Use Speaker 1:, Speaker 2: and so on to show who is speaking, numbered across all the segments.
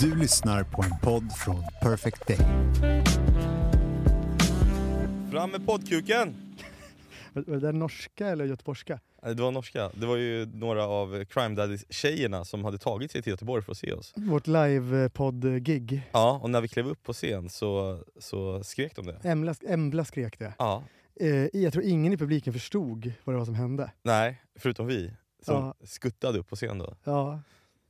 Speaker 1: Du lyssnar på en podd från Perfect Day.
Speaker 2: Fram med poddkuken!
Speaker 3: Var var det där norska eller göteborgska?
Speaker 2: Nej, Det var norska. Det var ju några av Crime Daddies-tjejerna som hade tagit sig till Göteborg för att se oss.
Speaker 3: Vårt livepodd-gig.
Speaker 2: Ja, och när vi klev upp på scen så, så skrek de det.
Speaker 3: Embla, Embla skrek det.
Speaker 2: Ja,
Speaker 3: Eh, jag tror ingen i publiken förstod vad det var som hände.
Speaker 2: nej, förutom vi som
Speaker 3: Ja.
Speaker 2: skuttade upp på scen då.
Speaker 3: Ja,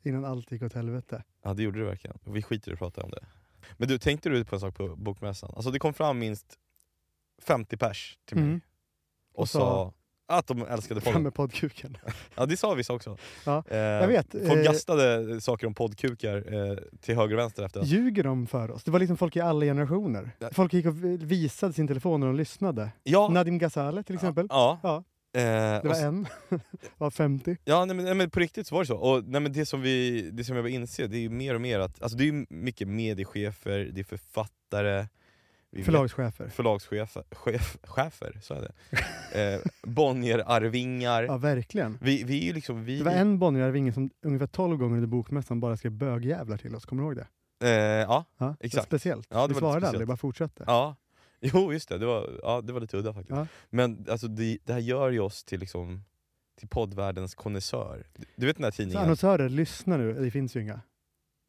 Speaker 3: innan allt gick åt helvete.
Speaker 2: Ja, det gjorde det verkligen. Vi skiter i att prata om det. Men du, tänkte du på en sak på bokmässan? Alltså det kom fram minst 50 pers till mig
Speaker 3: Mm.
Speaker 2: och,
Speaker 3: Och
Speaker 2: sa
Speaker 3: sa-
Speaker 2: att de älskade
Speaker 3: Fram
Speaker 2: podden.
Speaker 3: med poddkuken.
Speaker 2: Ja, det sa vissa också.
Speaker 3: Ja,
Speaker 2: Eh,
Speaker 3: Jag vet.
Speaker 2: Folk
Speaker 3: eh,
Speaker 2: gastade saker om poddkukar eh, till höger och vänster efter.
Speaker 3: ljuger de för oss? Det var liksom folk i alla generationer.
Speaker 2: Ja.
Speaker 3: Folk gick och visade sin telefon när de lyssnade.
Speaker 2: Ja,
Speaker 3: Nadim Ghazale till exempel.
Speaker 2: Ja.
Speaker 3: Ja.
Speaker 2: Eh,
Speaker 3: Det
Speaker 2: och s-
Speaker 3: var en. var 50.
Speaker 2: ja nej, men, nej, men på riktigt så var det så. Och, nej, men det, som vi, det som jag börjar inse, det är ju mer och mer att, alltså det är ju mycket mediechefer, det är författare, vi vet-
Speaker 3: Förlagschefer.
Speaker 2: förlagschefer, chef, chefer, så är det. Eh, Bonnier-arvingar.
Speaker 3: Ja, verkligen.
Speaker 2: Vi, vi är ju liksom, vi,
Speaker 3: Det var en Bonnierarvinge som ungefär 12 gånger under bokmässan bara skrev bögjävlar till oss. Kommer du ihåg det?
Speaker 2: eh, ja,
Speaker 3: Ja, det var
Speaker 2: Exakt.
Speaker 3: Speciellt.
Speaker 2: Ja, det var
Speaker 3: vi
Speaker 2: lite
Speaker 3: svarade
Speaker 2: speciellt.
Speaker 3: aldrig, bara fortsatte.
Speaker 2: ja. Jo just det, det var, ja, det var lite udda faktiskt.
Speaker 3: Ja.
Speaker 2: Men alltså, det, det här gör ju oss till, liksom, till poddvärldens konnässör. Du- Du vet den här
Speaker 3: Så
Speaker 2: tidningen?
Speaker 3: annonsörer, lyssna nu. Det finns ju inga.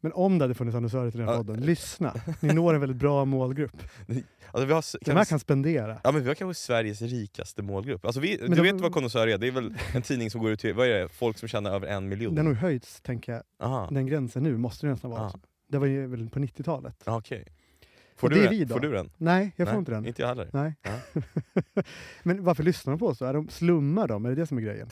Speaker 3: Men om det hade funnits annonsörer till den här
Speaker 2: Ja.
Speaker 3: podden, lyssna. Ni når en väldigt bra målgrupp.
Speaker 2: Alltså, vi har, s-
Speaker 3: De
Speaker 2: vi
Speaker 3: här
Speaker 2: s-
Speaker 3: kan spendera.
Speaker 2: Ja men vi har kanske Sveriges rikaste målgrupp. Alltså vi, du
Speaker 3: de-
Speaker 2: vet vad Connoisseur är? Det är väl en tidning som går ut till vad är det? folk som tjänar över en miljon?
Speaker 3: Den har ju höjts, tänker jag.
Speaker 2: Aha,
Speaker 3: Den gränsen nu måste det nästan vara.
Speaker 2: Ja.
Speaker 3: Det var ju väl på 90-talet.
Speaker 2: ja, okej. Får,
Speaker 3: Och
Speaker 2: du
Speaker 3: det är
Speaker 2: den?
Speaker 3: vi då?
Speaker 2: Får du den?
Speaker 3: Nej, jag får
Speaker 2: Nej,
Speaker 3: inte den.
Speaker 2: Inte jag heller.
Speaker 3: Nej.
Speaker 2: Ja.
Speaker 3: Men varför lyssnar de på oss då? Är de, slummar de? Är det det som är grejen?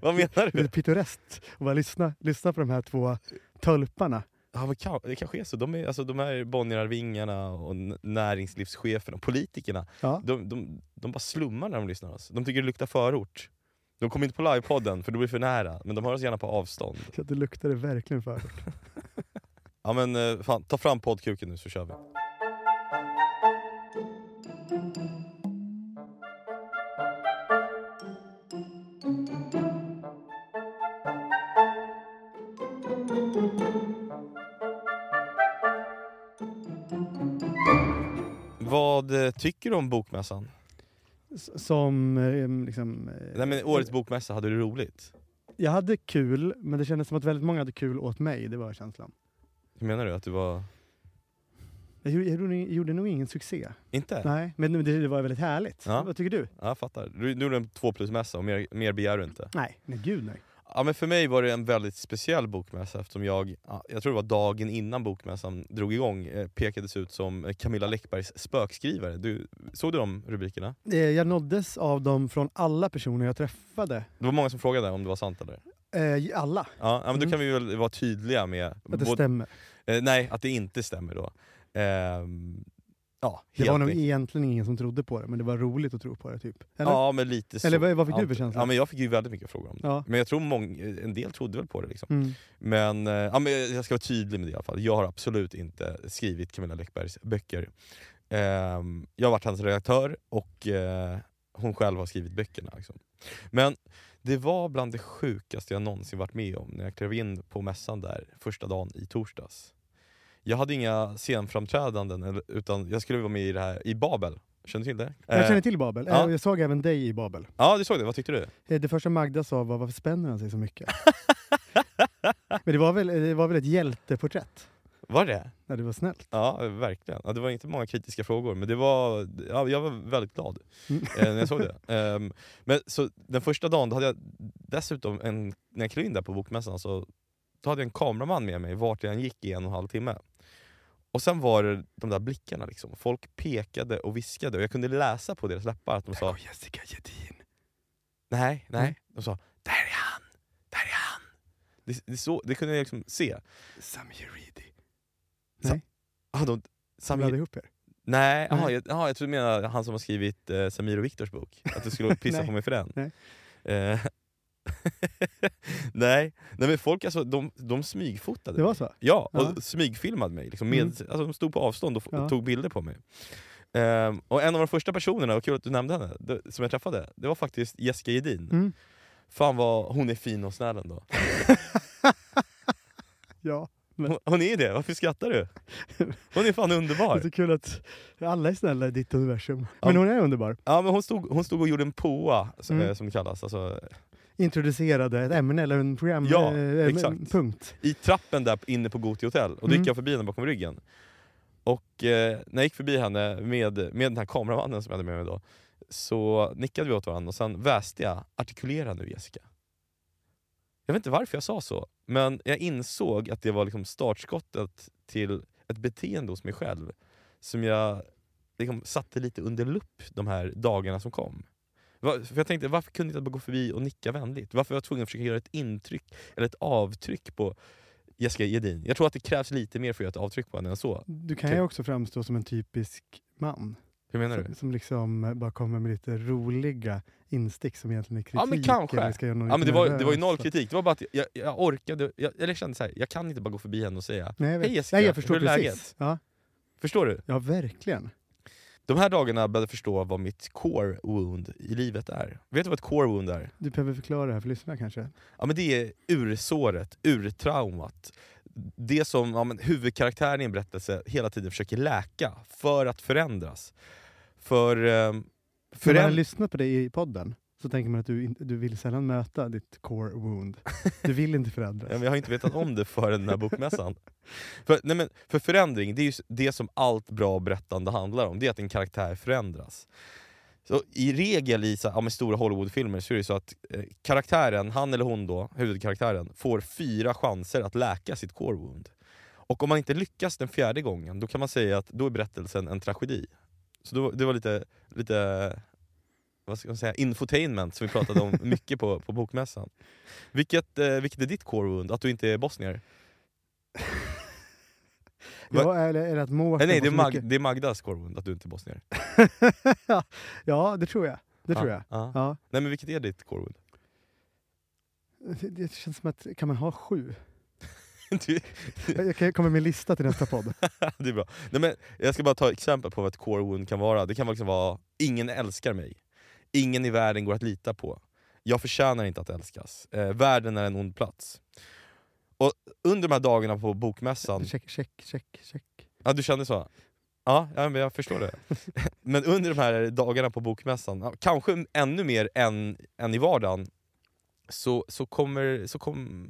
Speaker 2: Vad menar
Speaker 3: Det är
Speaker 2: du?
Speaker 3: lite pittoreskt att bara lyssna, lyssna på de här två tölparna.
Speaker 2: Ja, men kan, det kanske är så. De, är, alltså, de här Bonnierarvingarna och n- näringslivscheferna och politikerna,
Speaker 3: Ja.
Speaker 2: de, de, de bara slummar när de lyssnar på oss. De tycker det luktar förort. De kommer inte på livepodden för då blir det för nära, men de hör oss gärna på avstånd.
Speaker 3: Så att det luktar det verkligen för.
Speaker 2: Ja men eh, fan, ta fram poddkuken nu så kör vi. Vad eh, tycker du om bokmässan?
Speaker 3: S- Som eh, liksom... eh,
Speaker 2: Nej, men årets bokmässa, hade du roligt?
Speaker 3: Jag hade kul, men det kändes som att väldigt många hade kul åt mig. Det var känslan.
Speaker 2: Hur menar du? Att du var...
Speaker 3: Jag gjorde, jag gjorde, jag gjorde nog ingen succé.
Speaker 2: Inte?
Speaker 3: Nej, men det, det var väldigt härligt.
Speaker 2: Ja.
Speaker 3: Vad tycker du?
Speaker 2: Ja, jag fattar. Du, du gjorde en två plus-mässa och mer, mer begär du inte.
Speaker 3: Nej, nej gud nej.
Speaker 2: Ja, men för mig var det en väldigt speciell bokmässa eftersom jag, ja, jag tror det var dagen innan bokmässan drog igång, eh, pekades ut som eh, Camilla Läckbergs spökskrivare. Du, såg du de rubrikerna?
Speaker 3: Eh, Jag nåddes av dem från alla personer jag träffade.
Speaker 2: Det var många som frågade om det var sant eller?
Speaker 3: Eh, alla,
Speaker 2: Ja, ja men då
Speaker 3: Mm.
Speaker 2: kan vi väl vara tydliga med...
Speaker 3: att det
Speaker 2: både-
Speaker 3: stämmer.
Speaker 2: eh, nej, att det inte stämmer då. Ehm, ja,
Speaker 3: Det
Speaker 2: helt
Speaker 3: var nog
Speaker 2: enkelt.
Speaker 3: egentligen ingen som trodde på det, men det var roligt att tro på det. typ. Eller,
Speaker 2: Ja, men lite så.
Speaker 3: eller vad, vad fick du för
Speaker 2: Ja,
Speaker 3: känsla?
Speaker 2: men jag fick ju väldigt mycket frågor om det.
Speaker 3: Ja.
Speaker 2: Men jag tror mång- en del trodde väl på det. Liksom.
Speaker 3: Mm.
Speaker 2: Men, eh, ja, men jag ska vara tydlig med det i alla fall. Jag har absolut inte skrivit Camilla Läckbergs böcker. Ehm, jag har varit hans redaktör och eh, hon själv har skrivit böckerna. Liksom. Men det var bland det sjukaste jag någonsin varit med om när jag klev in på mässan där första dagen i torsdags. Jag hade inga scenframträdanden eller- utan jag skulle vara med i det här i Babel. Känner du till det?
Speaker 3: Jag
Speaker 2: Eh,
Speaker 3: känner till Babel. Eh,
Speaker 2: ja.
Speaker 3: och Jag såg även dig i Babel.
Speaker 2: Ja, du såg det. Vad tyckte du?
Speaker 3: Eh, Det första Magda sa var varför spänner han sig så mycket? men det var, väl, eh, det var väl ett hjälteporträtt?
Speaker 2: Var det?
Speaker 3: Nej, det var snällt.
Speaker 2: Ja, verkligen. Ja, det var inte många kritiska frågor, men det var, ja, jag var väldigt glad
Speaker 3: Mm.
Speaker 2: eh, när jag såg det. Ehm, men så den första dagen, då hade jag dessutom, en, när jag klev in där på bokmässan, så då hade jag en kameraman med mig vart jag än gick i en och en halv timme. Och sen var det de där blickarna, liksom. folk pekade och viskade och jag kunde läsa på deras läppar att de sa
Speaker 3: Oh, Jessica Gedin.
Speaker 2: nej, nej.
Speaker 3: Mm.
Speaker 2: De sa där är han, där är han. Det, det, så, det kunde jag liksom se.
Speaker 3: Samir Reedy.
Speaker 2: Ah, de, Samir-
Speaker 3: Samir... ihop er.
Speaker 2: Nej,
Speaker 3: Nej.
Speaker 2: Aha, jag, aha, jag tror du menar han som har skrivit eh, Samir och Viktors bok. Att du skulle pissa
Speaker 3: Nej.
Speaker 2: på mig för den.
Speaker 3: Nej.
Speaker 2: Eh, Nej. Nej, men folk alltså, de, de smygfotade
Speaker 3: Det var
Speaker 2: mig.
Speaker 3: så?
Speaker 2: Ja, och
Speaker 3: Ja.
Speaker 2: smygfilmade mig. Liksom, med,
Speaker 3: Mm.
Speaker 2: alltså, de stod på avstånd och, f-
Speaker 3: Ja.
Speaker 2: tog bilder på mig. Ehm, och en av de första personerna, och kul att du nämnde henne, det, som jag träffade, det var faktiskt Jessica Gedin.
Speaker 3: Mm.
Speaker 2: Fan vad hon är fin och snäll ändå.
Speaker 3: Ja. Men-
Speaker 2: Hon är det, varför skrattar du? Hon är fan
Speaker 3: Det är
Speaker 2: underbar.
Speaker 3: så kul att alla är snälla i ditt universum.
Speaker 2: Ja.
Speaker 3: Men hon är underbar.
Speaker 2: Ja, men hon, stod, hon stod och gjorde en poa, som,
Speaker 3: Mm.
Speaker 2: eh, som det kallas. Alltså,
Speaker 3: Introducerade ett ämne eller en program...
Speaker 2: Ja,
Speaker 3: eh, en-
Speaker 2: exakt.
Speaker 3: en Punkt.
Speaker 2: I trappen där inne på Goti hotell, och då
Speaker 3: Mm.
Speaker 2: gick jag förbi henne bakom ryggen. Och eh, när jag gick förbi henne med, med den här kameramannen som jag hade med mig då, så nickade vi åt varandra och sen väste jag “artikulera nu Jessica”. Jag vet inte varför jag sa så, men jag insåg att det var liksom startskottet till ett beteende hos mig själv som jag liksom satte lite under lupp de här dagarna som kom. Va- För jag tänkte, varför kunde jag inte bara gå förbi och nicka vänligt? Varför var jag tvungen att försöka göra ett intryck, eller ett avtryck på Jessica Jedin? Jag tror att det krävs lite mer för att göra ett avtryck på henne än så.
Speaker 3: Du kan
Speaker 2: Okej.
Speaker 3: ju också framstå som en typisk man.
Speaker 2: Hur menar du?
Speaker 3: Som, som liksom bara kommer med lite roliga instick som egentligen är kritik.
Speaker 2: Ja, men kanske.
Speaker 3: eller Ska göra någon
Speaker 2: Ja, men det,
Speaker 3: lite
Speaker 2: var, det var ju
Speaker 3: nervös.
Speaker 2: noll kritik, det var bara att jag, jag orkade, jag, eller jag kände så här, jag kan inte bara gå förbi henne och säga
Speaker 3: Nej, jag vet.
Speaker 2: Hej Jessica,
Speaker 3: Nej, jag förstår
Speaker 2: hur är
Speaker 3: precis.
Speaker 2: läget?
Speaker 3: Ja,
Speaker 2: Förstår du?
Speaker 3: ja, verkligen.
Speaker 2: De här dagarna började jag förstå vad mitt core wound i livet är. Vet du vad ett core wound är?
Speaker 3: Du behöver förklara det här för lyssnarna kanske.
Speaker 2: Ja, men det är ursåret, urtraumat. Det som ja, men huvudkaraktären i en berättelse hela tiden försöker läka för att förändras. För, ehm,
Speaker 3: För när
Speaker 2: föränd-
Speaker 3: man har lyssnat på dig i podden så tänker man att du, in- du vill sällan möta ditt core wound. Du vill inte
Speaker 2: Ja,
Speaker 3: förändras.
Speaker 2: men jag har inte vetat om det förrän den här bokmässan. För, nej men, för förändring, det är ju s- det som allt bra berättande handlar om. Det är att en karaktär förändras. Så I regel i så, här, ja, men stora Hollywoodfilmer så är det så att eh, karaktären, han eller hon då, huvudkaraktären, får fyra chanser att läka sitt core wound. Och om man inte lyckas den fjärde gången, då kan man säga att då är berättelsen en tragedi. Så då, det var lite, lite vad ska man säga, infotainment som vi pratade om mycket på, på bokmässan. Vilket, eh, vilket är ditt core wound? Att du inte är bosnier?
Speaker 3: Ja, eller, eller att Mårten
Speaker 2: Eh, nej, det är,
Speaker 3: var så
Speaker 2: Mag-
Speaker 3: mycket-
Speaker 2: det är Magdas core wound, att du inte är bosnier.
Speaker 3: ja, det tror jag. Det tror
Speaker 2: Ja,
Speaker 3: jag.
Speaker 2: ja.
Speaker 3: Ja.
Speaker 2: Nej, men vilket är ditt core wound?
Speaker 3: Det- Det känns som att, kan man ha sju?
Speaker 2: Du-
Speaker 3: Jag jag kan- kommer med en lista till nästa podd.
Speaker 2: det är bra. Nej, men jag ska bara ta exempel på vad ett core wound kan vara. Det kan liksom vara, ingen älskar mig. Ingen i världen går att lita på. Jag förtjänar inte att älskas. Eh, världen är en ond plats. Och under de här dagarna på bokmässan...
Speaker 3: Check, check, check, check.
Speaker 2: Ja, du kände så? Ja, ja men jag förstår det. men under de här dagarna på bokmässan, ja, kanske ännu mer än, än i vardagen, så, så, kommer, så kom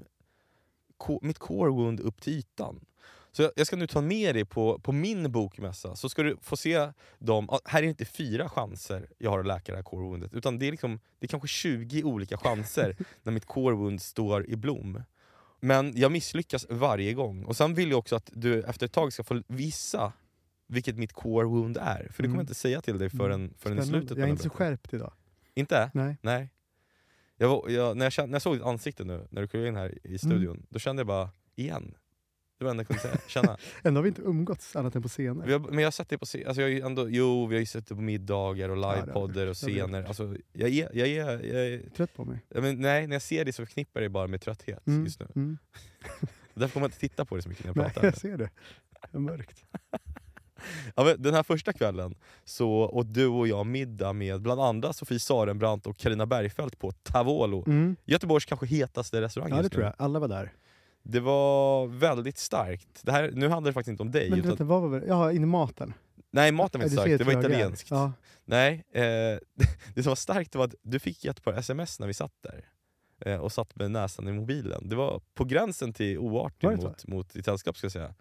Speaker 2: ko, mitt core wound upp till ytan. Så jag, jag ska nu ta med dig på, på min bokmässa, så ska du få se dem. Ja, Här är inte fyra chanser jag har att läka det här core woundet, utan det är, liksom, det är kanske 20 olika chanser när mitt core wound står i blom. Men jag misslyckas varje gång. Och sen vill jag också att du efter ett tag ska få vissa vilket mitt core wound är. För det kommer
Speaker 3: Mm.
Speaker 2: jag inte säga till dig förrän, förrän i
Speaker 3: Spännande.
Speaker 2: slutet. på
Speaker 3: jag är
Speaker 2: den
Speaker 3: inte så
Speaker 2: berättelsen.
Speaker 3: skärpt idag.
Speaker 2: Inte?
Speaker 3: Nej.
Speaker 2: Nej. Jag var, jag, när, jag kände, när jag såg ditt ansikte nu, när du klev in här
Speaker 3: Mm.
Speaker 2: i studion, då kände jag bara igen. Det var det enda jag kunde säga, känna.
Speaker 3: Ändå har vi inte umgåtts annat än på scener.
Speaker 2: Vi har, men jag har sett dig på scen- alltså jag har ju ändå, Jo, vi har ju suttit på middagar och
Speaker 3: har vi
Speaker 2: livepoddar och
Speaker 3: gjort. Det har vi
Speaker 2: scener.
Speaker 3: gjort.
Speaker 2: Alltså, jag är, jag är, jag är,
Speaker 3: Trött på mig.
Speaker 2: jag men, nej, när jag ser dig så förknippar jag dig bara med trötthet
Speaker 3: Mm,
Speaker 2: just nu.
Speaker 3: Mm.
Speaker 2: Därför kommer jag inte titta på dig så mycket när jag
Speaker 3: Nej,
Speaker 2: pratar.
Speaker 3: jag ser det. Det är mörkt.
Speaker 2: Ja, men den här första kvällen så åt du och jag middag med bland andra Sofie Sarenbrant och Karina Bergfeldt på Tavolo.
Speaker 3: Mm.
Speaker 2: Göteborgs kanske hetaste restaurang
Speaker 3: Ja,
Speaker 2: just
Speaker 3: det
Speaker 2: nu.
Speaker 3: tror jag. Alla var där.
Speaker 2: Det var väldigt starkt. Det här, nu handlar det faktiskt inte om dig.
Speaker 3: Men
Speaker 2: Utan,
Speaker 3: vänta, vad var det? Jaha, in i maten.
Speaker 2: nej, maten var inte
Speaker 3: Ja, du ser
Speaker 2: stark. Det var
Speaker 3: hur trög jag är.
Speaker 2: italienskt.
Speaker 3: Ja.
Speaker 2: Nej, eh, det som var starkt var att du fick ett par sms när vi satt där. Eh, och satt med näsan i mobilen. Det var på gränsen till
Speaker 3: Var
Speaker 2: oartig
Speaker 3: det så?
Speaker 2: mot, mot ditt sällskap ska jag säga.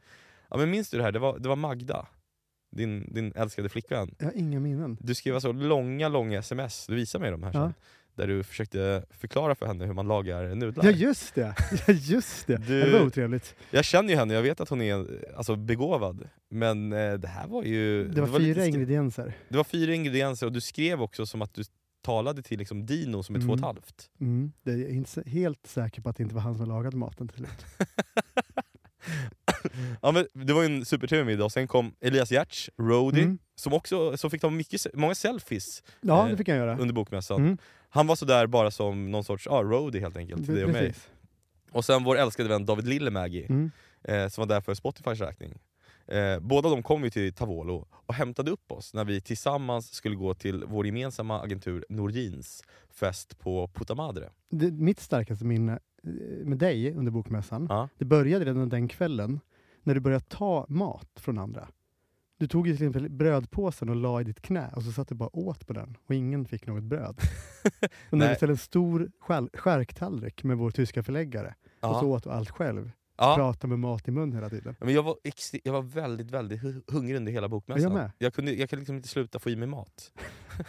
Speaker 2: Ja, men minns du det här? Det var, det var Magda, din, din älskade flickvän.
Speaker 3: Jag har inga minnen.
Speaker 2: Du skrev alltså långa, långa sms, du visar mig dem här
Speaker 3: Ja.
Speaker 2: sen, där du försökte förklara för henne hur man lagar nudlar.
Speaker 3: Ja just det! Ja, just det.
Speaker 2: Du-
Speaker 3: Ja, det var otrevligt.
Speaker 2: Jag känner ju henne, jag vet att hon är alltså, begåvad. Men eh, det här var ju...
Speaker 3: Det var,
Speaker 2: lite
Speaker 3: fyra
Speaker 2: skri-
Speaker 3: ingredienser.
Speaker 2: Det var fyra ingredienser och du skrev också som att du talade till liksom, Dino som är två och ett
Speaker 3: Mm.
Speaker 2: halvt.
Speaker 3: Mm. Det är inte så- helt säker på att det inte var han som lagade maten till slut.
Speaker 2: Ja, men det var ju en supertrevlig middag. Och Sen kom Elias Giertz, Rody,
Speaker 3: Mm.
Speaker 2: som också som fick ta mycket, se- många selfies
Speaker 3: Ja,
Speaker 2: Eh,
Speaker 3: det fick han göra.
Speaker 2: under bokmässan.
Speaker 3: Mm.
Speaker 2: Han var sådär bara som någon sorts ja, Rody helt enkelt, till dig och mig.
Speaker 3: Precis.
Speaker 2: Och sen vår älskade vän David Lillemägi,
Speaker 3: Mm.
Speaker 2: eh, som var där för Spotifys räkning. Eh, båda de kom ju till Tavolo och hämtade upp oss när vi tillsammans skulle gå till vår gemensamma agentur Nordins fest på Puttamadre.
Speaker 3: Det, mitt starkaste minne eh, med dig under bokmässan.
Speaker 2: Ja.
Speaker 3: Det började redan den kvällen när du började ta mat från andra. Du tog ju till exempel brödpåsen och la i ditt knä och så satt du bara åt på den och ingen fick något bröd. Och när
Speaker 2: Nej.
Speaker 3: du beställde en stor skär- skärktallrik med vår tyska förläggare och
Speaker 2: Ja.
Speaker 3: så åt du allt själv.
Speaker 2: Ja.
Speaker 3: Prata med mat i mun hela tiden.
Speaker 2: Men jag, var extre- jag var väldigt väldigt hu- hungrig under hela bokmässan.
Speaker 3: Jag med.
Speaker 2: Jag kunde, jag kunde liksom inte sluta få i mig mat.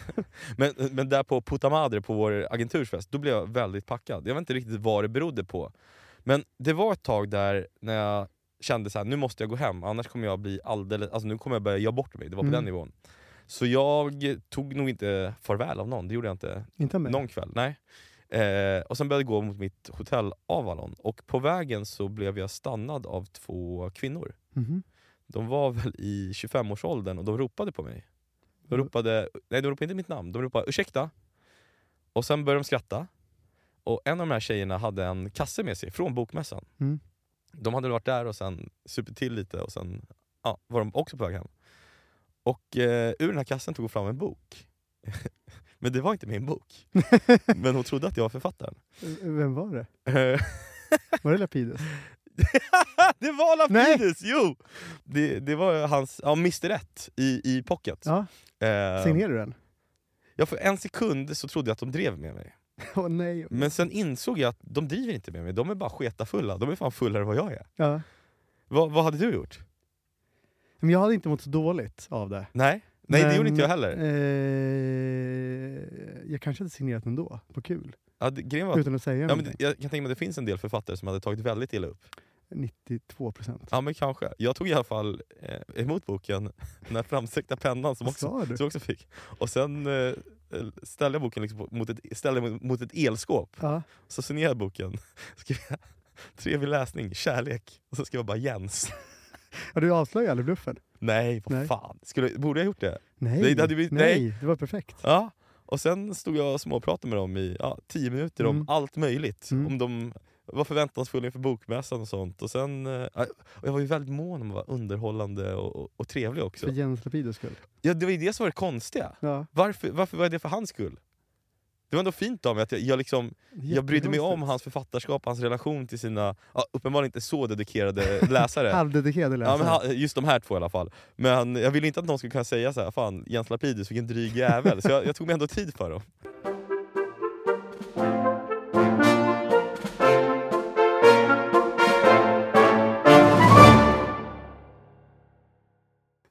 Speaker 2: men, men där på Puta Madre, på vår agentursfest, då blev jag väldigt packad. Jag vet inte riktigt vad det berodde på. Men det var ett tag där när jag kände så här, nu måste jag gå hem, annars kommer jag bli alldeles... Alltså nu kommer jag börja göra bort mig. Det var på
Speaker 3: Mm.
Speaker 2: den nivån. Så jag tog nog inte farväl av någon, det gjorde jag inte
Speaker 3: Inte med.
Speaker 2: någon kväll. Nej. Eh, och sen började jag gå mot mitt hotell Avalon, och på vägen så blev jag stannad av två kvinnor.
Speaker 3: Mhm.
Speaker 2: De var väl i 25-årsåldern och de ropade på mig. De ropade, nej de ropade inte mitt namn, de ropade ursäkta. Och sen började de skratta. Och en av de här tjejerna hade en kasse med sig från bokmässan.
Speaker 3: Mm.
Speaker 2: De hade varit där och sen supit till lite och sen ja, var de också på väg hem. Och eh, ur den här kassen tog hon fram en bok. Men det var inte min bok. Men hon trodde att jag var författaren.
Speaker 3: Vem var det?
Speaker 2: Eh,
Speaker 3: Var det Lapidus?
Speaker 2: det var Lapidus! Jo! Det, det var hans, ja, Mr Rätt i, i pocket.
Speaker 3: Ja,
Speaker 2: Eh,
Speaker 3: signerade du den?
Speaker 2: Ja, för en sekund så trodde jag att de drev med mig.
Speaker 3: Åh nej.
Speaker 2: Men sen insåg jag att de driver inte med mig, de är bara sketafulla. De är fan fullare än vad jag är.
Speaker 3: Ja.
Speaker 2: Vad- vad hade du gjort?
Speaker 3: Men jag hade inte mått så dåligt av det.
Speaker 2: Nej, Nej det
Speaker 3: Men,
Speaker 2: gjorde inte jag heller.
Speaker 3: Eh, jag kanske hade signerat ändå, på kul.
Speaker 2: Ja, det, grejen var,
Speaker 3: Utan att säga
Speaker 2: ja, men det-
Speaker 3: någonting.
Speaker 2: jag kan tänka mig att det finns en del författare som hade tagit väldigt illa upp.
Speaker 3: 92 procent.
Speaker 2: Ja men kanske. Jag tog i alla fall eh, emot boken, den här framsträckta pennan som
Speaker 3: Vad
Speaker 2: också,
Speaker 3: sa du?
Speaker 2: som jag också fick. Och sen eh, ställde jag boken liksom på- mot, ett, ställde den mot ett elskåp,
Speaker 3: Ja.
Speaker 2: så signerade jag boken. Skrev jag, Trevlig läsning, kärlek. Och så skrev jag bara Jens.
Speaker 3: ja, du avslöjade aldrig bluffen.
Speaker 2: Nej, vad
Speaker 3: Nej.
Speaker 2: fan. Skulle, borde jag gjort det?
Speaker 3: Nej,
Speaker 2: Nej, det hade blivit-
Speaker 3: nej. det var perfekt.
Speaker 2: Ja. Och sen stod jag och småpratade med dem i ja, tio minuter om
Speaker 3: Mm.
Speaker 2: allt möjligt.
Speaker 3: Mm.
Speaker 2: Om de var förväntansfulla inför bokmässan och sånt. Och sen, eh, och jag var ju väldigt mån om att vara underhållande och, och, och trevlig också.
Speaker 3: För Jens Lapidus skull.
Speaker 2: Ja, det var ju det som var det konstiga.
Speaker 3: Ja,
Speaker 2: Varför, varför var jag det för hans skull? Det var ändå fint av mig att jag, jag, liksom, jag brydde mig om hans författarskap, hans relation till sina, ja, uppenbarligen inte så dedikerade läsare.
Speaker 3: Halvdedikerade
Speaker 2: eh, Ja, men
Speaker 3: läsare.
Speaker 2: ha- just de här två i alla fall. Men jag ville inte att någon skulle kunna säga så här, fan Jens Lapidus vilken dryg jävel. Så jag, jag tog mig ändå tid för dem.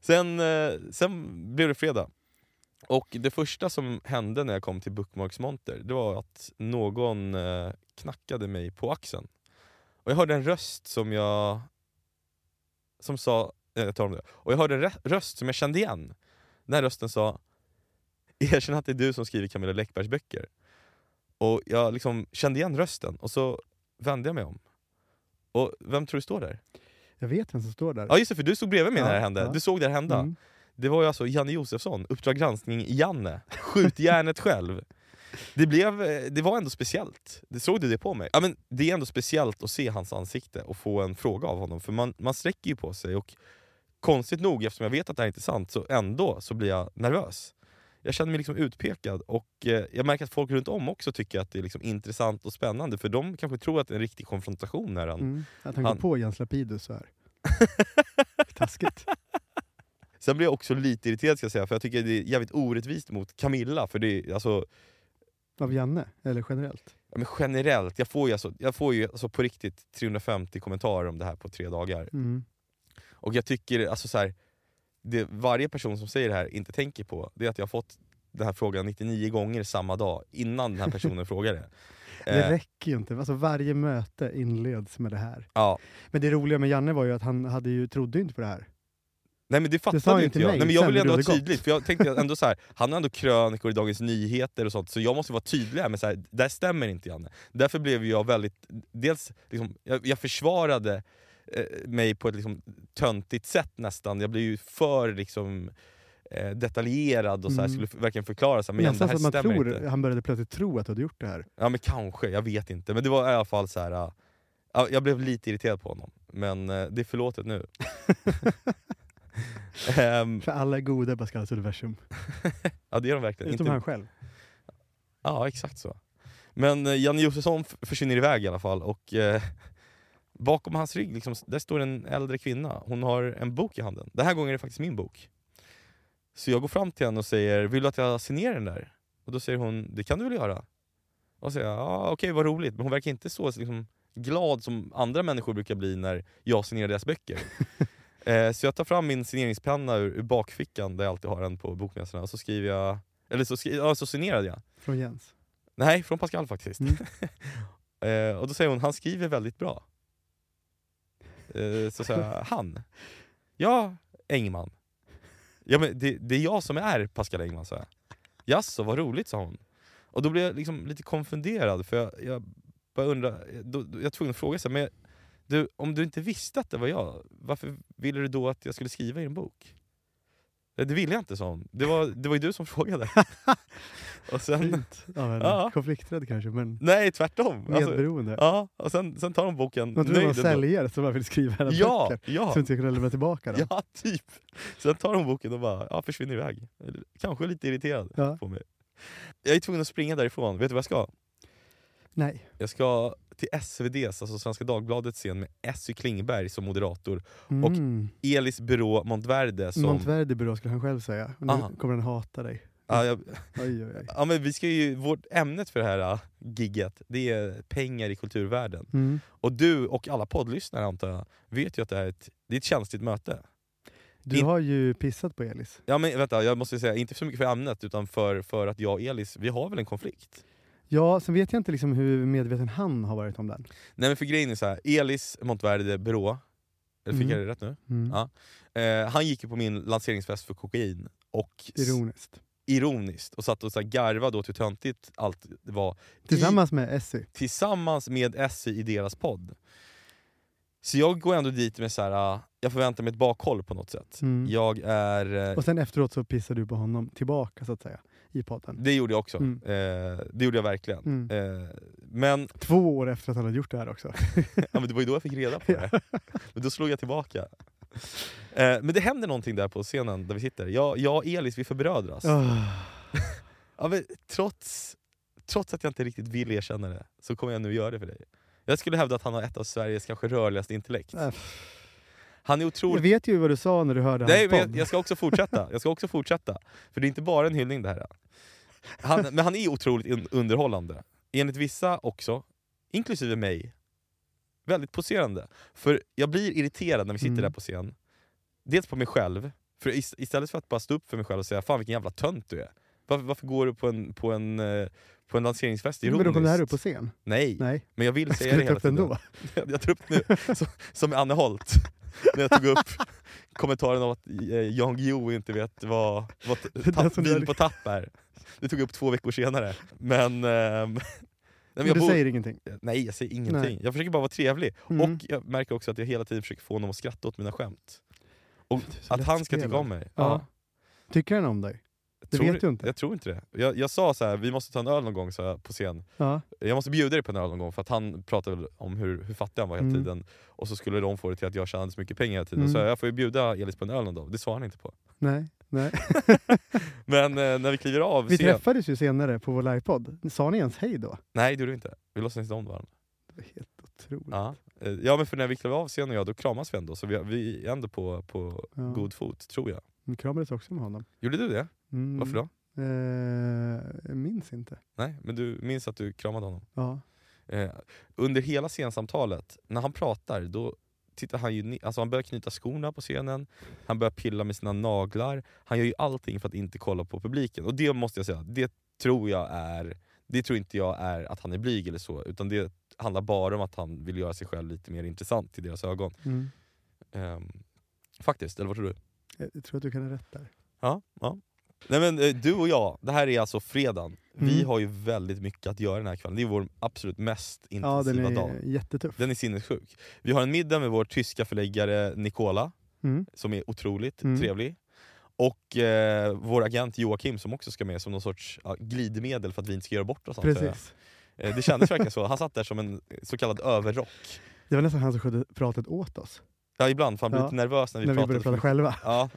Speaker 2: Sen, eh, sen blev det fredag. Och det första som hände när jag kom till Bookmarks monter, det var att någon eh, knackade mig på axeln. Och jag hörde en röst som jag som sa... eh, Jag tar om det. Och jag hörde en rö- röst som jag kände igen. Den här rösten sa Erkänn att det är du som skriver Camilla Läckbergs böcker. Och jag liksom kände igen rösten och så vände jag mig om. Och vem tror du står där?
Speaker 3: Jag vet vem som står där.
Speaker 2: Ja just det, för du stod bredvid mig när
Speaker 3: Ja,
Speaker 2: det här hände.
Speaker 3: ja.
Speaker 2: Du såg det här hända.
Speaker 3: Mm.
Speaker 2: Det var ju alltså Janne Josefsson, Uppdrag granskning-Janne. Skjut järnet själv. Det, blev, eh, det var ändå speciellt. Det såg du det på mig? Ja, men det är ändå speciellt att se hans ansikte och få en fråga av honom. För man, man sträcker ju på sig och konstigt nog, eftersom jag vet att det här inte är sant, så ändå så blir jag nervös. Jag känner mig liksom utpekad och eh, jag märker att folk runt om också tycker att det är liksom intressant och spännande. För de kanske tror att det är en riktig konfrontation när han
Speaker 3: Mm. Att han,
Speaker 2: Han-
Speaker 3: går på Jens Lapidus så här. Taskigt.
Speaker 2: Sen blir jag också lite irriterad ska jag säga, för jag tycker det är jävligt orättvist mot Camilla. För det är, alltså,
Speaker 3: Av Janne, eller generellt.
Speaker 2: ja, men generellt, jag får ju, alltså, jag får ju alltså, på riktigt 350 kommentarer om det här på tre dagar.
Speaker 3: Mm.
Speaker 2: Och jag tycker, alltså så här, det varje person som säger det här inte tänker på, det är att jag har fått den här frågan 99 gånger samma dag, innan den här personen frågade.
Speaker 3: Det
Speaker 2: Eh,
Speaker 3: räcker ju inte. Alltså, varje möte inleds med det här.
Speaker 2: ja.
Speaker 3: Men det roliga med Janne var ju att han hade ju, trodde ju inte på det här.
Speaker 2: Nej men det
Speaker 3: sa
Speaker 2: fattade
Speaker 3: ju
Speaker 2: inte
Speaker 3: till
Speaker 2: jag.
Speaker 3: mig
Speaker 2: Nej, men jag
Speaker 3: sen
Speaker 2: vill
Speaker 3: när
Speaker 2: ändå vara
Speaker 3: du hade
Speaker 2: tydlig, för jag tänkte ändå så här, han har ändå krönikor i Dagens Nyheter och sånt, så jag måste vara tydlig här med så här, det här stämmer inte Janne. Därför blev jag väldigt, dels, liksom, jag, jag försvarade eh, mig på ett liksom, töntigt sätt nästan. Jag blev ju för liksom, eh, detaljerad och så här,
Speaker 3: Mm.
Speaker 2: skulle f- verkligen förklara, så här, men Janne, det
Speaker 3: Nästan
Speaker 2: här
Speaker 3: så att man
Speaker 2: stämmer
Speaker 3: tror,
Speaker 2: inte.
Speaker 3: han började plötsligt tro att du hade gjort det här.
Speaker 2: Ja men kanske, jag vet inte. Men det var i alla fall så här. äh, ja, jag blev lite irriterad på honom. Men eh, det är förlåtet nu. Ehm,
Speaker 3: För alla är goda i Pascals universum.
Speaker 2: ja det är de verkligen.
Speaker 3: Utom
Speaker 2: Inte-
Speaker 3: han själv.
Speaker 2: Ja, exakt så. Men eh, Janne Josefsson f- försvinner iväg i alla fall och eh, bakom hans rygg liksom, där står en äldre kvinna. Hon har en bok i handen. Den här gången är det faktiskt min bok. Så jag går fram till henne och säger “Vill du att jag signerar den där?” Och då säger hon “Det kan du väl göra?” Och säger jag ah, “Okej, vad roligt” men hon verkar inte så liksom, glad som andra människor brukar bli när jag signerar deras böcker. eh, så jag tar fram min signeringspenna ur, ur bakfickan där jag alltid har den på bokmässorna och så skriver jag, eller så, skri- ja, så signerade jag.
Speaker 3: Från Jens.
Speaker 2: Nej, från Pascal faktiskt.
Speaker 3: Mm.
Speaker 2: eh, och då säger hon, han skriver väldigt bra. Eh, så sa jag, han? Ja, Engman. Ja, men det, det är jag som är Pascal Engman, sa jag. Jaså, vad roligt, sa hon. Och då blev jag liksom lite konfunderad, för jag, jag bara undrar, då, då, jag var tvungen att fråga så här, men du, om du inte visste att det var jag, varför ville du då att jag skulle skriva i din bok? "Eh, Det ville jag inte, sa hon. Det var, det var ju du som frågade. och sen...
Speaker 3: Fint av henne.
Speaker 2: Ja.
Speaker 3: Konflikträdd kanske, men
Speaker 2: Nej, tvärtom. Alltså,
Speaker 3: medberoende.
Speaker 2: ja, och sen, sen tar de boken
Speaker 3: Man tror det var
Speaker 2: nöjd ändå.
Speaker 3: säljare som bara vill skriva hela
Speaker 2: Ja,
Speaker 3: böcker.
Speaker 2: ja,
Speaker 3: Som inte kunde lämna tillbaka dem.
Speaker 2: ja, typ. Sen tar de boken och bara ja, försvinner iväg. Eller Kanske lite irriterad
Speaker 3: Ja.
Speaker 2: på mig. Jag är tvungen att springa därifrån. Vet du vad jag ska?
Speaker 3: Nej.
Speaker 2: Jag ska till SvDs, alltså Svenska Dagbladets scen med Essy Klingberg som moderator. Och
Speaker 3: Mm.
Speaker 2: Elis Byrå Montverde som...
Speaker 3: Montverdi Byrå skulle han själv säga. Och nu
Speaker 2: Aha.
Speaker 3: kommer han hata dig.
Speaker 2: ja, jag,
Speaker 3: Oj, oj, oj.
Speaker 2: ja, men vi ska ju, vårt ämnet för det här äh, gigget, det är pengar i kulturvärlden.
Speaker 3: Mm.
Speaker 2: Och du och alla poddlyssnare antar jag, vet ju att det här är ett, det är ett känsligt möte.
Speaker 3: Du
Speaker 2: In-
Speaker 3: har ju pissat på Elis.
Speaker 2: Ja men vänta, jag måste säga, inte så mycket för ämnet utan för, för att jag och Elis, vi har väl en konflikt?
Speaker 3: Ja, sen vet jag inte liksom hur medveten han har varit om den.
Speaker 2: Nej men för grejen är så här, Elis Montverde Brå, eller fick jag
Speaker 3: Mm.
Speaker 2: det rätt nu?
Speaker 3: Mm.
Speaker 2: Ja. Eh, han gick ju på min lanseringsfest för kokain och s-
Speaker 3: Ironiskt.
Speaker 2: ironiskt och satt och så här garvade åt hur töntigt allt var
Speaker 3: Tillsammans med Essy.
Speaker 2: tillsammans med Essie i deras podd. Så jag går ändå dit med så här, ah, jag förväntar mig ett bakhåll på något sätt.
Speaker 3: Mm.
Speaker 2: Jag är... eh,
Speaker 3: Och sen efteråt så pissar du på honom tillbaka så att säga. I podden.
Speaker 2: Det gjorde jag också.
Speaker 3: Mm.
Speaker 2: Eh, det gjorde jag verkligen.
Speaker 3: Mm.
Speaker 2: Eh, men,
Speaker 3: Två år efter att han hade gjort det här också.
Speaker 2: ja, men det var ju då jag fick reda på det. Men då slog jag tillbaka. Eh, men det händer någonting där på scenen där vi sitter. Jag, jag och Elis, vi förbrödras. Ja.
Speaker 3: Ah.
Speaker 2: men, trots, trots att jag inte riktigt vill erkänna det, så kommer jag nu göra det för dig. Jag skulle hävda att han har ett av Sveriges kanske rörligaste intellekt.
Speaker 3: Äh,
Speaker 2: Han är
Speaker 3: Jag
Speaker 2: otroligt...
Speaker 3: vet ju vad du sa när du hörde
Speaker 2: Nej,
Speaker 3: hans
Speaker 2: men
Speaker 3: podd.
Speaker 2: jag, jag ska också fortsätta. Jag ska också fortsätta. För det är inte bara en hyllning det här. Han, men han är otroligt un- underhållande. Enligt vissa också, inklusive mig. Väldigt poserande. För jag blir irriterad när vi sitter
Speaker 3: Mm.
Speaker 2: där på scen. Dels på mig själv, för ist- istället för att bara stå upp för mig själv och säga “Fan vilken jävla tönt du är”. Varför, varför går du på en, på en, eh, på en lanseringsfest
Speaker 3: Men då kom det här upp på
Speaker 2: ironiskt?
Speaker 3: scen?
Speaker 2: Nej,
Speaker 3: Nej.
Speaker 2: men jag vill
Speaker 3: Jag
Speaker 2: säga det
Speaker 3: skulle ta
Speaker 2: hela
Speaker 3: upp den
Speaker 2: tiden.
Speaker 3: då.
Speaker 2: Jag, jag tar upp nu, som, som med Anne Holt, när jag tog upp kommentaren om att eh, Jan Guillou inte vet vad, vad t-
Speaker 3: Den
Speaker 2: tapp,
Speaker 3: som
Speaker 2: vin
Speaker 3: dör.
Speaker 2: på tapp är. Det tog jag upp två veckor senare. Men... ehm, nej, men
Speaker 3: Men
Speaker 2: jag
Speaker 3: du
Speaker 2: bor,
Speaker 3: säger ingenting?
Speaker 2: nej, jag säger ingenting.
Speaker 3: Nej.
Speaker 2: Jag försöker bara vara trevlig.
Speaker 3: Mm.
Speaker 2: Och jag märker också att jag hela tiden försöker få honom att skratta åt mina skämt. Och
Speaker 3: Du är så
Speaker 2: att han ska tycka
Speaker 3: lättspelad.
Speaker 2: om mig.
Speaker 3: Ja. Tycker han om dig? Det
Speaker 2: Tror
Speaker 3: vet du inte.
Speaker 2: Jag tror inte det. Jag, jag sa så här, vi måste ta en öl någon gång sa jag på scen.
Speaker 3: Ja.
Speaker 2: Jag måste bjuda dig på en öl någon gång för att han pratade väl om hur, hur fattig han var hela
Speaker 3: Mm.
Speaker 2: tiden och så skulle de få det till att jag tjänade så mycket pengar hela tiden.
Speaker 3: Mm.
Speaker 2: Så jag får ju bjuda Elis på en öl någon dag. Det svarade han inte på.
Speaker 3: Nej. Nej.
Speaker 2: Men eh, när vi kliver av...
Speaker 3: Vi
Speaker 2: ser-
Speaker 3: träffades ju senare på vår livepodd. Sa ni ens hej då?
Speaker 2: Nej det gjorde vi inte. Vi låtsades inte om varandra.
Speaker 3: Det var helt otroligt.
Speaker 2: Ja. Eh, ja men för när vi kliver av scenen och jag, då kramas vi ändå. Så vi, vi är ändå på, på
Speaker 3: Ja.
Speaker 2: god fot, tror jag.
Speaker 3: Vi kramades också med honom.
Speaker 2: Gjorde du det?
Speaker 3: Mm.
Speaker 2: Varför då?
Speaker 3: Eh, jag minns inte.
Speaker 2: Nej, men du minns att du kramade honom?
Speaker 3: Ja.
Speaker 2: Eh, under hela scensamtalet, när han pratar, då tittar han ju ni- alltså han börjar knyta skorna på scenen, han börjar pilla med sina naglar, han gör ju allting för att inte kolla på publiken. Och det måste jag säga, det tror jag är, det tror inte jag är att han är blyg eller så, utan det handlar bara om att han vill göra sig själv lite mer intressant i deras ögon.
Speaker 3: Mm.
Speaker 2: Ehm, faktiskt, eller vad tror du?
Speaker 3: Eh, Jag tror att du kan ha rätt där.
Speaker 2: Ja, ja. Nej men eh, du och jag, det här är alltså fredagen. Vi
Speaker 3: Mm.
Speaker 2: har ju väldigt mycket att göra den här kvällen, det är vår absolut mest
Speaker 3: Ja, den
Speaker 2: intensiva
Speaker 3: är
Speaker 2: dag.
Speaker 3: jättetuff.
Speaker 2: Den är sinnessjuk. Vi har en middag med vår tyska förläggare Nicola,
Speaker 3: Mm.
Speaker 2: som är otroligt
Speaker 3: Mm.
Speaker 2: trevlig. Och eh, vår agent Joakim som också ska med som någon sorts ja, glidmedel för att vi inte ska göra bort oss. antar jag.
Speaker 3: Precis.
Speaker 2: Eh, det kändes verkligen så. Han satt där som en så kallad överrock.
Speaker 3: Det var nästan han som skötte pratet åt oss.
Speaker 2: Ja, ibland, för han blev
Speaker 3: Ja,
Speaker 2: lite nervös när vi
Speaker 3: när vi
Speaker 2: pratade.
Speaker 3: började prata
Speaker 2: för-
Speaker 3: själva.
Speaker 2: ja.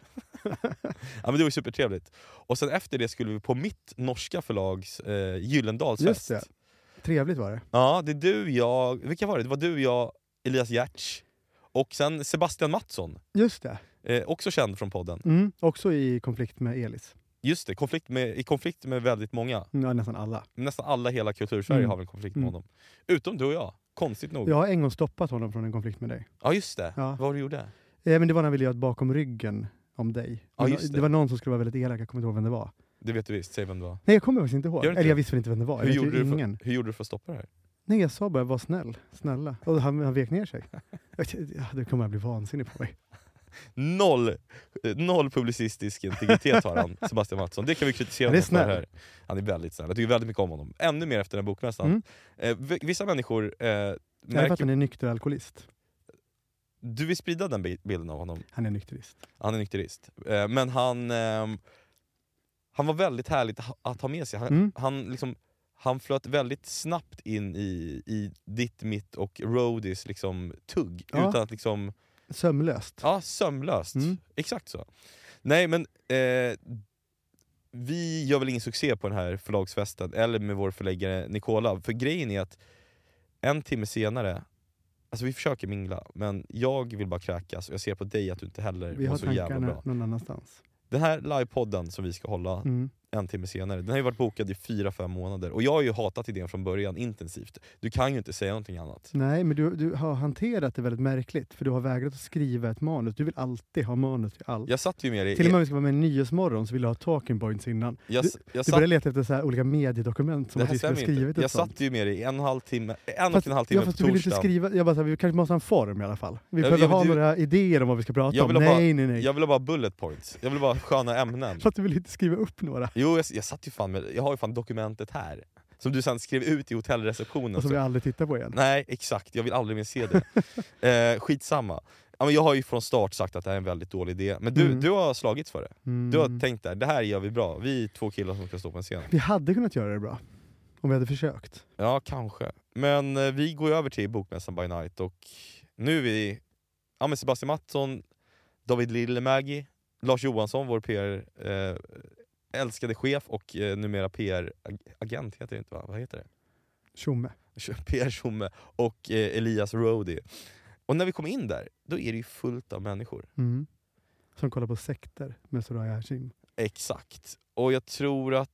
Speaker 2: ja, men det var ju supertrevligt. Och sen efter det skulle vi på mitt norska förlags eh, Gyllendalsfest.
Speaker 3: Just det. Trevligt var det.
Speaker 2: Ja, det är du, jag... Vilka var det? Det var du, jag, Elias Giertz och sen Sebastian Mattsson,
Speaker 3: Just det.
Speaker 2: eh, också känd från podden.
Speaker 3: Mm. Också i konflikt med Elis.
Speaker 2: Just det, konflikt med, i konflikt med väldigt många.
Speaker 3: Ja, nästan alla.
Speaker 2: Nästan alla i hela kultursverige
Speaker 3: Mm.
Speaker 2: har väl en konflikt med
Speaker 3: Mm.
Speaker 2: honom. Utom du och jag, konstigt nog. Ja,
Speaker 3: Jag har en gång stoppat honom från en konflikt med dig.
Speaker 2: just det.
Speaker 3: Ja.
Speaker 2: Vad var det du gjorde?
Speaker 3: Eh, men det var när vi ville göra ett bakom ryggen om dig.
Speaker 2: Ja,
Speaker 3: Men
Speaker 2: just det.
Speaker 3: var någon som skulle vara väldigt elak, jag kommer inte ihåg vem det var.
Speaker 2: Det vet du visst, säg vem det var.
Speaker 3: Nej jag kommer faktiskt inte ihåg.
Speaker 2: Gör inte
Speaker 3: Eller jag
Speaker 2: det?
Speaker 3: visste väl inte vem det var. Jag
Speaker 2: Hur
Speaker 3: vet
Speaker 2: gjorde,
Speaker 3: ju
Speaker 2: du
Speaker 3: ingen.
Speaker 2: för, hur gjorde du för att stoppa det här?
Speaker 3: Nej jag sa bara var snäll, snälla. Och han, han vek ner sig. Jag tänkte, Ja, det kommer jag bli vansinnig på mig.
Speaker 2: Noll, eh, noll publicistisk integritet har han, Sebastian Mattsson. Det kan vi kritisera
Speaker 3: Han
Speaker 2: honom
Speaker 3: är
Speaker 2: för
Speaker 3: snäll.
Speaker 2: här. Han är väldigt snäll. Jag tycker väldigt mycket om honom. Ännu mer efter den här bokmässan.
Speaker 3: Mm.
Speaker 2: Eh, v- vissa människor eh,
Speaker 3: Jag vet att
Speaker 2: märker...
Speaker 3: han är nykter alkoholist.
Speaker 2: Du vill sprida den bi- bilden av honom.
Speaker 3: Han är nykterist.
Speaker 2: Han är nykterist. Eh, men han, ehm, han var väldigt härligt att ha- att ha med sig. Han,
Speaker 3: Mm.
Speaker 2: han, liksom, han flöt väldigt snabbt in i, i ditt, mitt och roadies liksom, tugg.
Speaker 3: Ja.
Speaker 2: Utan att liksom...
Speaker 3: Sömlöst.
Speaker 2: Ja, sömlöst.
Speaker 3: Mm.
Speaker 2: Exakt så. Nej men, eh, vi gör väl ingen succé på den här förlagsfesten, eller med vår förläggare Nicola. För grejen är att en timme senare, alltså vi försöker mingla, men jag vill bara kräkas och jag ser på dig att du inte heller
Speaker 3: Vi
Speaker 2: mår
Speaker 3: har
Speaker 2: så jävla
Speaker 3: tankarna
Speaker 2: bra.
Speaker 3: någon annanstans.
Speaker 2: Den här livepodden som vi ska hålla
Speaker 3: Mm.
Speaker 2: en timme senare, den har ju varit bokad i fyra fem månader. Och jag har ju hatat idén från början intensivt. Du kan ju inte säga någonting annat.
Speaker 3: Nej, men du, du har hanterat det väldigt märkligt. För du har vägrat att skriva ett manus. Du vill alltid ha manus till allt.
Speaker 2: Jag satt ju med dig...
Speaker 3: Till och med om vi ska vara med i Nyhetsmorgon så vill du ha talking points innan.
Speaker 2: jag, jag
Speaker 3: Du
Speaker 2: satt
Speaker 3: börjar leta efter så här olika mediedokument som
Speaker 2: Det
Speaker 3: att
Speaker 2: här
Speaker 3: vi skulle ha
Speaker 2: stämmer ju
Speaker 3: skrivit
Speaker 2: inte.
Speaker 3: ett
Speaker 2: Jag
Speaker 3: sånt.
Speaker 2: satt ju med dig i en, och en halv timme, en
Speaker 3: Fast-
Speaker 2: och en halv
Speaker 3: ja,
Speaker 2: timme
Speaker 3: fast
Speaker 2: på
Speaker 3: du vill inte
Speaker 2: torsdagen.
Speaker 3: skriva, jag bara, så här, vi kanske måste ha en form i alla fall. Vi
Speaker 2: Ja,
Speaker 3: behöver
Speaker 2: ja, men
Speaker 3: ha
Speaker 2: du-
Speaker 3: några idéer om vad vi ska prata
Speaker 2: Jag
Speaker 3: om.
Speaker 2: vill
Speaker 3: Nej,
Speaker 2: ha bara-
Speaker 3: nej, nej.
Speaker 2: Jag ville bara bullet points, jag ville bara ha sköna ämnen.
Speaker 3: För att du vill inte skriva upp några.
Speaker 2: Jo, jag, jag satt ju fan med, jag har ju fan dokumentet här. Som du sen skrev ut i hotellreceptionen.
Speaker 3: Och som vi
Speaker 2: Så-
Speaker 3: aldrig tittar på igen.
Speaker 2: Nej, exakt. Jag vill aldrig mer se det. eh, skitsamma. Ja, men jag har ju från start sagt att det här är en väldigt dålig idé, men du,
Speaker 3: Mm.
Speaker 2: du har slagits för det.
Speaker 3: Mm.
Speaker 2: Du har tänkt där, det här gör vi bra. Vi är två killar som ska stå på en scen.
Speaker 3: Vi hade kunnat göra det bra. Om vi hade försökt.
Speaker 2: Ja, kanske. Men eh, vi går ju över till Bokmässan by night och nu är vi ja, men Sebastian Mattsson, David Lillemägi, Lars Johansson, vår PR, eh, älskade chef och eh, numera PR-agent, heter det inte va? Vad heter det?
Speaker 3: Tjomme.
Speaker 2: PR-tjomme och eh, Elias Rody. Och när vi kom in där, då är det ju fullt av människor.
Speaker 3: Mm. Som kollar på sekter med Soraya Hashim.
Speaker 2: Exakt. Och jag tror att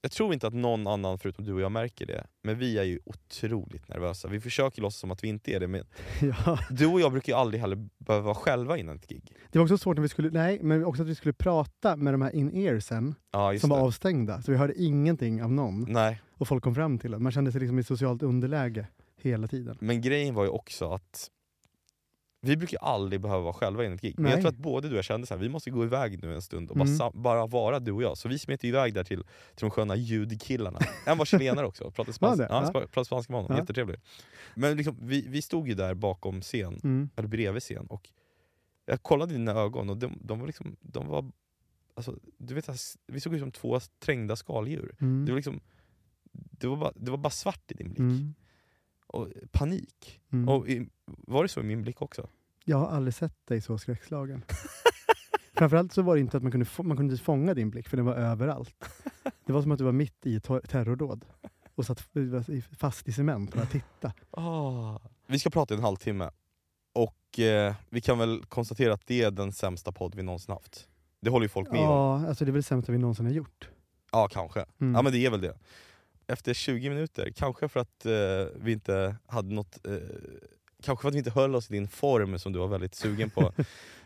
Speaker 2: jag tror inte att någon annan förutom du och jag märker det, men vi är ju otroligt nervösa. Vi försöker låtsas som att vi inte är det, men
Speaker 3: ja.
Speaker 2: Du och jag brukar ju aldrig heller behöva vara själva innan ett gig.
Speaker 3: Det var också svårt när vi skulle, nej, men också att vi skulle prata med de här in-earsen
Speaker 2: Ja, just
Speaker 3: som var
Speaker 2: det.
Speaker 3: avstängda. Så vi hörde ingenting av någon.
Speaker 2: Nej,
Speaker 3: Och folk kom fram till en. Man kände sig liksom i socialt underläge hela tiden.
Speaker 2: men grejen var ju också att vi brukar ju aldrig behöva vara själva innan ett gig. Men
Speaker 3: Nej.
Speaker 2: jag tror att både du och jag kände så här, vi måste gå iväg nu en stund och bara,
Speaker 3: Mm.
Speaker 2: sam- bara vara du och jag. Så vi smet ju iväg där till, till de sköna ljudkillarna. En var chilenare också, pratade
Speaker 3: Var
Speaker 2: spanska,
Speaker 3: det?
Speaker 2: ja,
Speaker 3: Ja.
Speaker 2: spa- pratade spanska med honom.
Speaker 3: Ja.
Speaker 2: Jättetrevlig. Men liksom, vi, vi stod ju där bakom scen,
Speaker 3: Mm.
Speaker 2: eller bredvid scen, och jag kollade i dina ögon och de, de var liksom, de var, alltså, du vet, så här, vi såg ut som två trängda skaldjur.
Speaker 3: Mm.
Speaker 2: Det var liksom det var, bara, det var bara svart i din blick.
Speaker 3: Mm.
Speaker 2: Och panik.
Speaker 3: Mm.
Speaker 2: Och i, var det så i min blick också?
Speaker 3: Jag har aldrig sett dig så skräckslagen. Framförallt så var det inte att man kunde, få, man kunde inte fånga din blick, för den var överallt. Det var som att du var mitt i ett ter- terrordåd och satt f- var i- fast i cement och bara titta.
Speaker 2: Ah. Vi ska prata i en halvtimme. Och eh, vi kan väl konstatera att det är den sämsta podd vi någonsin haft. Det håller ju folk med om.
Speaker 3: Ja, alltså det är väl det sämsta vi någonsin har gjort.
Speaker 2: Ja, kanske.
Speaker 3: Mm.
Speaker 2: Ja, men det är väl det. Efter 20 minuter, kanske för att eh, vi inte hade något... Eh, kanske för att vi inte höll oss i din form som du var väldigt sugen på,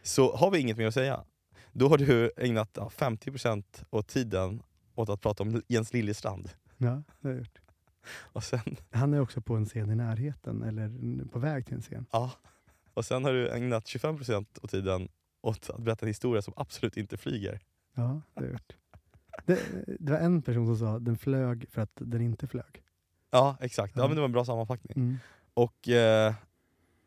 Speaker 2: så har vi inget mer att säga. Då har du ägnat ja, 50% av tiden åt att prata om Jens Liljestrand.
Speaker 3: Ja, det har jag gjort.
Speaker 2: Och sen,
Speaker 3: Han är också på en scen i närheten, eller på väg till en scen.
Speaker 2: ja. och sen har du ägnat 25% av tiden åt att berätta en historia som absolut inte flyger.
Speaker 3: Ja, det har jag gjort. Det, det var en person som sa den flög för att den inte flög.
Speaker 2: Ja, exakt. Ja,
Speaker 3: Ja.
Speaker 2: men det var en bra sammanfattning.
Speaker 3: Mm.
Speaker 2: Och eh,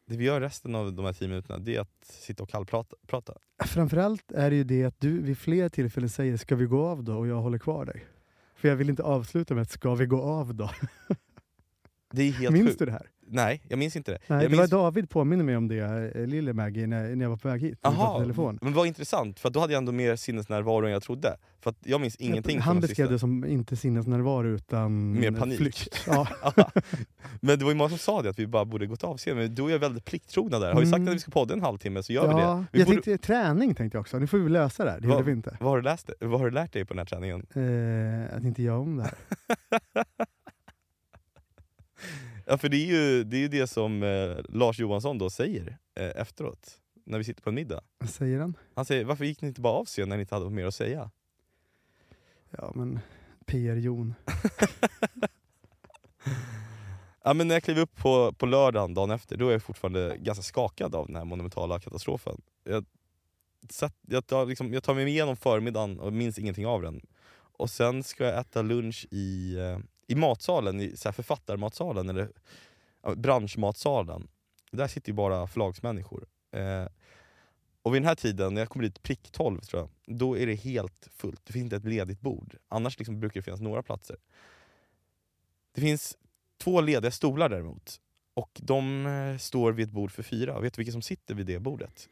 Speaker 2: det vi gör resten av de här 10 minuterna, det är att sitta och kallprata. Prata.
Speaker 3: Framförallt är det ju det att du vid flera tillfällen säger “ska vi gå av då?” och jag håller kvar dig. För jag vill inte avsluta med ett “ska vi gå av då?”
Speaker 2: Det är helt
Speaker 3: Minns
Speaker 2: sjukt.
Speaker 3: du det här?
Speaker 2: Nej, jag minns inte det.
Speaker 3: Nej,
Speaker 2: jag
Speaker 3: det
Speaker 2: minns...
Speaker 3: var David påminner mig om det, eh, lille Maggie, när, när jag var på väg hit. när vi pratade
Speaker 2: Aha,
Speaker 3: i telefon.
Speaker 2: Men vad intressant, för att då hade jag ändå mer sinnesnärvaro än jag trodde. För att jag minns ingenting
Speaker 3: Han
Speaker 2: från
Speaker 3: beskrev
Speaker 2: sista.
Speaker 3: det som inte sinnesnärvaro utan
Speaker 2: Mer panik.
Speaker 3: flykt. Ja.
Speaker 2: Ja. Men det var ju många som sa det, att vi bara borde gått av senare. Men du och jag är väldigt plikttrogna där. Har vi sagt
Speaker 3: Mm.
Speaker 2: att vi ska podda en halvtimme så gör vi det.
Speaker 3: Ja,
Speaker 2: Vi
Speaker 3: jag
Speaker 2: borde-
Speaker 3: tänkte träning tänkte jag också. Nu får vi lösa det här. Det
Speaker 2: Vad-
Speaker 3: gjorde vi inte.
Speaker 2: Vad har, du läst, vad har du lärt dig på den här träningen?
Speaker 3: Eh, att inte göra om det här.
Speaker 2: Ja, för det är ju det, är ju det som eh, Lars Johansson då säger eh, efteråt, när vi sitter på en middag.
Speaker 3: Vad säger han?
Speaker 2: Han säger “Varför gick ni inte bara av sig när ni inte hade något mer att säga?”
Speaker 3: Ja, men PR-Jon.
Speaker 2: ja, men När jag klev upp på, på lördagen dagen efter, då är jag fortfarande ganska skakad av den här monumentala katastrofen. Jag, satt, jag, tar, liksom, jag tar mig igenom förmiddagen och minns ingenting av den. Och sen ska jag äta lunch i, eh, i matsalen, i så här författarmatsalen, eller ja, branschmatsalen. Där sitter ju bara förlagsmänniskor. Eh, och vid den här tiden, när jag kommer dit prick 12 tror jag, då är det helt fullt. Det finns inte ett ledigt bord. Annars liksom brukar det finnas några platser. Det finns två lediga stolar däremot. Och de eh, står vid ett bord för fyra. Vet du vilka som sitter vid det bordet?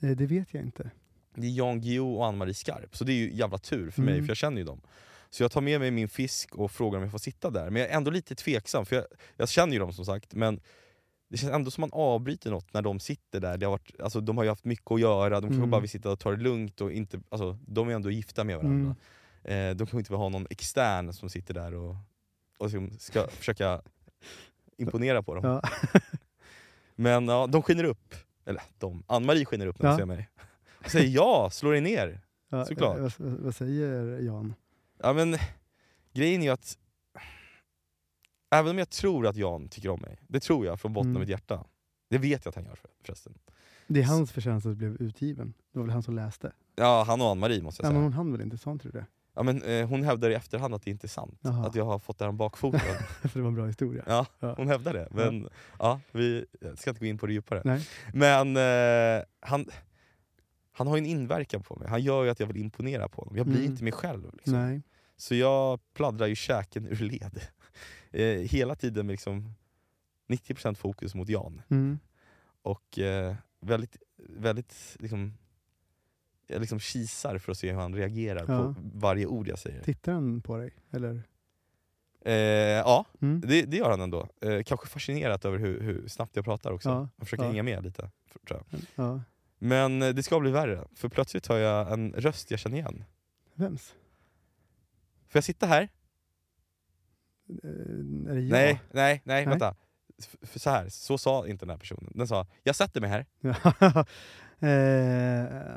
Speaker 3: Eh, det vet jag inte.
Speaker 2: Det är Jan Guillou och Ann-Marie Skarp. Så det är ju jävla tur för mig,
Speaker 3: Mm.
Speaker 2: för jag känner ju dem. Så jag tar med mig min fisk och frågar om jag får sitta där. Men jag är ändå lite tveksam, för jag, jag känner ju dem som sagt. Men det känns ändå som man avbryter något när de sitter där. Det har varit, alltså, de har ju haft mycket att göra, de kanske
Speaker 3: Mm.
Speaker 2: bara vill sitta och ta det lugnt. Och inte, alltså, de är ändå gifta med varandra.
Speaker 3: Mm.
Speaker 2: Eh, de kommer inte ha någon extern som sitter där och, och som ska försöka imponera på dem.
Speaker 3: Ja.
Speaker 2: Men ja, de skiner upp. Eller de, Ann-Marie skiner upp när hon
Speaker 3: Ja.
Speaker 2: ser mig. Och säger ja, slå dig ner.
Speaker 3: Ja,
Speaker 2: Såklart.
Speaker 3: eh, vad, vad säger Jan?
Speaker 2: Ja, men, grejen är ju att även om jag tror att Jan tycker om mig, det tror jag från botten
Speaker 3: Mm.
Speaker 2: av mitt hjärta. Det vet jag att han gör för, förresten.
Speaker 3: Det är hans förtjänst att det blev utgiven. Det var väl han som läste?
Speaker 2: Ja, han och Ann-Marie måste jag
Speaker 3: Nej,
Speaker 2: säga.
Speaker 3: men hon hann väl inte? Sa inte du det?
Speaker 2: Ja, men, eh, hon hävdar i efterhand att det inte är sant.
Speaker 3: Jaha.
Speaker 2: Att jag har fått det här om bakfoten.
Speaker 3: För det var en bra historia.
Speaker 2: Ja,
Speaker 3: Ja.
Speaker 2: hon hävdar det. Men ja, vi jag ska inte gå in på det djupare.
Speaker 3: Nej.
Speaker 2: Men eh, han, han har ju en inverkan på mig. Han gör ju att jag vill imponera på honom. Jag blir
Speaker 3: Mm.
Speaker 2: inte mig själv. Liksom.
Speaker 3: Nej.
Speaker 2: Så jag pladdrar ju käken ur led. Eh, hela tiden med liksom 90% fokus mot Jan.
Speaker 3: Mm.
Speaker 2: Och eh, väldigt, väldigt liksom, jag liksom kisar för att se hur han reagerar
Speaker 3: Ja.
Speaker 2: på varje ord jag säger.
Speaker 3: Tittar han på dig? Eller?
Speaker 2: Eh, ja,
Speaker 3: Mm.
Speaker 2: det, det gör han ändå. Eh, kanske fascinerat över hur, hur snabbt jag pratar också.
Speaker 3: Ja,
Speaker 2: Han försöker
Speaker 3: ja.
Speaker 2: hänga med lite. f- Tror jag.
Speaker 3: Ja.
Speaker 2: Men eh, det ska bli värre, för plötsligt hör jag en röst jag känner igen.
Speaker 3: Vems?
Speaker 2: Får jag sitta här?
Speaker 3: Eh, är det
Speaker 2: Nej,
Speaker 3: jag?
Speaker 2: nej, nej,
Speaker 3: Nej.
Speaker 2: vänta. F- För så, här, så sa inte den här personen. Den sa “jag sätter mig här”.
Speaker 3: eh,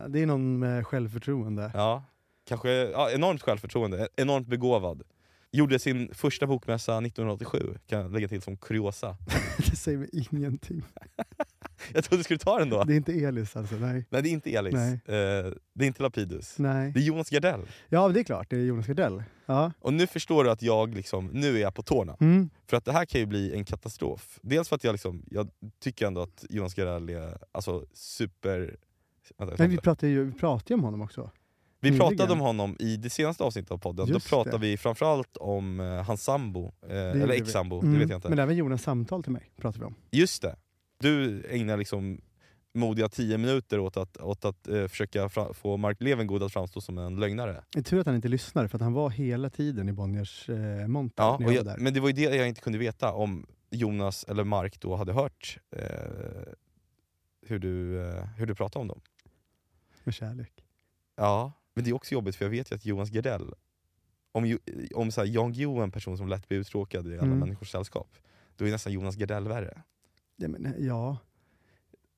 Speaker 3: det är någon med självförtroende.
Speaker 2: Ja, kanske, ja, enormt självförtroende, e-, enormt begåvad. Gjorde sin första bokmässa 1987, kan jag lägga till som kuriosa.
Speaker 3: Det säger mig ingenting.
Speaker 2: Jag trodde du skulle ta den då.
Speaker 3: Det är inte Elis alltså, nej.
Speaker 2: Nej, det är inte Elis.
Speaker 3: Nej.
Speaker 2: Eh, det är inte Lapidus.
Speaker 3: nej.
Speaker 2: Det är Jonas Gardell.
Speaker 3: Ja, det är klart. Det är Jonas Gardell. Ja.
Speaker 2: Och nu förstår du att jag liksom, nu är jag på tårna.
Speaker 3: Mm.
Speaker 2: För att det här kan ju bli en katastrof. Dels för att jag, liksom, jag tycker ändå att Jonas Gardell är alltså, super... Vänta,
Speaker 3: Men vi pratade ju vi pratade ju om honom också.
Speaker 2: Vi
Speaker 3: Nyligen.
Speaker 2: pratade om honom i det senaste avsnittet av podden,
Speaker 3: Just
Speaker 2: då pratade
Speaker 3: det.
Speaker 2: vi framförallt om eh, hans sambo, eh, eller
Speaker 3: gjorde vi.
Speaker 2: ex-sambo, det
Speaker 3: Mm.
Speaker 2: vet jag inte.
Speaker 3: Men även Jonas samtal till mig pratade vi om.
Speaker 2: Just det! Du ägnar liksom modiga 10 minuter åt att, åt att eh, försöka fra- få Mark Levengood att framstå som en lögnare.
Speaker 3: Det är tur att han inte lyssnar för att han var hela tiden i Bonniers eh, monter
Speaker 2: Ja,
Speaker 3: när
Speaker 2: och
Speaker 3: jag
Speaker 2: jag,
Speaker 3: var
Speaker 2: mm.
Speaker 3: där.
Speaker 2: men det var ju det jag inte kunde veta om Jonas eller Mark då hade hört eh, hur, du, eh, hur du pratade om dem.
Speaker 3: Med kärlek.
Speaker 2: Ja, men det är också jobbigt för jag vet ju att Jonas Gardell, om, Ju- om så här, Jan Guillou är en person som lätt blir uttråkad i alla
Speaker 3: Mm.
Speaker 2: människors sällskap, då är nästan Jonas Gardell värre.
Speaker 3: Ja, men, eh, ja.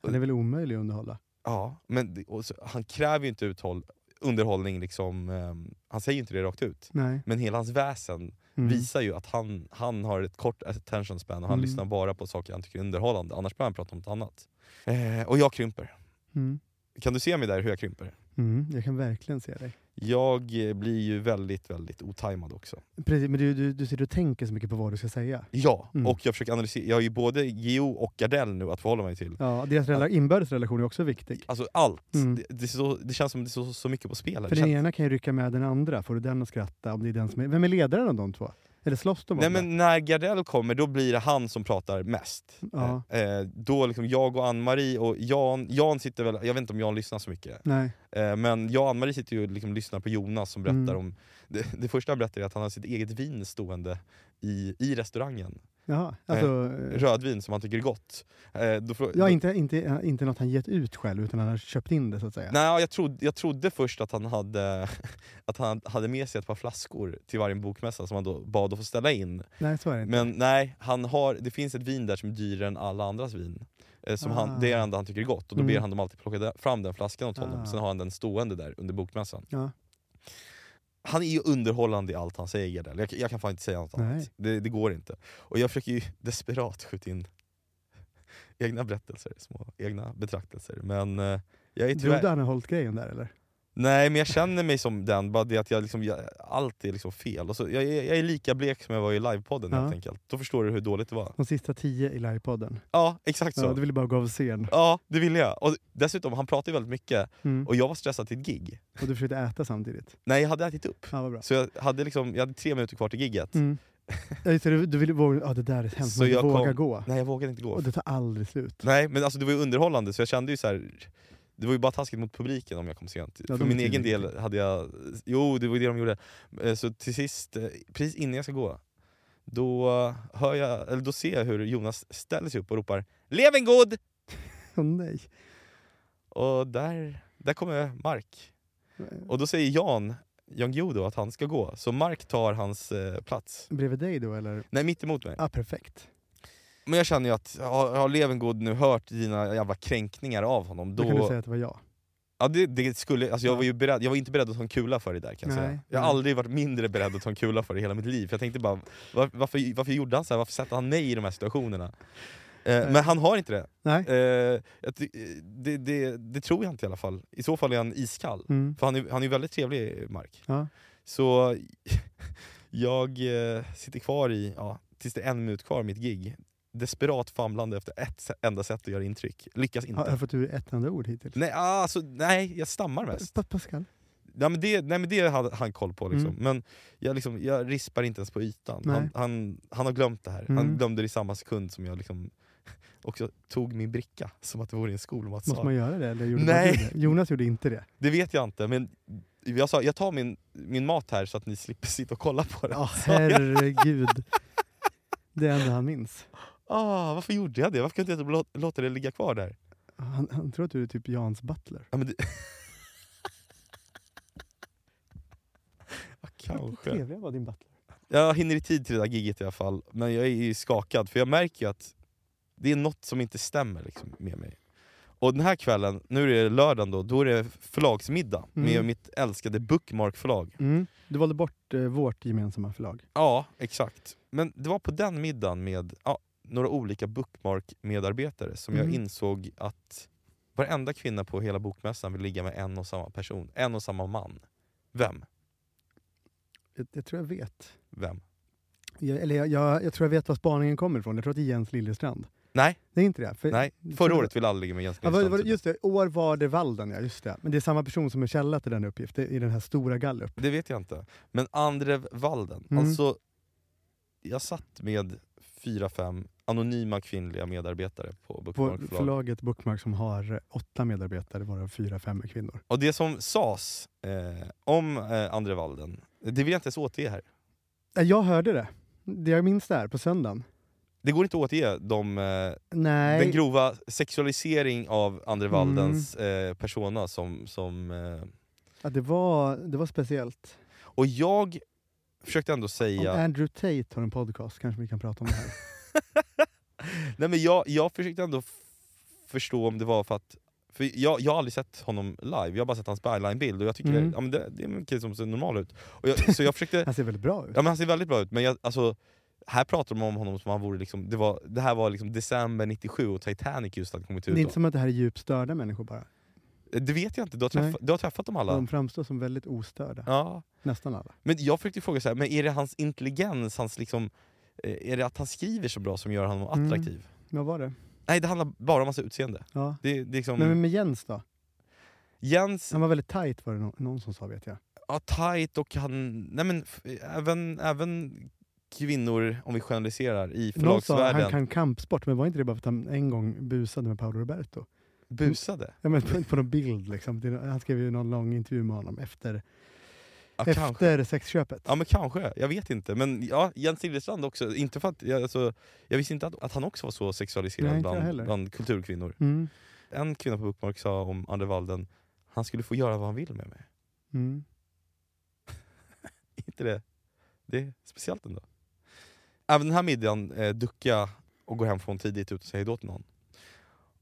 Speaker 3: Han är väl omöjlig att underhålla.
Speaker 2: Ja, men det- och så, han kräver ju inte uthåll, underhållning, liksom, ehm, han säger ju inte det rakt ut.
Speaker 3: Nej.
Speaker 2: Men hela hans väsen
Speaker 3: Mm.
Speaker 2: visar ju att han, han har ett kort attention span och han
Speaker 3: Mm.
Speaker 2: lyssnar bara på saker han tycker är underhållande, annars börjar han prata om något annat. Eh, och jag krymper.
Speaker 3: Mm.
Speaker 2: Kan du se mig där hur jag krymper?
Speaker 3: Mm. Jag kan verkligen se dig.
Speaker 2: Jag eh, blir ju väldigt, väldigt otajmad också.
Speaker 3: Precis, men du, du, du sitter och tänker så mycket på vad du ska säga.
Speaker 2: Ja,
Speaker 3: Mm.
Speaker 2: och jag försöker analysera. Jag har ju både Geo och Gardell nu att förhålla mig till.
Speaker 3: Ja, deras rela- inbördes relation är också viktig.
Speaker 2: Alltså allt.
Speaker 3: Mm.
Speaker 2: Det, det, är så, det känns som det står så, så mycket på spel här.
Speaker 3: För
Speaker 2: Det
Speaker 3: den
Speaker 2: känns,
Speaker 3: ena kan ju rycka med den andra. Får du den att skratta? Om det är den som är... Vem är ledaren av de två? Eller slåss de om
Speaker 2: Nej,
Speaker 3: det?
Speaker 2: men när Gardell kommer, då blir det han som pratar mest.
Speaker 3: Ja.
Speaker 2: Eh, eh, då liksom jag och Ann-Marie, och Jan, Jan sitter väl, jag vet inte om Jan lyssnar så mycket,
Speaker 3: Nej.
Speaker 2: eh, men jag och Ann-Marie sitter ju och liksom lyssnar på Jonas som berättar
Speaker 3: Mm.
Speaker 2: om... Det, det första han berättar är att han har sitt eget vin stående i, i restaurangen.
Speaker 3: Jaha. Alltså, eh,
Speaker 2: Rödvin som han tycker är gott. Eh, då, frå-
Speaker 3: ja,
Speaker 2: då-
Speaker 3: inte, inte, inte något han gett ut själv, utan han har köpt in det så att säga.
Speaker 2: Nej, jag, trodde, jag trodde först att han, hade, att han hade med sig ett par flaskor till varje bokmässa som han då bad att få ställa in.
Speaker 3: Nej, så är det inte.
Speaker 2: Men nej, han har, det finns ett vin där som är dyrare än alla andras vin. Eh, Som han, det är det enda han tycker är gott och då
Speaker 3: Mm.
Speaker 2: ber han dem alltid plocka där- fram den flaskan åt honom.
Speaker 3: Ah.
Speaker 2: Sen har han den stående där under bokmässan.
Speaker 3: Ja.
Speaker 2: Han är ju underhållande i allt han säger Gardell. Jag, jag kan fan inte säga något annat.
Speaker 3: Nej.
Speaker 2: Det, det går inte. Och jag försöker ju desperat skjuta in egna berättelser, små egna betraktelser. Men eh, jag är tyvärr...
Speaker 3: Trodde han har hållit grejen där eller?
Speaker 2: Nej men jag känner mig som den, bara det att jag liksom, jag, allt är liksom fel. Och så, jag, jag jag är lika blek som jag var i livepodden
Speaker 3: Ja.
Speaker 2: helt enkelt. Då förstår du hur dåligt det var.
Speaker 3: De sista tio i livepodden.
Speaker 2: Ja, exakt så.
Speaker 3: Ja, du ville bara gå av scen.
Speaker 2: Ja, det ville jag. Och dessutom, han pratade ju väldigt mycket
Speaker 3: Mm.
Speaker 2: och jag var stressad till ett gig.
Speaker 3: Och du försökte äta samtidigt.
Speaker 2: Nej, jag hade ätit upp.
Speaker 3: Ja, vad bra.
Speaker 2: Så jag hade, liksom, jag hade tre minuter kvar till gigget.
Speaker 3: Mm. Ja, just det, du, du ville våga... Ja, det där är hemskt.
Speaker 2: Så
Speaker 3: Man
Speaker 2: jag
Speaker 3: våga
Speaker 2: kom-
Speaker 3: gå.
Speaker 2: Nej, jag vågade inte gå.
Speaker 3: Och det tar aldrig slut.
Speaker 2: Nej, men alltså, det var ju underhållande så jag kände ju så här. Det var ju bara taskigt mot publiken om jag kom sent.
Speaker 3: de
Speaker 2: För min
Speaker 3: är
Speaker 2: egen
Speaker 3: tydliga.
Speaker 2: del hade jag... Jo, det var ju det de gjorde. Eh, Så till sist, eh, precis innan jag ska gå, då, hör jag, eller då ser jag hur Jonas ställer sig upp och ropar Levengod!
Speaker 3: Åh nej.
Speaker 2: Och där, där kommer Mark. Och då säger Jan, Jan Guillou då, att han ska gå. Så Mark tar hans eh, plats.
Speaker 3: Bredvid dig då eller?
Speaker 2: Nej, mitt emot mig.
Speaker 3: Ah, perfekt.
Speaker 2: Men jag känner ju att har, har Levengood nu hört dina jävla kränkningar av honom,
Speaker 3: Då,
Speaker 2: då...
Speaker 3: kan du säga att det var jag.
Speaker 2: Ja, det, det skulle, alltså jag, var ju beredd, jag var inte beredd att ta en kula för det där kan jag
Speaker 3: Nej,
Speaker 2: säga. Jag har
Speaker 3: nej.
Speaker 2: aldrig varit mindre beredd att ta en kula för det i hela mitt liv. För jag tänkte bara, var, varför, varför gjorde han så här? Varför satte han mig i de här situationerna? Eh, men han har inte det.
Speaker 3: Nej.
Speaker 2: Eh, jag ty- eh, det, det. Det tror jag inte i alla fall. I så fall är han iskall.
Speaker 3: Mm.
Speaker 2: För han är, han är väldigt trevlig, Mark.
Speaker 3: Ja.
Speaker 2: Så jag eh, sitter kvar i, ja, tills det är en minut kvar av mitt gig. Desperat famlande efter ett se- enda sätt att göra intryck. Lyckas inte.
Speaker 3: Har jag fått ur ett enda ord hittills?
Speaker 2: Nej, alltså, nej, jag stammar mest.
Speaker 3: Pa- Pascal?
Speaker 2: Ja, men det, nej men det hade han koll på. Liksom.
Speaker 3: Mm.
Speaker 2: Men jag, liksom, jag rispar inte ens på ytan.
Speaker 3: Nej.
Speaker 2: Han, han, han har glömt det här. Han
Speaker 3: Mm.
Speaker 2: glömde det i samma sekund som jag liksom också tog min bricka, som att det vore en
Speaker 3: Måste
Speaker 2: skolmatsal.
Speaker 3: man göra det? Eller gjorde
Speaker 2: Nej.
Speaker 3: bara du Det? Jonas gjorde inte det.
Speaker 2: Det vet jag inte, men jag sa jag tar min, min mat här så att ni slipper sitta och kolla på den.
Speaker 3: Ja,
Speaker 2: Så jag-
Speaker 3: herregud. Det är det enda han minns.
Speaker 2: ah, varför gjorde jag det? Varför kunde jag inte låta, låta det ligga kvar där?
Speaker 3: Han, han tror att du är typ Jans butler.
Speaker 2: Ja, men det... ja, kanske.
Speaker 3: Trevlig var din butler.
Speaker 2: Jag hinner i tid till det där giget i alla fall, men jag är ju skakad för jag märker ju att det är något som inte stämmer liksom, med mig. Och den här kvällen, nu är det lördagen då, då är det förlagsmiddag med
Speaker 3: Mm.
Speaker 2: mitt älskade Bookmark förlag.
Speaker 3: Mm. Du valde bort eh, vårt gemensamma förlag.
Speaker 2: Ja, exakt. Men det var på den middagen med ja, några olika Bookmark-medarbetare som jag
Speaker 3: Mm.
Speaker 2: insåg att varenda kvinna på hela bokmässan vill ligga med en och samma person, en och samma man. Vem?
Speaker 3: Jag, jag tror jag vet.
Speaker 2: Vem?
Speaker 3: Jag, eller jag, jag, jag tror jag vet var spaningen kommer ifrån. Jag tror att det är Jens Liljestrand.
Speaker 2: Nej,
Speaker 3: Det är inte det? För,
Speaker 2: nej. Förra året ville alla ligga med Jens
Speaker 3: Ja, var, var,
Speaker 2: Lindström.
Speaker 3: just det, år var det Valden ja, just det. Men det är samma person som är källa till den uppgiften i den här stora gallup.
Speaker 2: Det vet jag inte. Men Andrev Walden.
Speaker 3: Mm.
Speaker 2: Alltså, jag satt med fyra, fem anonyma kvinnliga medarbetare på
Speaker 3: På
Speaker 2: Bookmark förlag.
Speaker 3: förlaget Bookmark som har åtta medarbetare varav fyra, fem är kvinnor.
Speaker 2: Och det som sades eh, om eh, Andrev Walden, det vill jag inte ens återge här.
Speaker 3: Nej, Eh, Jag hörde det. Det jag minns där på söndagen.
Speaker 2: Det går inte att återge de, eh,
Speaker 3: Nej.
Speaker 2: den grova sexualisering av Andrev
Speaker 3: Mm.
Speaker 2: Waldens eh, persona som... som eh,
Speaker 3: Ja, det, var, det var speciellt.
Speaker 2: och jag försökte ändå
Speaker 3: Om
Speaker 2: säga...
Speaker 3: Andrew Tate har en podcast kanske vi kan prata om det här.
Speaker 2: Nej, men jag, jag försökte ändå f- förstå om det var för att... För jag, jag har aldrig sett honom live, jag har bara sett hans byline-bild och jag tycker
Speaker 3: Mm.
Speaker 2: ja, men det, det är en kille som ser normal ut. Och jag, så jag försökte...
Speaker 3: Han ser väldigt bra ut.
Speaker 2: Ja, men han ser väldigt bra ut, men jag, alltså, här pratar de om honom som han vore liksom, det, var, det här var liksom december 97 och Titanic just hade kommit
Speaker 3: det
Speaker 2: ut. då.
Speaker 3: är inte som att det här är djupt störda människor bara.
Speaker 2: Det vet jag inte, du har,
Speaker 3: Nej.
Speaker 2: träffa, du har träffat dem alla.
Speaker 3: De framstår som väldigt ostörda.
Speaker 2: Ja.
Speaker 3: Nästan alla.
Speaker 2: Men jag försökte fråga, så här, men är det hans intelligens, hans liksom, eh, är det att han skriver så bra som gör honom
Speaker 3: Mm.
Speaker 2: attraktiv?
Speaker 3: Vad var det?
Speaker 2: Nej, det handlar bara om hans utseende.
Speaker 3: Ja.
Speaker 2: Det, det är liksom,
Speaker 3: Men med Jens då?
Speaker 2: Jens,
Speaker 3: Han var väldigt tight var det no- någon som sa vet jag.
Speaker 2: ja, tight och han... Nej men, f- även, även kvinnor, om vi generaliserar, i
Speaker 3: Någon sa att han
Speaker 2: förlagsvärlden
Speaker 3: kan kampsport, men var inte det bara för att han en gång busade med Paolo Roberto?
Speaker 2: busade.
Speaker 3: Ja, men på, på någon bild liksom. Det är- Han skrev ju någon lång intervju med honom efter,
Speaker 2: Ja, kanske.
Speaker 3: efter sexköpet.
Speaker 2: Ja men kanske, jag vet inte. Men ja, Jens Silfverstrand också. Inte för att, jag- alltså, jag visste inte att, att han också var så sexualiserad
Speaker 3: Nej, inte jag
Speaker 2: bland,
Speaker 3: heller.
Speaker 2: bland kulturkvinnor.
Speaker 3: Mm.
Speaker 2: En kvinna på Bookmark sa om Andre Walden, han skulle få göra vad han vill med mig.
Speaker 3: Mm.
Speaker 2: inte det? Det är speciellt ändå. Även den här middagen eh, duckar jag och går hem från tidigt utan att säga hejdå till någon.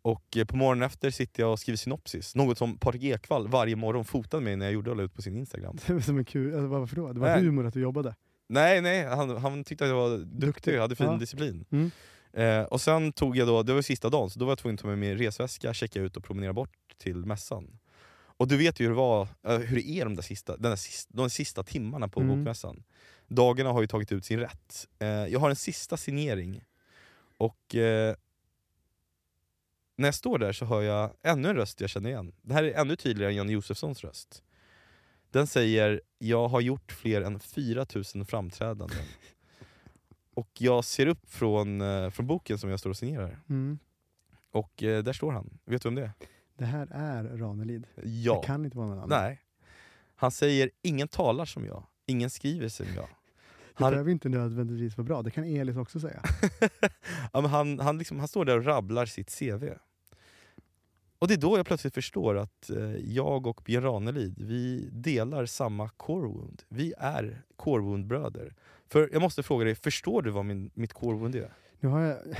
Speaker 2: Och eh, på morgonen efter sitter jag och skriver synopsis. Något som Patrik Ekwall varje morgon fotade mig när jag gjorde och la ut på sin Instagram.
Speaker 3: Det var som en kul... Alltså, varför då? Det var
Speaker 2: Nej.
Speaker 3: humor att du jobbade.
Speaker 2: Nej, nej, han, han tyckte att jag var duktig, jag hade fin
Speaker 3: Ja.
Speaker 2: disciplin.
Speaker 3: Mm.
Speaker 2: Eh, och sen tog jag då, det var sista dagen, så då var jag tvungen att ta med min resväska, checka ut och promenera bort till mässan. Och du vet ju hur det, var, eh, hur det är de där sista, den där sista, de sista timmarna på
Speaker 3: Mm.
Speaker 2: bokmässan. Dagarna har ju tagit ut sin rätt. Eh, jag har en sista signering, och eh, när jag står där så hör jag ännu en röst jag känner igen. Det här är ännu tydligare än Janne Josefssons röst. Den säger “Jag har gjort fler än 4000 framträdanden” och jag ser upp från, eh, från boken som jag står och signerar.
Speaker 3: Mm.
Speaker 2: Och eh, där står han. Vet du vem det är?
Speaker 3: Det här är Ranelid.
Speaker 2: Ja.
Speaker 3: Det kan inte vara någon annan.
Speaker 2: Nej. Han säger “Ingen talar som jag, ingen skriver som jag”.
Speaker 3: Det
Speaker 2: Han-
Speaker 3: behöver inte nödvändigtvis vara bra, det kan Elis också säga.
Speaker 2: Ja, men han, han, liksom, han står där och rabblar sitt CV. Och det är då jag plötsligt förstår att eh, jag och Björn Ranelid, vi delar samma core wound. Vi är core wound-bröder. För jag måste fråga dig, förstår du vad min, mitt core wound är?
Speaker 3: Nu har jag, nu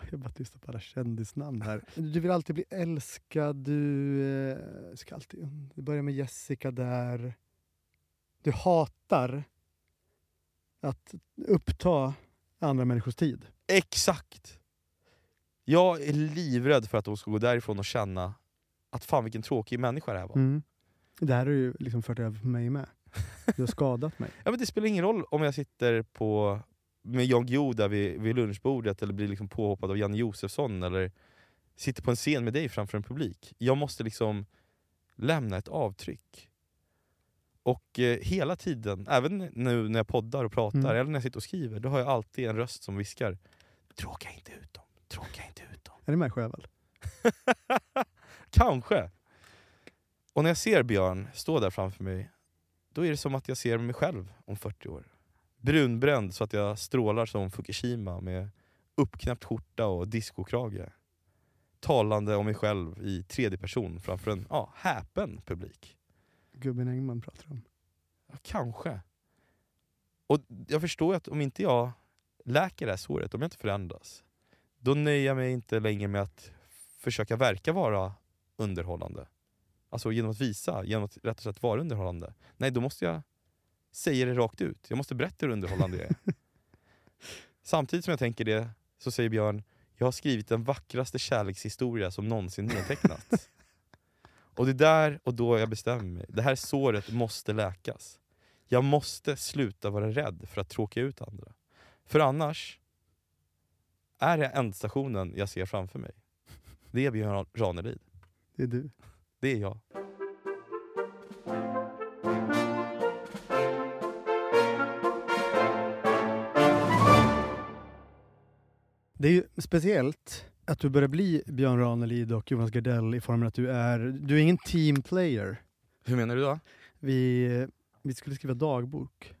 Speaker 3: har jag bara tystat på alla kändisnamn här. Du vill alltid bli älskad, du eh, ska alltid... Du börjar med Jessica där. Du hatar att uppta andra människors tid.
Speaker 2: Exakt! Jag är livrädd för att de ska gå därifrån och känna att fan vilken tråkig människa det här var.
Speaker 3: Mm. Det här har ju liksom fört över på mig med. Du har skadat mig.
Speaker 2: Ja, men det spelar ingen roll om jag sitter på, med Jan Guillou där vid, vid lunchbordet eller blir liksom påhoppad av Janne Josefsson eller sitter på en scen med dig framför en publik. Jag måste liksom lämna ett avtryck. Och eh, hela tiden, även nu när jag poddar och pratar
Speaker 3: Mm.
Speaker 2: eller när jag sitter och skriver, då har jag alltid en röst som viskar “Tråka inte ut dem, tråka inte ut dem”.
Speaker 3: Är det med Sjöwall?
Speaker 2: Kanske. Och när jag ser Björn stå där framför mig, då är det som att jag ser mig själv om 40 år. Brunbränd så att jag strålar som Fukushima med uppknäppt skjorta och discokrage. Talande om mig själv i tredje person framför en ja, häpen publik.
Speaker 3: Gubben Engman pratar om.
Speaker 2: Ja, kanske. Och jag förstår ju att om inte jag läker det här såret, om jag inte förändras, då nöjer jag mig inte längre med att försöka verka vara underhållande. Alltså genom att visa, genom att rätt och slätt vara underhållande. Nej, då måste jag säga det rakt ut. Jag måste berätta hur underhållande jag är. Samtidigt som jag tänker det så säger Björn, jag har skrivit den vackraste kärlekshistoria som någonsin nedtecknats. och det är där och då jag bestämmer mig. Det här såret måste läkas. Jag måste sluta vara rädd för att tråka ut andra. För annars är det ändstationen jag ser framför mig. Det är Björn Ranelid.
Speaker 3: Det är du.
Speaker 2: Det är jag.
Speaker 3: Det är ju speciellt att du börjar bli Björn Ranelid och Jonas Gardell i formen att du är... Du är ingen team player.
Speaker 2: Hur menar du då?
Speaker 3: Vi, vi skulle skriva dagbok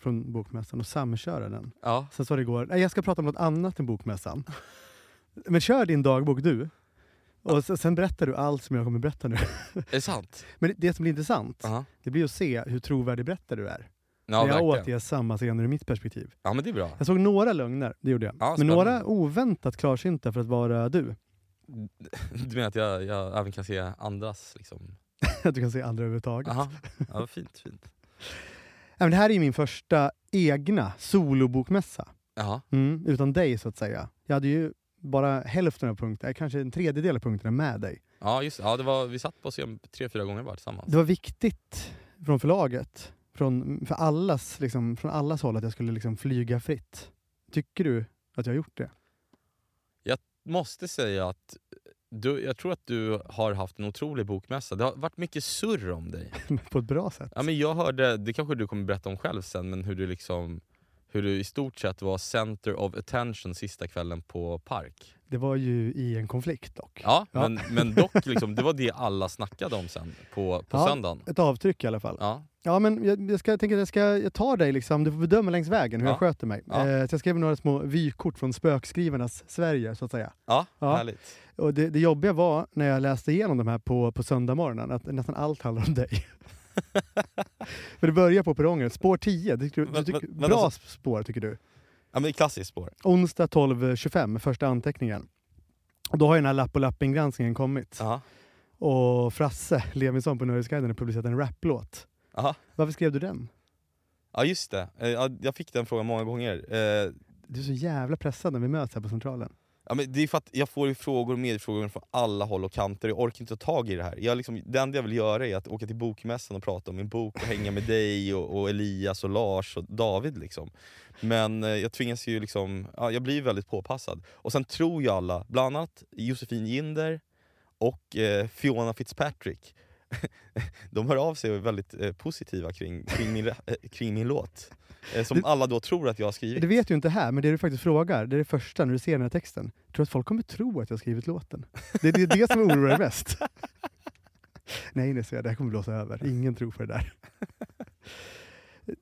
Speaker 3: från bokmässan och samköra den.
Speaker 2: Ja.
Speaker 3: Sen sa det igår, nej jag ska prata om något annat än bokmässan. Men kör din dagbok du. Och sen, sen berättar du allt som jag kommer berätta nu.
Speaker 2: Är det sant?
Speaker 3: Men det som blir intressant,
Speaker 2: Ja,
Speaker 3: det blir att se hur trovärdig berättare du är.
Speaker 2: ja
Speaker 3: När jag återger samma scener ur mitt perspektiv.
Speaker 2: Ja men det är bra.
Speaker 3: Jag såg några lögner, det gjorde jag.
Speaker 2: Ja,
Speaker 3: Men
Speaker 2: spännande.
Speaker 3: några oväntat klarsynta för att vara du.
Speaker 2: Du menar att jag, jag även kan se andras liksom?
Speaker 3: Att du kan se andra överhuvudtaget.
Speaker 2: Aha. Ja, fint, fint.
Speaker 3: Nej, men Det här är ju min första egna solobokmässa.
Speaker 2: Ja.
Speaker 3: Mm, utan dig så att säga. Jag hade ju bara hälften av punkterna, kanske en tredjedel av punkterna med dig.
Speaker 2: Ja, just det. ja, det var, vi satt på scen tre, fyra gånger bara tillsammans.
Speaker 3: Det var viktigt från förlaget, från, för allas, liksom, från allas håll, att jag skulle liksom flyga fritt. Tycker du att jag har gjort det?
Speaker 2: Måste säga att du, jag tror att du har haft en otrolig bokmässa. Det har varit mycket surr om dig.
Speaker 3: På ett bra sätt?
Speaker 2: Ja, men jag hörde, det kanske du kommer berätta om själv sen, men hur du liksom hur du i stort sett var center of attention sista kvällen på Park.
Speaker 3: Det var ju i en konflikt dock.
Speaker 2: Ja,
Speaker 3: Ja.
Speaker 2: Men, men dock, liksom, det var det alla snackade om sen på, på
Speaker 3: Ja.
Speaker 2: söndagen.
Speaker 3: Ett avtryck i alla fall.
Speaker 2: Ja.
Speaker 3: Ja, men jag, jag, ska, jag tänker att jag, ska, jag tar dig liksom, du får bedöma längs vägen hur
Speaker 2: Ja.
Speaker 3: jag sköter mig.
Speaker 2: Ja.
Speaker 3: Eh, så jag skrev några små vykort från spökskrivarnas Sverige så att säga.
Speaker 2: Ja,
Speaker 3: Ja.
Speaker 2: härligt.
Speaker 3: Och det, det jobbiga var när jag läste igenom de här på, på söndag morgonen, att nästan allt handlar om dig. För det börjar på perrongen, spår 10, det, tycker du,
Speaker 2: Men-
Speaker 3: du tycker,
Speaker 2: men- men
Speaker 3: bra
Speaker 2: alltså-
Speaker 3: spår tycker du.
Speaker 2: Ja, men det är klassiskt spår.
Speaker 3: Onsdag 12.25, första anteckningen. Och då har ju den här lapp och lapp-ingranskningen kommit.
Speaker 2: Aha.
Speaker 3: Och Frasse Levinson på Nöjesguiden har publicerat en rapplåt.
Speaker 2: Aha.
Speaker 3: Varför skrev du den?
Speaker 2: Ja just det, Eh, ja, jag fick den frågan många gånger. Eh,
Speaker 3: Du är så jävla pressad när vi möts här på Centralen.
Speaker 2: Ja, men det är för att jag får ju frågor och medfrågor från alla håll och kanter, jag orkar inte ta tag i det här. Jag liksom, det enda jag vill göra är att åka till bokmässan och prata om min bok och hänga med dig, och, och Elias, och Lars och David. Liksom. Men eh, jag tvingas ju liksom, ja, jag blir väldigt påpassad. Och sen tror ju alla, bland annat Josefin Ginder och eh, Fiona Fitzpatrick, de hör av sig och är väldigt eh, positiva kring, kring, min, ra- eh, kring min låt. Eh, som
Speaker 3: Det-
Speaker 2: alla då tror att jag har skrivit.
Speaker 3: Det vet du inte här, men det du faktiskt frågar, det är det första när du ser den här texten. Tror du att folk kommer tro att jag har skrivit låten? Det är det, är det som oroar dig mest. Nej, nej, så jag, det här kommer blåsa över. Ingen tror på det där.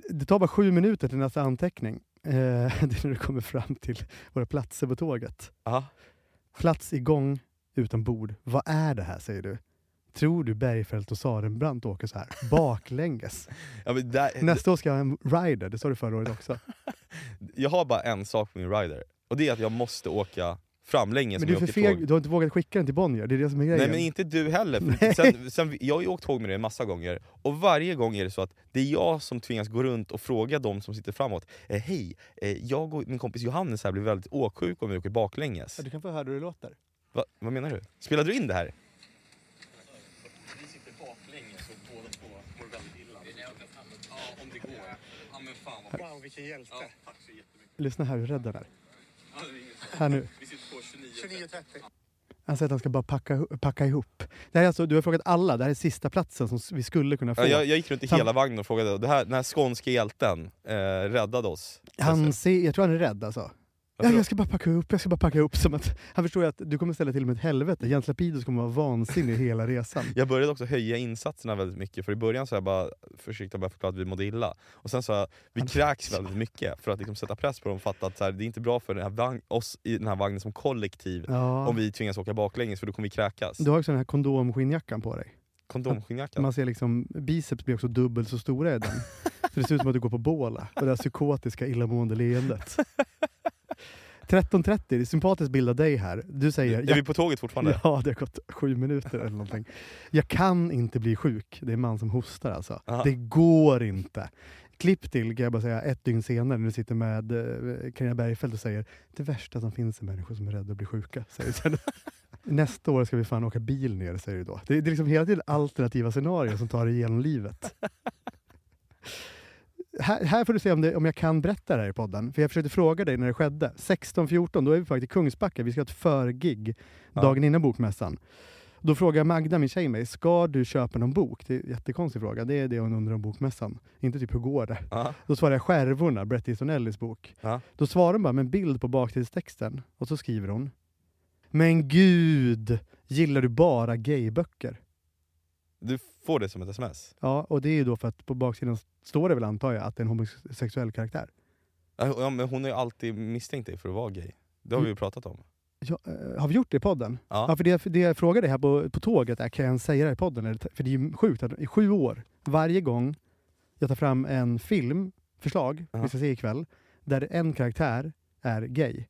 Speaker 3: Det tar bara sju minuter till nästa anteckning. Eh, det är när du kommer fram till våra platser på tåget.
Speaker 2: Ja.
Speaker 3: Plats igång, utan bord. Vad är det här, säger du? Tror du Bergfeldt och Sarenbrant åker så här? Baklänges.
Speaker 2: Ja, men där,
Speaker 3: Nästa år ska jag ha en rider, det sa du förra året också.
Speaker 2: Jag har bara en sak med min rider, och det är att jag måste åka framlänges
Speaker 3: Men
Speaker 2: om
Speaker 3: du är
Speaker 2: jag
Speaker 3: för
Speaker 2: åker
Speaker 3: feg,
Speaker 2: tåg.
Speaker 3: du har inte vågat skicka den till Bonnier, det är det som är grejen.
Speaker 2: Nej men inte du heller, för
Speaker 3: Nej.
Speaker 2: sen, sen, jag har ju åkt tåg med dig en massa gånger, och varje gång är det så att det är jag som tvingas gå runt och fråga de som sitter framåt eh, Hej, eh, jag och min kompis Johannes här blir väldigt åksjuk om vi åker baklänges.
Speaker 3: Du kan få höra hur det låter.
Speaker 2: Va, vad menar du? Spelade du in det här?
Speaker 4: Vi sitter baklänges och båda två mår väldigt illa. Ja, om det går. Ja, men fan vad Wow, vilken hjälte. Ja, tack så jättemycket.
Speaker 3: Lyssna här hur rädd han är.
Speaker 4: Ja, det är ingen sak.
Speaker 3: Här nu.
Speaker 4: Vi sitter på 29. 29.30.
Speaker 3: Han säger att han ska bara packa, hu- packa ihop. Det här är alltså, du har frågat alla, det här är sista platsen som s- vi skulle kunna få.
Speaker 2: Ja, jag, jag gick runt i
Speaker 3: Sam-
Speaker 2: hela vagnen och frågade, det här, den här skånska hjälten eh, räddade oss.
Speaker 3: han
Speaker 2: Alltså,
Speaker 3: ser, jag tror han är rädd alltså. Ja,
Speaker 2: varför då?
Speaker 3: jag ska bara packa ihop, jag ska bara packa ihop. Som att, han förstår ju att du kommer ställa till med ett helvete. Jens Lapidus kommer vara vansinnig hela resan.
Speaker 2: Jag började också höja insatserna väldigt mycket, för i början så jag bara försökte jag bara förklara att vi mådde illa. Och sen sa jag vi
Speaker 3: Han-
Speaker 2: kräks väldigt mycket för att liksom sätta press på dem och fatta att så här, det är inte bra för den här vagn, oss i den här vagnen som kollektiv
Speaker 3: Ja.
Speaker 2: om vi tvingas åka baklänges för då kommer vi kräkas.
Speaker 3: Du har också den här kondomskinnjackan på dig.
Speaker 2: Kondomskinnjackan.
Speaker 3: Man ser liksom, biceps blir också dubbelt så stora i den. Så det ser ut som att du går på båla. Och det här psykotiska illamående leendet. 13.30, det är sympatiskt bild av dig här. Du säger,
Speaker 2: Är vi på tåget fortfarande?
Speaker 3: ja det har gått sju minuter eller någonting. Jag kan inte bli sjuk. Det är en man som hostar alltså.
Speaker 2: Aha.
Speaker 3: Det går inte. Klipp till, kan jag bara säga, ett dygn senare när du sitter med eh, Carina Bergfeldt och säger det värsta som finns är människor som är rädda att bli sjuka. Säger du sen. Nästa år ska vi fan åka bil ner, säger du då. Det, det är liksom hela tiden alternativa scenarier som tar dig igenom livet. Här, här får du se om, det, om jag kan berätta det här i podden. För jag försökte fråga dig när det skedde. 16.14, då är vi på väg till Kungsbacka. Vi ska ha ett förgig
Speaker 2: Ja.
Speaker 3: dagen innan bokmässan. Då frågar Magda, min tjej, mig, ska du köpa någon bok? Det är en jättekonstig fråga. Det är det hon undrar om bokmässan. Inte typ, hur går det?
Speaker 2: Ja.
Speaker 3: Då svarar jag Skärvorna, Bret Easton Ellis bok.
Speaker 2: Ja.
Speaker 3: Då svarar hon bara med en bild på baktidstexten och så skriver hon Men gud, gillar du bara gayböcker?
Speaker 2: Du får det som ett sms?
Speaker 3: Ja, och det är ju då för att på baksidan står det väl antar jag att det är en homosexuell karaktär.
Speaker 2: Ja, men hon har ju alltid misstänkt dig för att vara gay. Det har
Speaker 3: Mm.
Speaker 2: vi ju pratat om.
Speaker 3: Ja, eh, har vi gjort det i podden?
Speaker 2: Ja.
Speaker 3: Ja, för det, för det jag frågade här på, på tåget är, kan jag ens säga det här i podden? Eller- För det är ju sjukt att i sju år, varje gång jag tar fram en film, förslag,
Speaker 2: Ja.
Speaker 3: vi ska se ikväll, där en karaktär är gay,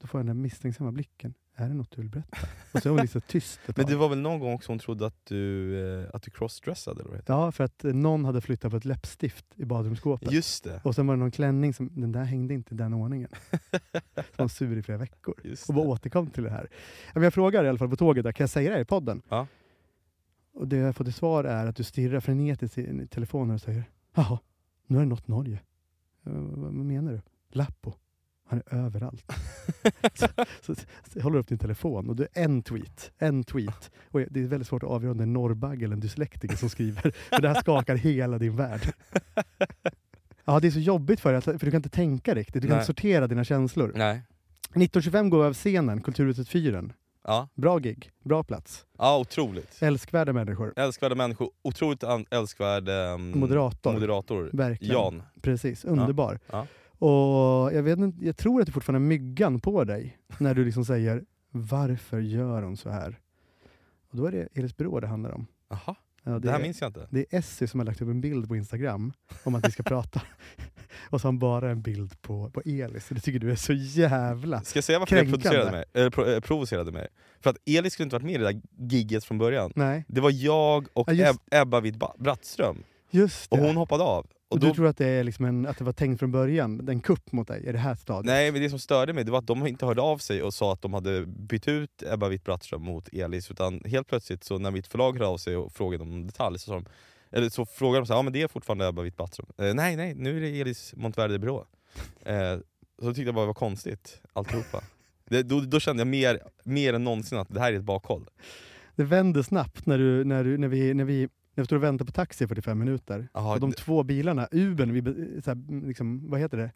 Speaker 3: då får jag den där misstänksamma blicken. Är det något du vill berätta? Och så är hon lite så tyst ett
Speaker 2: Men
Speaker 3: tag.
Speaker 2: det var väl någon gång också hon trodde att du, eh, att du crossdressade eller vad heter
Speaker 3: Ja, för att eh, någon hade flyttat på ett läppstift i badrumsskåpet.
Speaker 2: det? Just det.
Speaker 3: Och sen var det någon klänning som, den där hängde inte i den ordningen. Så var hon sur i flera veckor.
Speaker 2: Just
Speaker 3: och bara
Speaker 2: det.
Speaker 3: återkom till det här. Ja, men Jag frågar i alla fall på tåget, där, kan jag säga det här i podden?
Speaker 2: Ja.
Speaker 3: Och det jag får till svar är att du stirrar frenetiskt i telefonen och säger Jaha, nu har det nått Norge. "Ja, Vad vad menar du? Lappo. Han är överallt. så, så, så jag håller upp din telefon och det är en tweet. En tweet. Och det är väldigt svårt att avgöra om det är en norrbagge eller en dyslektiker som skriver. För det här skakar hela din värld. Ja, det är så jobbigt för dig, att- för du kan inte tänka riktigt. Du kan
Speaker 2: Nej.
Speaker 3: inte sortera dina känslor.
Speaker 2: Nej.
Speaker 3: 1925 går vi av scenen, Kulturhuset Fyren.
Speaker 2: Ja,
Speaker 3: Bra gig, bra plats.
Speaker 2: ja otroligt.
Speaker 3: Älskvärda människor.
Speaker 2: Älskvärda människor, otroligt an- älskvärd ehm,
Speaker 3: Moderator.
Speaker 2: moderator.
Speaker 3: Verkligen.
Speaker 2: Jan.
Speaker 3: Precis, underbar.
Speaker 2: Ja,
Speaker 3: Och jag, vet inte, jag tror att det fortfarande är myggan på dig när du liksom säger “Varför gör hon så här?” Och då är det Elis Brå det handlar om.
Speaker 2: Jaha,
Speaker 3: Ja,
Speaker 2: det, här minns jag inte.
Speaker 3: Det är Essy som har lagt upp en bild på Instagram om att vi ska prata. Och så har han bara en bild på, på Elis. Det tycker du är så jävla...
Speaker 2: Ska jag säga varför det
Speaker 3: Kränkande.
Speaker 2: producerade mig? Eller pro- eh, provocerade mig? För att Elis skulle inte varit med i det där gigget från början.
Speaker 3: Nej,
Speaker 2: Det var jag och
Speaker 3: Ja, just-
Speaker 2: Eb- Ebba Witt-Ba- Brattström,
Speaker 3: just det.
Speaker 2: och hon hoppade av. Och
Speaker 3: och
Speaker 2: då,
Speaker 3: du tror att det, är liksom en, att det var tänkt från början, en kupp mot dig i det här stadiet?
Speaker 2: nej, men det som störde mig det var att de inte hörde av sig och sa att de hade bytt ut Ebba Witt-Brattström mot Elis. Utan helt plötsligt, så när mitt förlag hörde av sig och frågade om detalj, så, sa de, eller så frågade de så här, ja men det är fortfarande Ebba Witt-Brattström. Eh, nej, nej, nu är det Elis Montverde Brå. Eh, så tyckte jag bara det var konstigt, alltihopa. Det, då, då kände jag mer, mer än någonsin att det här är ett bakhåll.
Speaker 3: Det vänder snabbt när, du, när, du, när, vi, när, vi, när vi står och väntar på taxi i 45 minuter.
Speaker 2: Aha,
Speaker 3: och de
Speaker 2: d-
Speaker 3: två bilarna, Ubern, vi be- så här, liksom, vad heter det?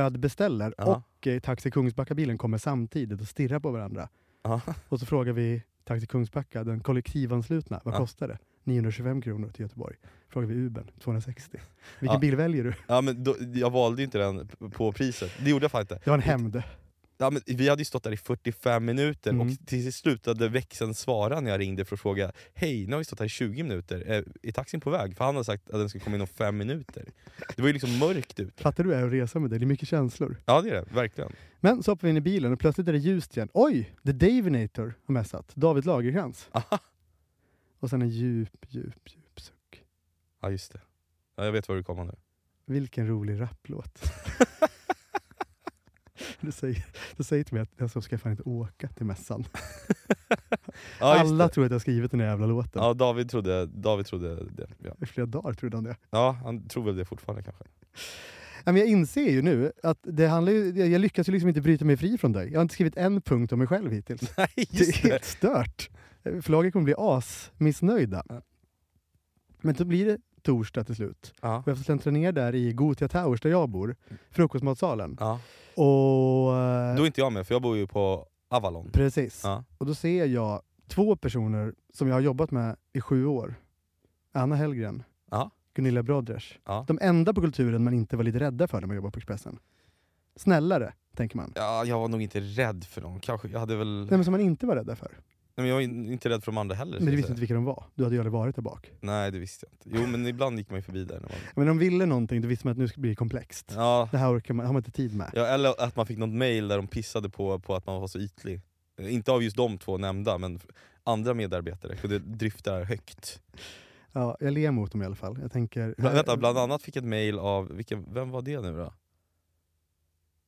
Speaker 3: nödbeställer
Speaker 2: Ja.
Speaker 3: och eh, Taxi Kungsbacka-bilen kommer samtidigt och stirrar på varandra.
Speaker 2: Ja.
Speaker 3: Och så frågar vi Taxi Kungsbacka, den kollektivanslutna, vad
Speaker 2: Ja.
Speaker 3: kostar det? 925 kronor till Göteborg. Frågar vi Ubern, 260. Vilken
Speaker 2: Ja.
Speaker 3: bil väljer du?
Speaker 2: Ja, men då, jag valde ju inte den p- på priset, det gjorde jag faktiskt inte.
Speaker 3: Det var en hämnd.
Speaker 2: Ja, men vi hade ju stått där i 45 minuter
Speaker 3: Mm.
Speaker 2: och till sist slutade växeln svara när jag ringde för att fråga Hej, nu har vi stått här i 20 minuter, är, är taxin på väg? För han hade sagt att den skulle komma inom 5 minuter. Det var ju liksom mörkt ute.
Speaker 3: Fattar du hur det är att resa med dig? Det är mycket känslor.
Speaker 2: Ja det är det, verkligen.
Speaker 3: Men så hoppar vi in i bilen och plötsligt är det ljust igen. Oj! The Davinator har messat. David Lagercrantz.
Speaker 2: Aha.
Speaker 3: Och sen en djup, djup, djup suck.
Speaker 2: Ja just det. Ja, jag vet var du kommer nu.
Speaker 3: Vilken rolig rapplåt. du, säger, du säger till mig att jag ska fan inte åka till mässan.
Speaker 2: Ja, just
Speaker 3: Alla
Speaker 2: det.
Speaker 3: tror att jag har skrivit den här jävla låten.
Speaker 2: Ja, David trodde, David trodde det. Ja.
Speaker 3: I flera dagar trodde han det.
Speaker 2: ja, han tror väl det fortfarande kanske.
Speaker 3: Nej, Men jag inser ju nu att det handlar ju, jag jag lyckas ju liksom inte bryta mig fri från dig. Jag har inte skrivit en punkt om mig själv hittills.
Speaker 2: Nej,
Speaker 3: Det är
Speaker 2: just det.
Speaker 3: helt stört. Förlaget kommer bli asmissnöjda.
Speaker 2: Ja.
Speaker 3: Men då blir det torsdag till slut.
Speaker 2: Ja.
Speaker 3: Och jag får släntra ner där i Gothia Towers där jag bor,
Speaker 2: Mm.
Speaker 3: frukostmatsalen.
Speaker 2: Ja.
Speaker 3: Och... eh,
Speaker 2: Då är inte jag med, för jag bor ju på Avalon.
Speaker 3: Precis.
Speaker 2: Ja.
Speaker 3: Och då ser jag två personer som jag har jobbat med i sju år. Anna Hellgren,
Speaker 2: Ja.
Speaker 3: Gunilla Brodrej.
Speaker 2: Ja.
Speaker 3: De enda på kulturen man inte var lite rädda för när man jobbade på Expressen. Snällare, tänker man.
Speaker 2: Ja, jag var nog inte rädd för dem. Kanske, jag, hade väl...
Speaker 3: Nej, men som man inte var rädda för.
Speaker 2: Nej, men jag var in- inte rädd för de andra heller.
Speaker 3: Men
Speaker 2: så
Speaker 3: du
Speaker 2: att
Speaker 3: visste
Speaker 2: säga.
Speaker 3: inte vilka de var. Du hade ju aldrig varit där bak.
Speaker 2: Nej det visste jag inte. Jo men ibland gick man ju förbi där. När man...
Speaker 3: Men de ville någonting, då visste man att nu ska det bli komplext.
Speaker 2: ja,
Speaker 3: Det här orkar man, har man inte tid med.
Speaker 2: ja, eller att man fick något mail där de pissade på, på att man var så ytlig. Eh, Inte av just de två nämnda, men f- andra medarbetare kunde dryfta det här högt.
Speaker 3: Ja, jag ler mot dem i alla fall. Jag tänker... eh,
Speaker 2: Bla, vänta, bland annat fick jag ett mail av, vilken, vem var det nu då?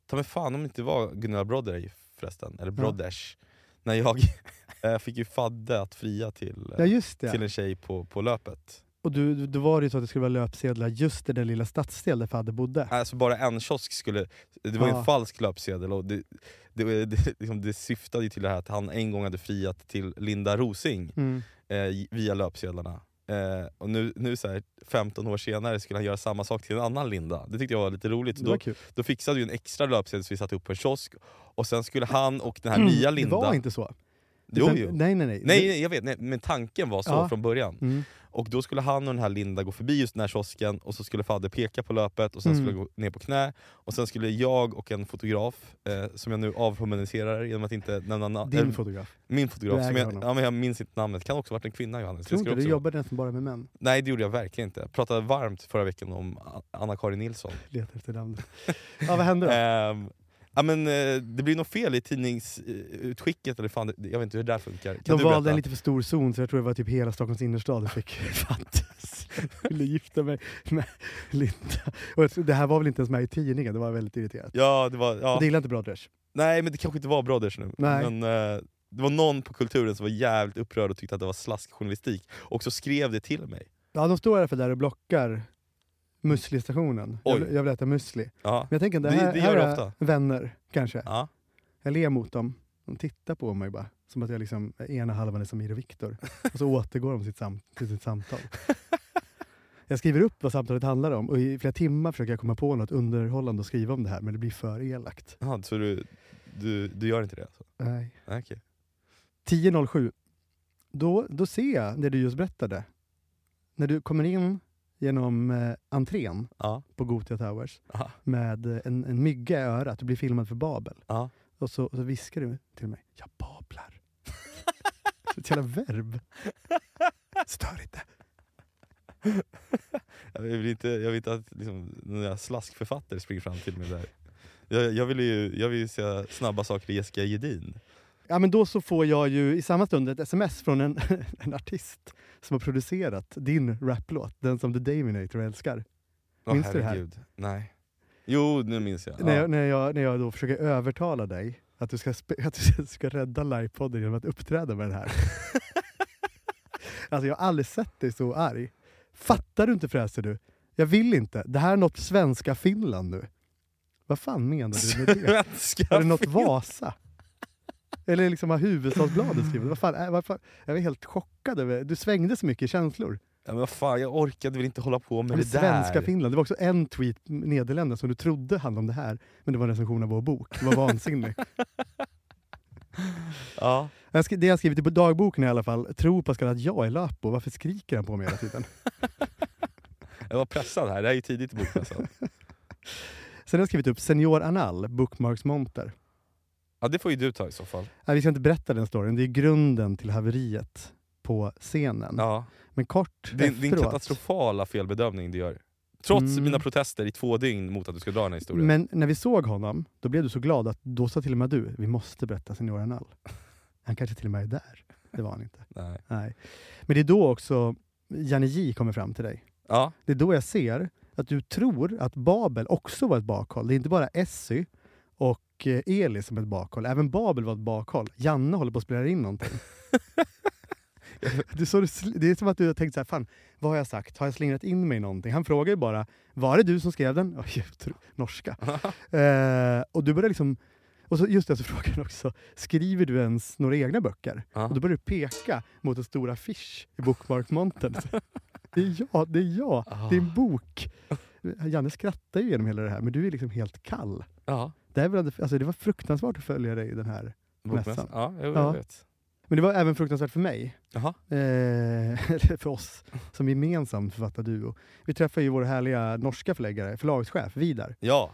Speaker 2: Ta mig fan om det inte var Gunilla Brodrej förresten, eller Brodesh. När jag, jag fick ju Fadde att fria till, eh,
Speaker 3: Ja, just
Speaker 2: till
Speaker 3: det.
Speaker 2: en tjej på, på löpet.
Speaker 3: Och du, du, då var det ju så att det skulle vara löpsedlar just i den lilla stadsdel där Fadde bodde.
Speaker 2: Alltså bara en kiosk skulle... Det var ju
Speaker 3: Ja.
Speaker 2: en falsk löpsedel och det, det, det, liksom, det syftade ju till det här att han en gång hade friat till Linda Rosing
Speaker 3: Mm.
Speaker 2: eh, via löpsedlarna. Eh, och nu, nu så här, 15 år senare skulle han göra samma sak till en annan Linda. Det tyckte jag var lite roligt. Så
Speaker 3: Det var
Speaker 2: då,
Speaker 3: kul.
Speaker 2: då fixade vi en extra löpsedel som vi satte upp på en kiosk och sen skulle han och den här nya Linda...
Speaker 3: Mm, Det var inte så.
Speaker 2: Jo,
Speaker 3: Utan-
Speaker 2: jo.
Speaker 3: Nej, nej, nej.
Speaker 2: Nej, nej, jag vet, nej, men tanken var så
Speaker 3: Ja.
Speaker 2: från början.
Speaker 3: Mm.
Speaker 2: Och då skulle han och den här Linda gå förbi just den här kiosken och så skulle Fadde peka på löpet och sen
Speaker 3: Mm.
Speaker 2: skulle jag gå ner på knä. Och sen skulle jag och en fotograf, eh, som jag nu avhumaniserar genom att inte nämna namn.
Speaker 3: Din
Speaker 2: eh,
Speaker 3: fotograf.
Speaker 2: min fotograf,
Speaker 3: Du
Speaker 2: som
Speaker 3: äger
Speaker 2: jag,
Speaker 3: honom.
Speaker 2: ja, men jag minns inte namnet. Kan också ha varit en kvinna Johannes.
Speaker 3: Tror
Speaker 2: Det ska
Speaker 3: inte, du
Speaker 2: också-
Speaker 3: jobbade nästan bara med män.
Speaker 2: Nej det gjorde jag verkligen inte. Jag pratade varmt förra veckan om A- Anna-Karin Nilsson.
Speaker 3: Letar efter namnet. Ja, vad hände då?
Speaker 2: Ehm, ja, men, eh, det blir nog fel i tidningsutskicket, eller fan, det- jag vet inte hur det där funkar. Kan
Speaker 3: De
Speaker 2: du
Speaker 3: valde
Speaker 2: berätta?
Speaker 3: en lite för stor zon så jag tror det var typ hela Stockholms innerstad jag fick fattas. Jag ville gifta mig med Linda. Och jag tror- det här var väl inte ens med i tidningen, det var väldigt irriterat.
Speaker 2: Ja, det var... Ja.
Speaker 3: Och Det gillar inte Brodrej.
Speaker 2: Nej men det kanske inte var Brothers nu,
Speaker 3: Nej.
Speaker 2: men eh, det var någon på kulturen som var jävligt upprörd och tyckte att det var slaskjournalistik, och så skrev det till mig.
Speaker 3: Ja, de står i alla fall där och blockar müslistationen. Jag,
Speaker 2: Oj.
Speaker 3: vill- jag vill äta müsli. Men
Speaker 2: Ja.
Speaker 3: jag tänker att det
Speaker 2: Det-
Speaker 3: här,
Speaker 2: det gör
Speaker 3: här
Speaker 2: det
Speaker 3: är
Speaker 2: ofta.
Speaker 3: vänner, kanske.
Speaker 2: Ja.
Speaker 3: Jag ler mot dem. De tittar på mig bara. Som att jag liksom, ena halvan är Samir och Viktor. Och så återgår de sitt sam, till sitt samtal. Jag skriver upp vad samtalet handlar om och i flera timmar försöker jag komma på något underhållande att skriva om det här men det blir för elakt.
Speaker 2: Jaha, så du, du, du gör inte det alltså?
Speaker 3: Nej.
Speaker 2: Nej, Okej.
Speaker 3: 10.07. Då, då ser jag det du just berättade. När du kommer in genom eh, entrén
Speaker 2: Ja.
Speaker 3: på Gothia Towers
Speaker 2: Ja.
Speaker 3: med eh, en, en mygga i örat, du blir filmad för Babel.
Speaker 2: Ja.
Speaker 3: Och så, och så viskar du till mig, jag bablar. Så Ett jävla verb. Stör inte.
Speaker 2: Jag vill inte, jag vill inte att liksom, några slaskförfattare springer fram till mig där. Jag, jag vill ju jag vill ju se snabba saker i Jessica Gedin.
Speaker 3: Ja, men då så får jag ju i samma stund ett sms från en, en artist som har producerat din raplåt, den som The Daminator älskar.
Speaker 2: Åh,
Speaker 3: Minns du det här?
Speaker 2: herregud. Nej. Jo, nu minns jag.
Speaker 3: När,
Speaker 2: Ja.
Speaker 3: jag, när, jag, när jag då försöker övertala dig att du ska, spe- att du ska rädda livepodden genom att uppträda med den här. alltså jag har aldrig sett dig så arg. Fattar du inte fräser du? Jag vill inte. Det här är något svenska Finland nu. Vad fan menar du med det?
Speaker 2: Svenska
Speaker 3: Är det något Vasa? Eller liksom har Hufvudstadsbladet skrivit? Vad fan, äh, vad fan? Jag var helt chockad. över... Du svängde så mycket i känslor.
Speaker 2: Ja, men vad fan, jag orkade väl inte hålla på med
Speaker 3: Men det
Speaker 2: det där.
Speaker 3: svenska Finland. Det var också en tweet Nederländerna som du trodde handlade om det här, men det var en recension av vår bok. Det var vansinnigt.
Speaker 2: ja.
Speaker 3: Jag skri- det jag skrivit i på dagboken i alla fall, tror Pascal att jag är Lapo. Varför skriker han på mig hela tiden?
Speaker 2: Jag var pressad här, det här är ju tidigt i alltså. bokmässan.
Speaker 3: Sen har jag skrivit upp Senior Anal, Bookmarks Monter.
Speaker 2: Ja, det får ju du ta i så fall.
Speaker 3: Nej, vi ska inte berätta den storyn, det är grunden till haveriet på scenen.
Speaker 2: Ja.
Speaker 3: Men kort
Speaker 2: Din, din
Speaker 3: efteråt-
Speaker 2: katastrofala felbedömning du gör. Trots
Speaker 3: Mm.
Speaker 2: mina protester i två dygn mot att du ska dra den här historien.
Speaker 3: Men när vi såg honom, då blev du så glad att då sa till och med du, vi måste berätta Senior Anal. Han kanske till och med är där. Det var han inte.
Speaker 2: Nej.
Speaker 3: Nej. Men det är då också Janne J kommer fram till dig.
Speaker 2: Ja.
Speaker 3: Det är då jag ser att du tror att Babel också var ett bakhåll. Det är inte bara Essy och eh, Eli som är ett bakhåll. Även Babel var ett bakhåll. Janne håller på att spela in någonting. du, så, du sl- det är som att du har tänkt så här, fan, vad har jag sagt? Har jag slingrat in mig i någonting? Han frågar ju bara, var det du som skrev den? Oj, jag tror- norska. eh, och du börjar liksom, och så, just det, så frågar han också, skriver du ens några egna böcker?
Speaker 2: Ja.
Speaker 3: Och då börjar du peka mot en stor affisch i Bookmark-montern. det är jag, det är jag,
Speaker 2: Ah.
Speaker 3: det är en bok. Janne skrattar ju genom hela det här, men du är liksom helt kall.
Speaker 2: ja.
Speaker 3: Det, här var, alltså, det var fruktansvärt att följa dig i den här.
Speaker 2: Bokmässan.
Speaker 3: Mässan.
Speaker 2: Ja, jag
Speaker 3: Ja.
Speaker 2: vet.
Speaker 3: Men det var även fruktansvärt för mig.
Speaker 2: Jaha.
Speaker 3: Eh, eller för oss som gemensam författarduo. Vi träffade ju vår härliga norska förläggare, förlagschef Vidar.
Speaker 2: Ja,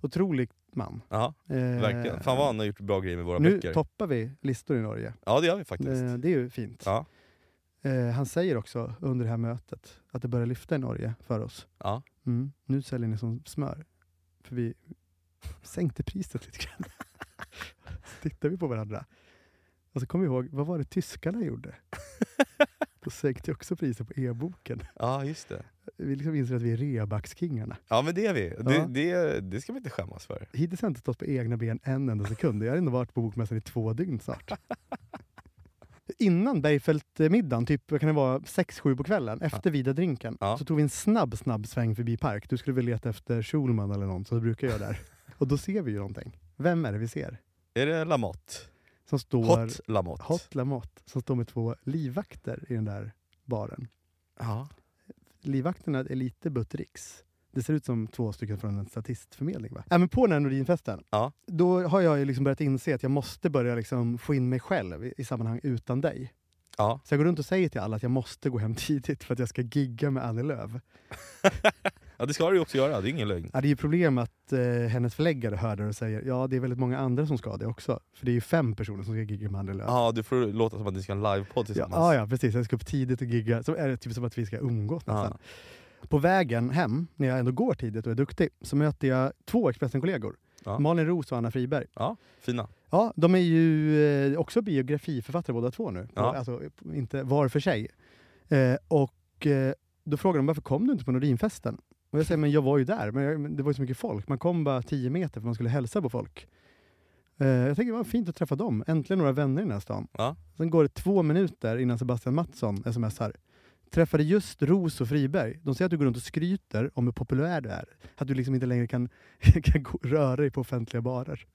Speaker 3: Otrolig man.
Speaker 2: ja
Speaker 3: Eh,
Speaker 2: verkligen. Fan vad han har gjort bra grejer med våra
Speaker 3: Nu
Speaker 2: böcker.
Speaker 3: toppar vi listor i Norge.
Speaker 2: Ja, det gör vi faktiskt.
Speaker 3: Eh, det är ju fint.
Speaker 2: Ja.
Speaker 3: Eh, han säger också under det här mötet att det börjar lyfta i Norge för oss.
Speaker 2: Ja.
Speaker 3: Mm. Nu säljer ni som smör. För vi sänkte priset lite grann. så tittar vi på varandra. Och så kommer vi ihåg, vad var det tyskarna gjorde? Då sänkte jag också priset på e-boken.
Speaker 2: ja, just det.
Speaker 3: Vi liksom inser att vi är reabackskingarna.
Speaker 2: Ja, men det är vi. Det,
Speaker 3: Ja.
Speaker 2: det, det ska vi inte skämmas för.
Speaker 3: Hittills har jag inte stått på egna ben en enda sekund. Jag har ändå varit på bokmässan i två dygn snart. Innan Bergfeldt-middagen, typ vad kan det vara 6-7 på kvällen, efter Vida-drinken,
Speaker 2: Ja.
Speaker 3: så tog vi en snabb, snabb sväng förbi Park. Du skulle väl leta efter Schulman eller någon, så det brukar jag där. Och då ser vi ju någonting. Vem är det vi ser?
Speaker 2: Är det Lamotte?
Speaker 3: Som står...
Speaker 2: Hot Lamotte.
Speaker 3: Hot Lamotte, som står med två livvakter i den där baren.
Speaker 2: Ja.
Speaker 3: Livvakterna är lite buttericks. Det ser ut som två stycken från en statistförmedling. Va? Ja, men på den här Nordinfesten,
Speaker 2: Ja.
Speaker 3: då har jag ju liksom börjat inse att jag måste börja liksom få in mig själv i, i sammanhang utan dig.
Speaker 2: Ja.
Speaker 3: Så jag går runt och säger till alla att jag måste gå hem tidigt för att jag ska gigga med Annie Lööf.
Speaker 2: ja, det ska du ju också göra. Det är ingen lögn.
Speaker 3: Ja, det är ju problem att eh, hennes förläggare hör det och säger ja, det är väldigt många andra som ska det också. För det är ju fem personer som ska gigga med Annie Lööf.
Speaker 2: Ja, ah, du får låta som att ni ska ha en livepodd
Speaker 3: Ja, ah,
Speaker 2: tillsammans.
Speaker 3: ja, ja, precis. Jag ska upp tidigt och gigga. Så är det typ som att vi ska umgås nästan. På vägen hem, när jag ändå går tidigt och är duktig, så möter jag två Expressen-kollegor.
Speaker 2: Ja.
Speaker 3: Malin Roos och Anna Friberg.
Speaker 2: Ja, fina.
Speaker 3: Ja, de är ju eh, också biografiförfattare båda två nu.
Speaker 2: Ja.
Speaker 3: Alltså inte var för sig. Eh, och eh, då frågar de varför kom du inte på Nordinfesten? Och jag säger men jag var ju där, men, jag, men det var ju så mycket folk. Man kom bara 10 meter för man skulle hälsa på folk. Eh, jag tänker det var fint att träffa dem. Äntligen några vänner i den här stan.
Speaker 2: Ja.
Speaker 3: Sen går det två minuter innan Sebastian Mattsson smsar. Träffade just Ros och Friberg. De säger att du går runt och skryter om hur populär du är. Att du liksom inte längre kan, kan gå, röra dig på offentliga barer.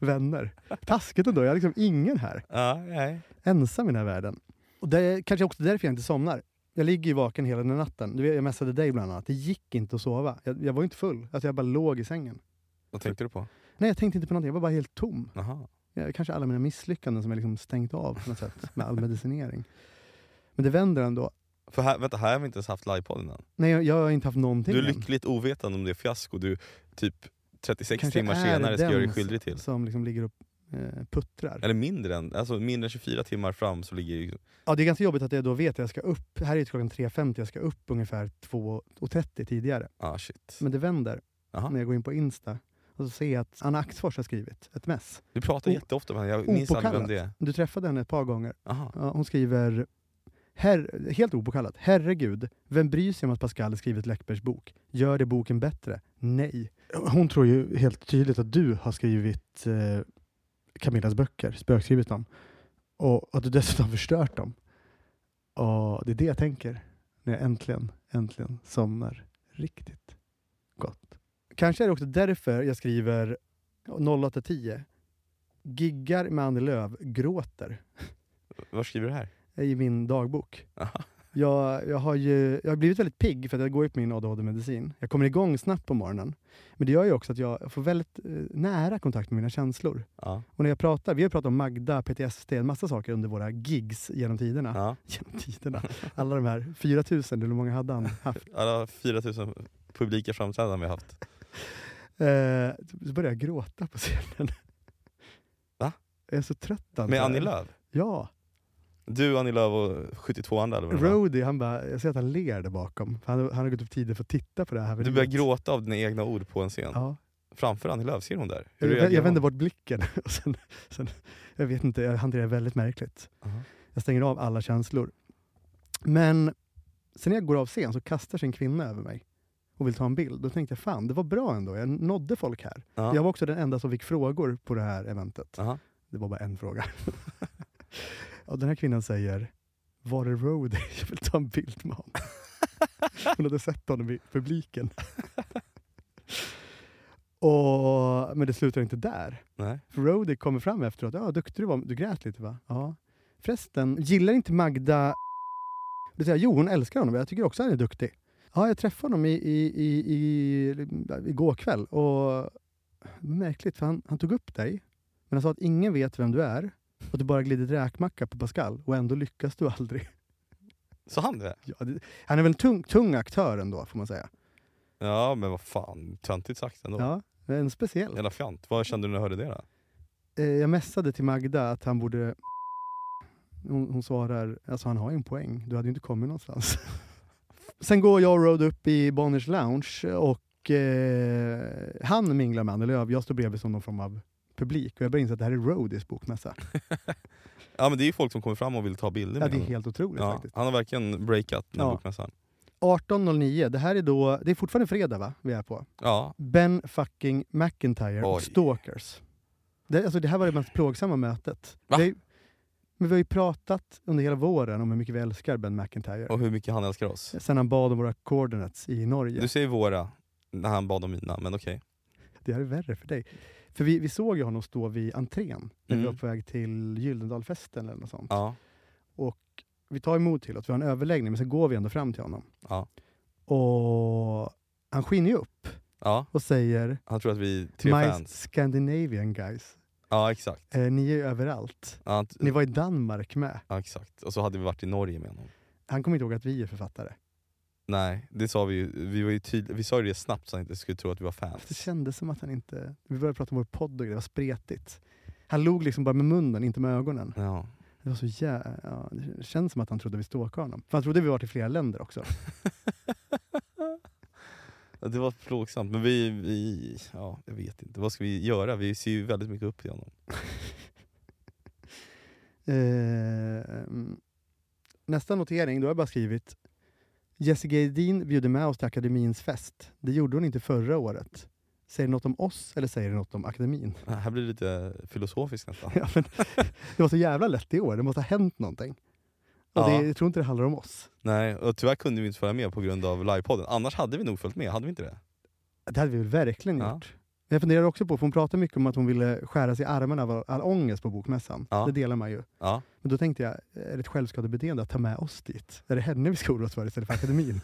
Speaker 3: Vänner. Taskigt ändå. Jag har liksom ingen här.
Speaker 2: Ja, nej.
Speaker 3: Ensam i den här världen. Och det är kanske också därför jag inte somnar. Jag ligger ju vaken hela den natten. Du vet, jag messade dig bland annat. Det gick inte att sova. Jag, jag var ju inte full. Alltså jag bara låg i sängen.
Speaker 2: Vad tänkte du på?
Speaker 3: Nej, jag tänkte inte på någonting. Jag var bara helt tom.
Speaker 2: Aha.
Speaker 3: Ja, kanske alla mina misslyckanden som jag liksom stängt av på något sätt med all medicinering. Men det vänder ändå.
Speaker 2: För här, vänta, här har vi inte ens haft livepodd innan.
Speaker 3: Nej, jag, jag har inte haft någonting
Speaker 2: Du är
Speaker 3: än.
Speaker 2: lyckligt ovetande om det fiasko du typ 36
Speaker 3: Kanske
Speaker 2: timmar
Speaker 3: är
Speaker 2: senare ska
Speaker 3: den
Speaker 2: göra dig
Speaker 3: s-
Speaker 2: skyldig till.
Speaker 3: som liksom ligger och eh, puttrar.
Speaker 2: Eller mindre än, alltså mindre än 24 timmar fram så ligger ju... liksom-
Speaker 3: Ja, det är ganska jobbigt att jag då vet att jag ska upp. Här är det klockan 3.50, jag ska upp ungefär 2.30 tidigare.
Speaker 2: Ah shit.
Speaker 3: Men det vänder
Speaker 2: Aha.
Speaker 3: när jag går in på Insta och så ser jag att Anna Axfors har skrivit ett mess.
Speaker 2: Du pratar
Speaker 3: O-
Speaker 2: jätteofta med henne, jag minns aldrig vem
Speaker 3: opåkallat.
Speaker 2: det är.
Speaker 3: Du träffade henne ett par gånger.
Speaker 2: Aha.
Speaker 3: Ja, hon skriver, Herr, helt opåkallat, herregud, vem bryr sig om att Pascal skrivit Läckbergs bok? Gör det boken bättre? Nej. Hon tror ju helt tydligt att du har skrivit eh, Camillas böcker, spökskrivit dem. Och att du dessutom förstört dem. Och det är det jag tänker när jag äntligen, äntligen somnar riktigt gott. Kanske är det också därför jag skriver 0810. Giggar med Annie Lööf, gråter
Speaker 2: Var skriver du här?
Speaker 3: i min dagbok.
Speaker 2: Aha.
Speaker 3: Jag, jag, har ju, jag har blivit väldigt pigg för att jag går ju på min ADHD-medicin. Jag kommer igång snabbt på morgonen. Men det gör ju också att jag får väldigt eh, nära kontakt med mina känslor.
Speaker 2: Ja.
Speaker 3: Och när jag pratar, vi har pratat om Magda, PTSD, en massa saker under våra gigs genom tiderna.
Speaker 2: Ja.
Speaker 3: Genom tiderna. Alla de här 4000, eller hur många hade han haft?
Speaker 2: Alla 4000 publika framträdanden vi har haft.
Speaker 3: Eh, så började jag gråta på scenen.
Speaker 2: Va?
Speaker 3: Jag är så trött.
Speaker 2: Med
Speaker 3: antar jag.
Speaker 2: Annie Lööf?
Speaker 3: Ja.
Speaker 2: Du, Annie Lööf och 72 andra eller vad det var.
Speaker 3: Rody, han bara, jag ser att han ler där bakom. För han, han har gått upp tidigt för att titta på det här.
Speaker 2: Du börjar gråta av dina egna ord på en scen.
Speaker 3: Ja.
Speaker 2: Framför Annie Lööf, ser hon där? Hur
Speaker 3: Jag,
Speaker 2: reagerar
Speaker 3: jag vänder
Speaker 2: hon?
Speaker 3: bort blicken. Och sen, sen, jag vet inte, jag hanterar det väldigt märkligt.
Speaker 2: Aha.
Speaker 3: Jag stänger av alla känslor. Men sen när jag går av scen så kastar sig en kvinna över mig och vill ta en bild. Då tänkte jag fan, det var bra ändå. Jag nådde folk här.
Speaker 2: Ja.
Speaker 3: Jag var också den enda som fick frågor på det här eventet.
Speaker 2: Aha.
Speaker 3: Det var bara en fråga. och den här kvinnan säger var är Roadie? Jag vill ta en bild med honom. Hon hade sett honom i publiken. och, men det slutar inte där.
Speaker 2: Nej.
Speaker 3: För Rody kommer fram efteråt. Ja, duktig du var. Du grät lite va? Ja. Förresten, gillar inte Magda... Det säger, jag, jo, hon älskar honom. Jag tycker också att han är duktig. Ja, jag träffade honom i, i, i, i, igår kväll. Och märkligt, för han, han tog upp dig. Men han sa att ingen vet vem du är. Och att du bara glider räkmacka på Pascal. Och ändå lyckas du aldrig.
Speaker 2: Så han det?
Speaker 3: Ja, det, han är väl en tung, tung aktör ändå, får man säga.
Speaker 2: Ja men vad fan, töntigt sagt ändå.
Speaker 3: Ja, en speciell.
Speaker 2: Jävla fjant. Vad kände du när du hörde det då?
Speaker 3: Eh, jag messade till Magda att han borde... Hon, hon svarar, alltså han har ju en poäng, du hade ju inte kommit någonstans. Sen går jag och Road upp i Bonniers Lounge och eh, han minglar med Annie Lööf. Jag står bredvid som någon form av publik och jag börjar inse att det här är Roadies bokmässa.
Speaker 2: Ja men det är ju folk som kommer fram och vill ta bilder
Speaker 3: Ja,
Speaker 2: med
Speaker 3: det är
Speaker 2: honom.
Speaker 3: helt otroligt
Speaker 2: Ja,
Speaker 3: faktiskt.
Speaker 2: han har verkligen breakat den här
Speaker 3: Ja.
Speaker 2: bokmässan.
Speaker 3: 18.09, det här är då, det är fortfarande fredag va, vi är på.
Speaker 2: Ja,
Speaker 3: Ben fucking McIntyre och
Speaker 2: Oj.
Speaker 3: Stalkers. Det, alltså, det här var det mest plågsamma mötet.
Speaker 2: Va?
Speaker 3: Det, men vi har ju pratat under hela våren om hur mycket vi älskar Ben McIntyre.
Speaker 2: och hur mycket han älskar oss.
Speaker 3: Sen han bad om våra coordinates i Norge.
Speaker 2: Du säger våra, när han bad om mina, men okej.
Speaker 3: Det här är värre för dig. För vi, vi såg ju honom stå vid entrén när vi
Speaker 2: Mm.
Speaker 3: var på väg till Gyldendalfesten eller något sånt.
Speaker 2: Ja,
Speaker 3: Vi tar emot till oss, vi har en överläggning, men sen går vi ändå fram till honom.
Speaker 2: Ja.
Speaker 3: Och han skiner ju upp
Speaker 2: ja,
Speaker 3: och säger
Speaker 2: han tror att vi är tre
Speaker 3: My
Speaker 2: fans.
Speaker 3: Scandinavian guys,
Speaker 2: Ja exakt.
Speaker 3: eh, ni är ju överallt.
Speaker 2: Ja, han-
Speaker 3: Ni var i Danmark med.
Speaker 2: ja exakt. Och så hade vi varit i Norge med honom.
Speaker 3: Han kommer inte ihåg att vi är författare.
Speaker 2: Nej, det sa vi ju. Vi, var ju tyd- vi sa ju det snabbt så han inte skulle tro att vi var
Speaker 3: Det
Speaker 2: fans.
Speaker 3: kändes som att han inte... Vi började prata om vår podd och det var spretigt. Han log liksom bara med munnen, inte med ögonen.
Speaker 2: Ja.
Speaker 3: Det var så jä... ja, det känns som att han trodde vi stalkade honom. För han trodde vi var i flera länder också.
Speaker 2: Ja, Det var plågsamt, men vi, vi... Ja, jag vet inte. Vad ska vi göra? Vi ser ju väldigt mycket upp till honom.
Speaker 3: Ehm, nästa notering, då har jag bara skrivit Jessica Edin bjuder med oss till akademins fest. Det gjorde hon inte förra året. Säger det något om oss eller säger det något om akademin?
Speaker 2: Ja, Här blir det lite filosofiskt nästan.
Speaker 3: Ja, men, det var så jävla lätt i år. Det måste ha hänt någonting. Och
Speaker 2: Ja.
Speaker 3: det, jag tror inte det handlar om oss.
Speaker 2: Nej, och tyvärr kunde vi inte följa med på grund av livepodden. Annars hade vi nog följt med, hade vi inte det?
Speaker 3: Det hade vi väl verkligen
Speaker 2: Ja.
Speaker 3: gjort. Jag funderar också på, för hon pratar mycket om att hon ville skära sig i armarna av all- all ångest på bokmässan.
Speaker 2: Ja.
Speaker 3: Det delar man ju.
Speaker 2: Ja.
Speaker 3: Men då tänkte jag, är det ett självskadebeteende att ta med oss dit? Är det henne vi ska oroa oss för istället för akademin?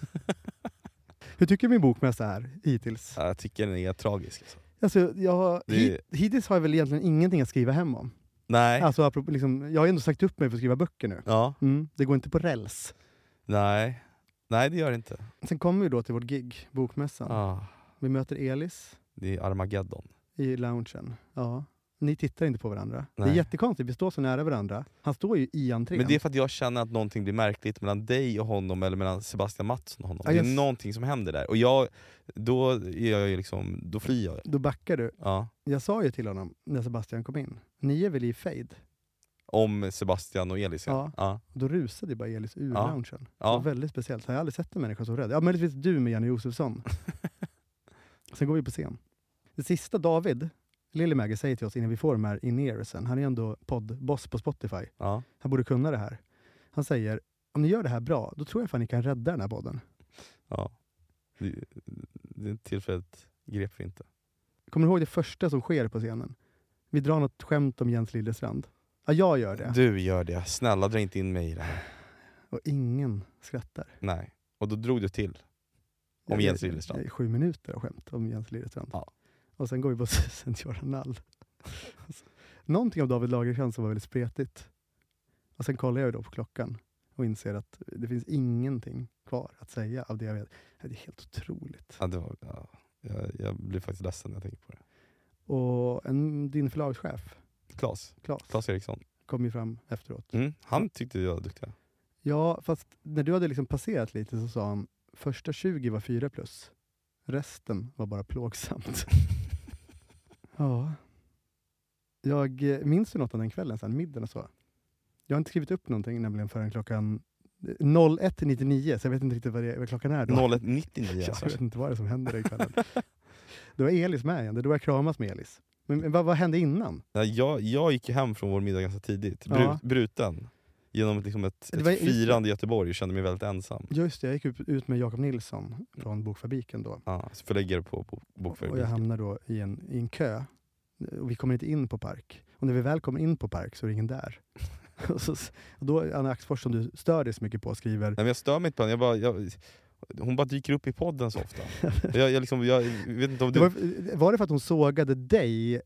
Speaker 3: Hur tycker min bokmässa är hittills?
Speaker 2: Ja, Jag tycker den är tragisk. Alltså.
Speaker 3: Alltså, jag, har-
Speaker 2: Det-
Speaker 3: hit, hittills har jag väl egentligen ingenting att skriva hem om.
Speaker 2: Nej.
Speaker 3: Alltså, apropå, liksom, jag har ju ändå sagt upp mig för att skriva böcker nu.
Speaker 2: Ja.
Speaker 3: Mm, det går inte på räls.
Speaker 2: Nej. Nej, det gör det inte.
Speaker 3: Sen kommer vi då till vårt gig, bokmässan.
Speaker 2: Ah,
Speaker 3: Vi möter Elis
Speaker 2: det är Armageddon.
Speaker 3: i loungen. Ja. Ni tittar inte på varandra. Det
Speaker 2: Nej.
Speaker 3: är jättekonstigt, vi står så nära varandra. Han står ju i entrén.
Speaker 2: Men det är för att jag känner att någonting blir märkligt mellan dig och honom, eller mellan Sebastian Mattsson och honom.
Speaker 3: Ja,
Speaker 2: det är
Speaker 3: just.
Speaker 2: någonting som händer där. Och jag, då, är jag ju liksom, då flyr jag.
Speaker 3: Då backar du.
Speaker 2: Ja.
Speaker 3: Jag sa ju till honom när Sebastian kom in, ni är väl i fade?
Speaker 2: Om Sebastian och Elis. Ja.
Speaker 3: Ja.
Speaker 2: Ja.
Speaker 3: Och Då rusade bara Elis ur
Speaker 2: Ja.
Speaker 3: loungen. Det var
Speaker 2: Ja.
Speaker 3: väldigt speciellt. Jag har aldrig sett en människa så rädd. Ja, möjligtvis du med Janne Josefsson. Sen går vi på scen. Det sista David Lillemäger säger till oss innan vi får de här in-earsen, han är ändå poddboss på Spotify.
Speaker 2: Ja.
Speaker 3: Han borde kunna det här. Han säger, om ni gör det här bra, då tror jag fan ni kan rädda den här podden.
Speaker 2: ja. Det, det tillfället grep vi inte.
Speaker 3: Kommer du ihåg det första som sker på scenen? Vi drar något skämt om Jens Liljestrand. Ja, jag gör det.
Speaker 2: Du gör det. Snälla dra inte in mig i det här.
Speaker 3: Och ingen skrattar.
Speaker 2: Nej. Och då drog du till. Om
Speaker 3: Jag-
Speaker 2: Jens
Speaker 3: jag-
Speaker 2: Liljestrand.
Speaker 3: jag- Sju minuter av skämt om Jens Liljestrand.
Speaker 2: Ja.
Speaker 3: Och sen går vi på Sentiora Nall. Alltså, Någonting av David Lagercrantz som var väldigt spretigt. Och sen kollar jag ju då på klockan och inser att det finns ingenting kvar att säga av det jag vet. Det är helt otroligt.
Speaker 2: Ja, det var, ja. Jag, jag blir faktiskt ledsen när jag tänker på det.
Speaker 3: Och en, din förlagschef,
Speaker 2: Klas,
Speaker 3: Claes,
Speaker 2: Klas Eriksson.
Speaker 3: kom ju fram efteråt.
Speaker 2: Mm. Han tyckte vi var duktiga.
Speaker 3: Ja, fast när du hade liksom passerat lite så sa han första 20 var 4 plus. Resten var bara plågsamt. ja. Jag eh, minns ju något av den kvällen sen, middagen och så. Jag har inte skrivit upp någonting nämligen förrän klockan eh, 01.99, så jag vet inte riktigt vad, det, vad klockan är då.
Speaker 2: 01.99
Speaker 3: jag
Speaker 2: alltså.
Speaker 3: vet inte vad det är som händer den kvällen. då är Elis med igen, det är då jag kramas med Elis. Men, men vad, vad hände innan?
Speaker 2: Nej, jag, jag gick ju hem från vår middag ganska tidigt, Bru,
Speaker 3: Ja.
Speaker 2: bruten. Genom ett- liksom ett,
Speaker 3: Det
Speaker 2: ett
Speaker 3: var- just det.
Speaker 2: firande i Göteborg och kände mig väldigt ensam.
Speaker 3: Just det, jag gick ut- ut med Jakob Nilsson från Bokfabriken då.
Speaker 2: Ja, så förläggare på bo-
Speaker 3: Och jag
Speaker 2: bokföringen.
Speaker 3: hamnar då i en, i en kö. Och vi kommer inte in på Park. Och när vi väl kommer in på Park så är det ingen där. och så, och då är Anna Axfors, som du stör dig så mycket på, skriver
Speaker 2: Nej, men jag stör mig inte på henne, jag bara, jag, hon bara dyker upp i podden så ofta. jag, jag, liksom, jag vet inte om
Speaker 3: det
Speaker 2: du,
Speaker 3: var, var det för att hon sågade dig eh,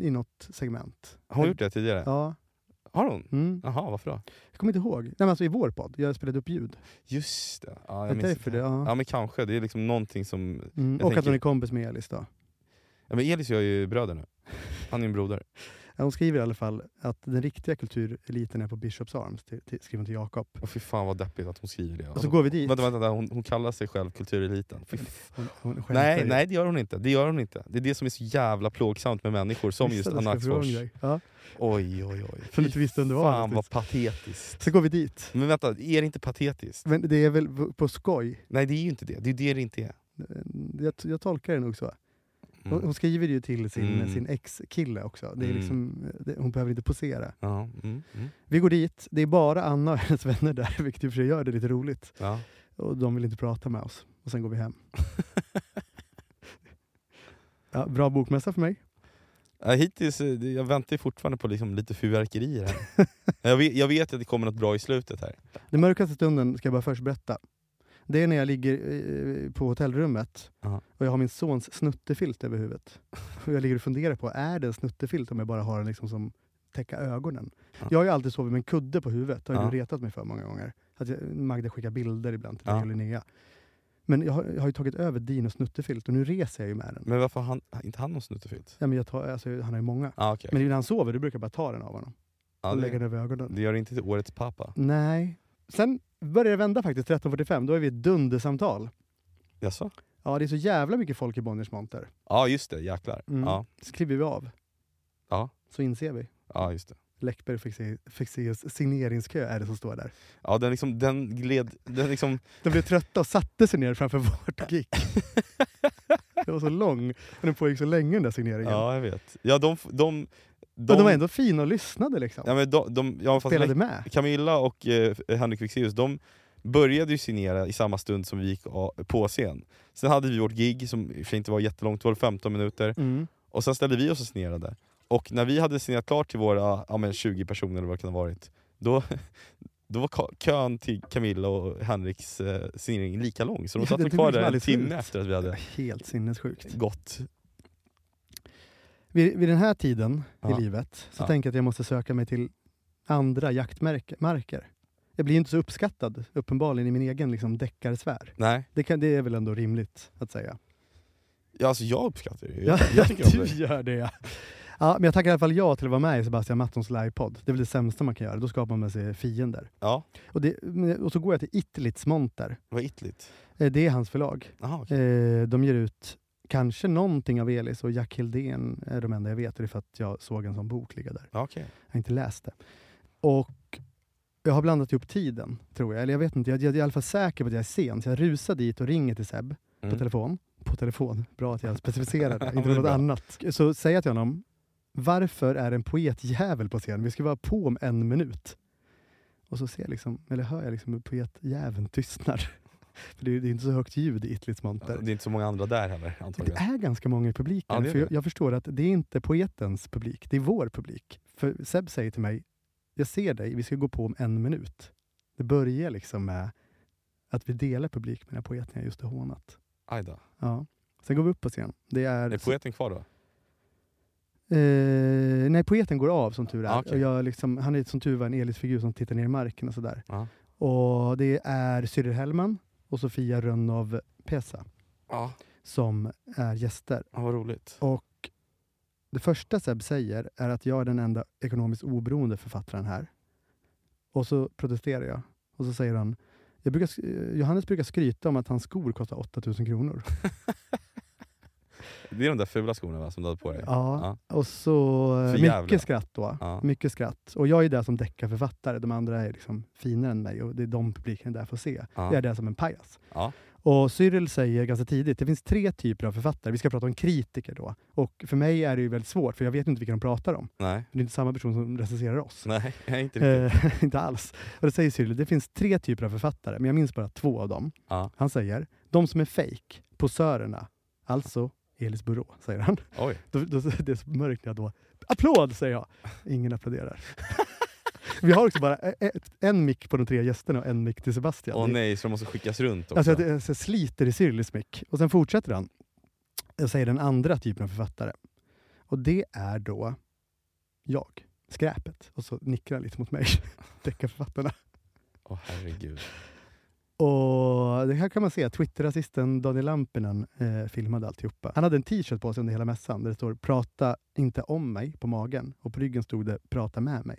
Speaker 3: i något segment?
Speaker 2: har hon gjort det tidigare?
Speaker 3: Ja.
Speaker 2: Har hon?
Speaker 3: Mm.
Speaker 2: Jaha, varför då?
Speaker 3: Jag kommer inte ihåg. Nej, men alltså I vår podd. Jag spelade upp ljud.
Speaker 2: Just det. Ja,
Speaker 3: Det
Speaker 2: jag
Speaker 3: är
Speaker 2: minns
Speaker 3: därför det,
Speaker 2: inte.
Speaker 3: ja.
Speaker 2: Ja men kanske, det är liksom någonting som...
Speaker 3: Mm. Och
Speaker 2: tänker-
Speaker 3: att hon är kompis med Elis. Då.
Speaker 2: Ja, men Elis och jag är ju bröder nu. Han är en broder.
Speaker 3: Ja, Hon skriver i alla fall att den riktiga kultureliten är på Bishops Arms, till, till, skriver hon till Jakob.
Speaker 2: Och fy fan vad deppigt att hon skriver det. Alltså,
Speaker 3: Och så går vi dit.
Speaker 2: Vänta, vänta, vänta. Hon, hon kallar sig själv kultureliten. Fy
Speaker 3: Hon, hon skämtar
Speaker 2: Nej,
Speaker 3: ju.
Speaker 2: nej det gör hon inte. Det gör hon inte. Det är det som är så jävla plågsamt med människor som
Speaker 3: Visst
Speaker 2: just
Speaker 3: att jag
Speaker 2: Anna
Speaker 3: ska fråga
Speaker 2: Axfors.
Speaker 3: dig. Ja.
Speaker 2: Oj, oj, oj.
Speaker 3: Som inte visste om det var
Speaker 2: Fan
Speaker 3: något.
Speaker 2: vad patetiskt.
Speaker 3: Så går vi dit.
Speaker 2: Men vänta, är det inte patetiskt?
Speaker 3: Men det är väl v- på skoj? Eh,
Speaker 2: Nej det är ju inte det. Det är det det inte är.
Speaker 3: Jag, jag tolkar det nog så. Hon,
Speaker 2: Mm.
Speaker 3: hon skriver ju till sin,
Speaker 2: Mm.
Speaker 3: sin ex-kille också. Det är
Speaker 2: Mm.
Speaker 3: liksom, det, hon behöver inte posera.
Speaker 2: Ja, mm, mm.
Speaker 3: Vi går dit, det är bara Anna och hennes vänner där, vilket i och för sig gör det lite roligt.
Speaker 2: Ja.
Speaker 3: Och de vill inte prata med oss. Och sen går vi hem. ja, bra bokmässa för mig.
Speaker 2: Ja, Hittills, eh, det- jag väntar ju fortfarande på liksom lite fyrverkerier här. jag, vet, jag vet att det kommer något bra i slutet här.
Speaker 3: Den mörkaste stunden ska jag bara först berätta. Det är när jag ligger eh, på hotellrummet
Speaker 2: Ja.
Speaker 3: och jag har min sons snuttefilt över huvudet. Och jag ligger och funderar på, är det en snuttefilt om jag bara har den liksom som täcka ögonen?
Speaker 2: Ja.
Speaker 3: Jag har ju alltid sovit med en kudde på huvudet, det har
Speaker 2: Ja.
Speaker 3: du retat mig för många gånger. Att jag, Magda skickar bilder ibland till
Speaker 2: Ja.
Speaker 3: mig och Linnea. Men jag har, jag har ju tagit över din och snuttefilt och nu reser jag ju med den.
Speaker 2: Men varför har han, inte han någon snuttefilt?
Speaker 3: Ja, men jag tar, alltså, han har ju många.
Speaker 2: Ah, okay.
Speaker 3: Men när han sover, du brukar jag bara ta den av honom
Speaker 2: ja,
Speaker 3: och lägga
Speaker 2: det,
Speaker 3: den över ögonen.
Speaker 2: det gör det inte till årets pappa.
Speaker 3: Nej. Sen börjar det vända faktiskt, 13.45. Då är vi i ett dundersamtal.
Speaker 2: Jaså?
Speaker 3: Ja, det är så jävla mycket folk i Bonniers monter.
Speaker 2: Ja ah, just det, jäklar. Ja,
Speaker 3: Mm. Så kliver vi av.
Speaker 2: Ja.
Speaker 3: Så inser vi.
Speaker 2: ja, just det.
Speaker 3: Läckberg fick se, fick se oss signeringskö är det som står där.
Speaker 2: Ja, den, liksom, den gled... Den liksom,
Speaker 3: De blev trötta och satte sig ner framför vårt gig. Det var så lång. Och den pågick så länge den där signeringen. Ja,
Speaker 2: ja, jag vet. Ja, de... f- de, de,
Speaker 3: de... Men de var ändå fina och lyssnade liksom.
Speaker 2: Ja, men de, de, ja, fast
Speaker 3: Spelade med.
Speaker 2: Camilla och eh, Henrik eh, Fexeus, de, började ju signera i samma stund som vi gick a- på scen. Sen hade vi vårt gig som i och för sig inte var jättelångt, det var 15 minuter.
Speaker 3: Mm.
Speaker 2: Och sen ställde vi oss och signerade. Och när vi hade signerat klart till våra ja, men 20 personer eller vad det kan ha varit, då, då var ka- kön till Camilla och Henriks eh, signering lika lång. Så de
Speaker 3: Ja,
Speaker 2: satt
Speaker 3: det
Speaker 2: väl
Speaker 3: tog
Speaker 2: kvar
Speaker 3: liksom
Speaker 2: där en
Speaker 3: aldrig
Speaker 2: timme
Speaker 3: slut.
Speaker 2: efter att vi hade
Speaker 3: Helt sinnessjukt.
Speaker 2: gått.
Speaker 3: Vid, vid den här tiden
Speaker 2: Ja.
Speaker 3: i livet så
Speaker 2: Ja.
Speaker 3: tänker jag att jag måste söka mig till andra jaktmarker. Jag blir ju inte så uppskattad, uppenbarligen, i min egen liksom, deckarsfär.
Speaker 2: Nej,
Speaker 3: Det, kan, det är väl ändå rimligt att säga.
Speaker 2: ja, alltså jag uppskattar det ju.
Speaker 3: Ja,
Speaker 2: Jag, jag tycker om
Speaker 3: du
Speaker 2: det.
Speaker 3: gör det ja. ja. Men jag tackar i alla fall ja till att vara med i Sebastian Mattons livepodd. Det är väl det sämsta man kan göra, då skapar man sig fiender.
Speaker 2: Ja,
Speaker 3: Och, det, men- och så går jag till Itlits monter.
Speaker 2: det var ytligt.
Speaker 3: Eh, Det är hans förlag.
Speaker 2: Jaha, okej.
Speaker 3: Eh, de ger ut kanske någonting av Elis och Jack Hildén är de enda jag vet. och Det är för att jag såg en sån bok ligga där.
Speaker 2: Ja, okej.
Speaker 3: Jag har inte läst det. Och jag har blandat ihop tiden, tror jag. Eller jag vet inte, jag, jag är i alla fall säker på att jag är sen. Så jag rusar dit och ringer till Seb på
Speaker 2: Mm.
Speaker 3: telefon. På telefon, bra att jag specificerar det.
Speaker 2: Ja, men
Speaker 3: inte
Speaker 2: det är
Speaker 3: något
Speaker 2: bra.
Speaker 3: annat. Så säger jag till honom, varför är en poetjävel på scen? Vi ska vara på om en minut. Och så ser jag liksom, eller hör jag liksom hur poetjäveln tystnar. För det är, det är inte så högt ljud i Itlits monter.
Speaker 2: Det är inte så många andra där heller
Speaker 3: Det
Speaker 2: antagligen.
Speaker 3: är ganska många i
Speaker 2: Ja,
Speaker 3: publiken.
Speaker 2: det är
Speaker 3: för jag,
Speaker 2: det.
Speaker 3: jag förstår att det är inte poetens publik, det är vår publik. För Seb säger till mig, jag ser dig, vi ska gå på om en minut. Det börjar liksom med att vi delar publik med den här poeten jag just har hånat.
Speaker 2: Aj då.
Speaker 3: Ja. Sen går vi upp på scen. Det är,
Speaker 2: Är poeten kvar då?
Speaker 3: eh, nej, poeten går av som tur är.
Speaker 2: Ah, okej.
Speaker 3: och jag liksom, han är som tur var en Elis-figur som tittar ner i marken och sådär.
Speaker 2: Ja.
Speaker 3: Och det är Cyril Hellman och Sofia Rönnov Pesa
Speaker 2: Ja,
Speaker 3: som är gäster.
Speaker 2: ja vad roligt.
Speaker 3: Och det första Seb säger är att jag är den enda ekonomiskt oberoende författaren här. Och så protesterar jag. Och så säger han, jag brukar, sk- eh, Johannes brukar skryta om att hans skor kostar 8000 kronor.
Speaker 2: Det är de där fula skorna va, som du hade på dig?
Speaker 3: Ja. Och så, eh,
Speaker 2: För jävla.
Speaker 3: mycket skratt då.
Speaker 2: Ja.
Speaker 3: Mycket skratt. Och jag är där som deckarförfattare. De andra är liksom finare än mig och det är de publiken är där för att se.
Speaker 2: Ja.
Speaker 3: Jag är där som en pajas.
Speaker 2: Ja.
Speaker 3: Och Cyril säger ganska tidigt, det finns tre typer av författare. Vi ska prata om kritiker då. Och för mig är det ju väldigt svårt, för jag vet ju inte vilka de pratar om.
Speaker 2: Nej,
Speaker 3: Det är inte samma person som recenserar oss.
Speaker 2: nej, jag är inte riktigt.
Speaker 3: Eh, inte alls. Och det säger Cyril, det finns tre typer av författare, men jag minns bara två av dem.
Speaker 2: Ja.
Speaker 3: Han säger, de som är fake, posörerna, alltså Elis Burå, säger han.
Speaker 2: Oj.
Speaker 3: Då, då, det är så mörkt när jag då, applåd säger jag. Ingen applåderar. Vi har också bara e, ett, en mick på de tre gästerna och en mick till Sebastian.
Speaker 2: Åh
Speaker 3: Det-
Speaker 2: nej, så de måste skickas runt också.
Speaker 3: Alltså jag, jag, jag sliter i Cyrilis mick. Och sen fortsätter han och säger den andra typen av författare. Och det är då jag, skräpet. Och så nickar han lite mot mig, deckarförfattarna.
Speaker 2: Åh herregud.
Speaker 3: Och det här kan man se, Twitter-rasisten Daniel Lampinen eh, filmade alltihopa. Han hade en t-shirt på sig under hela mässan där det står “Prata inte om mig” på magen och på ryggen stod det “Prata med mig”.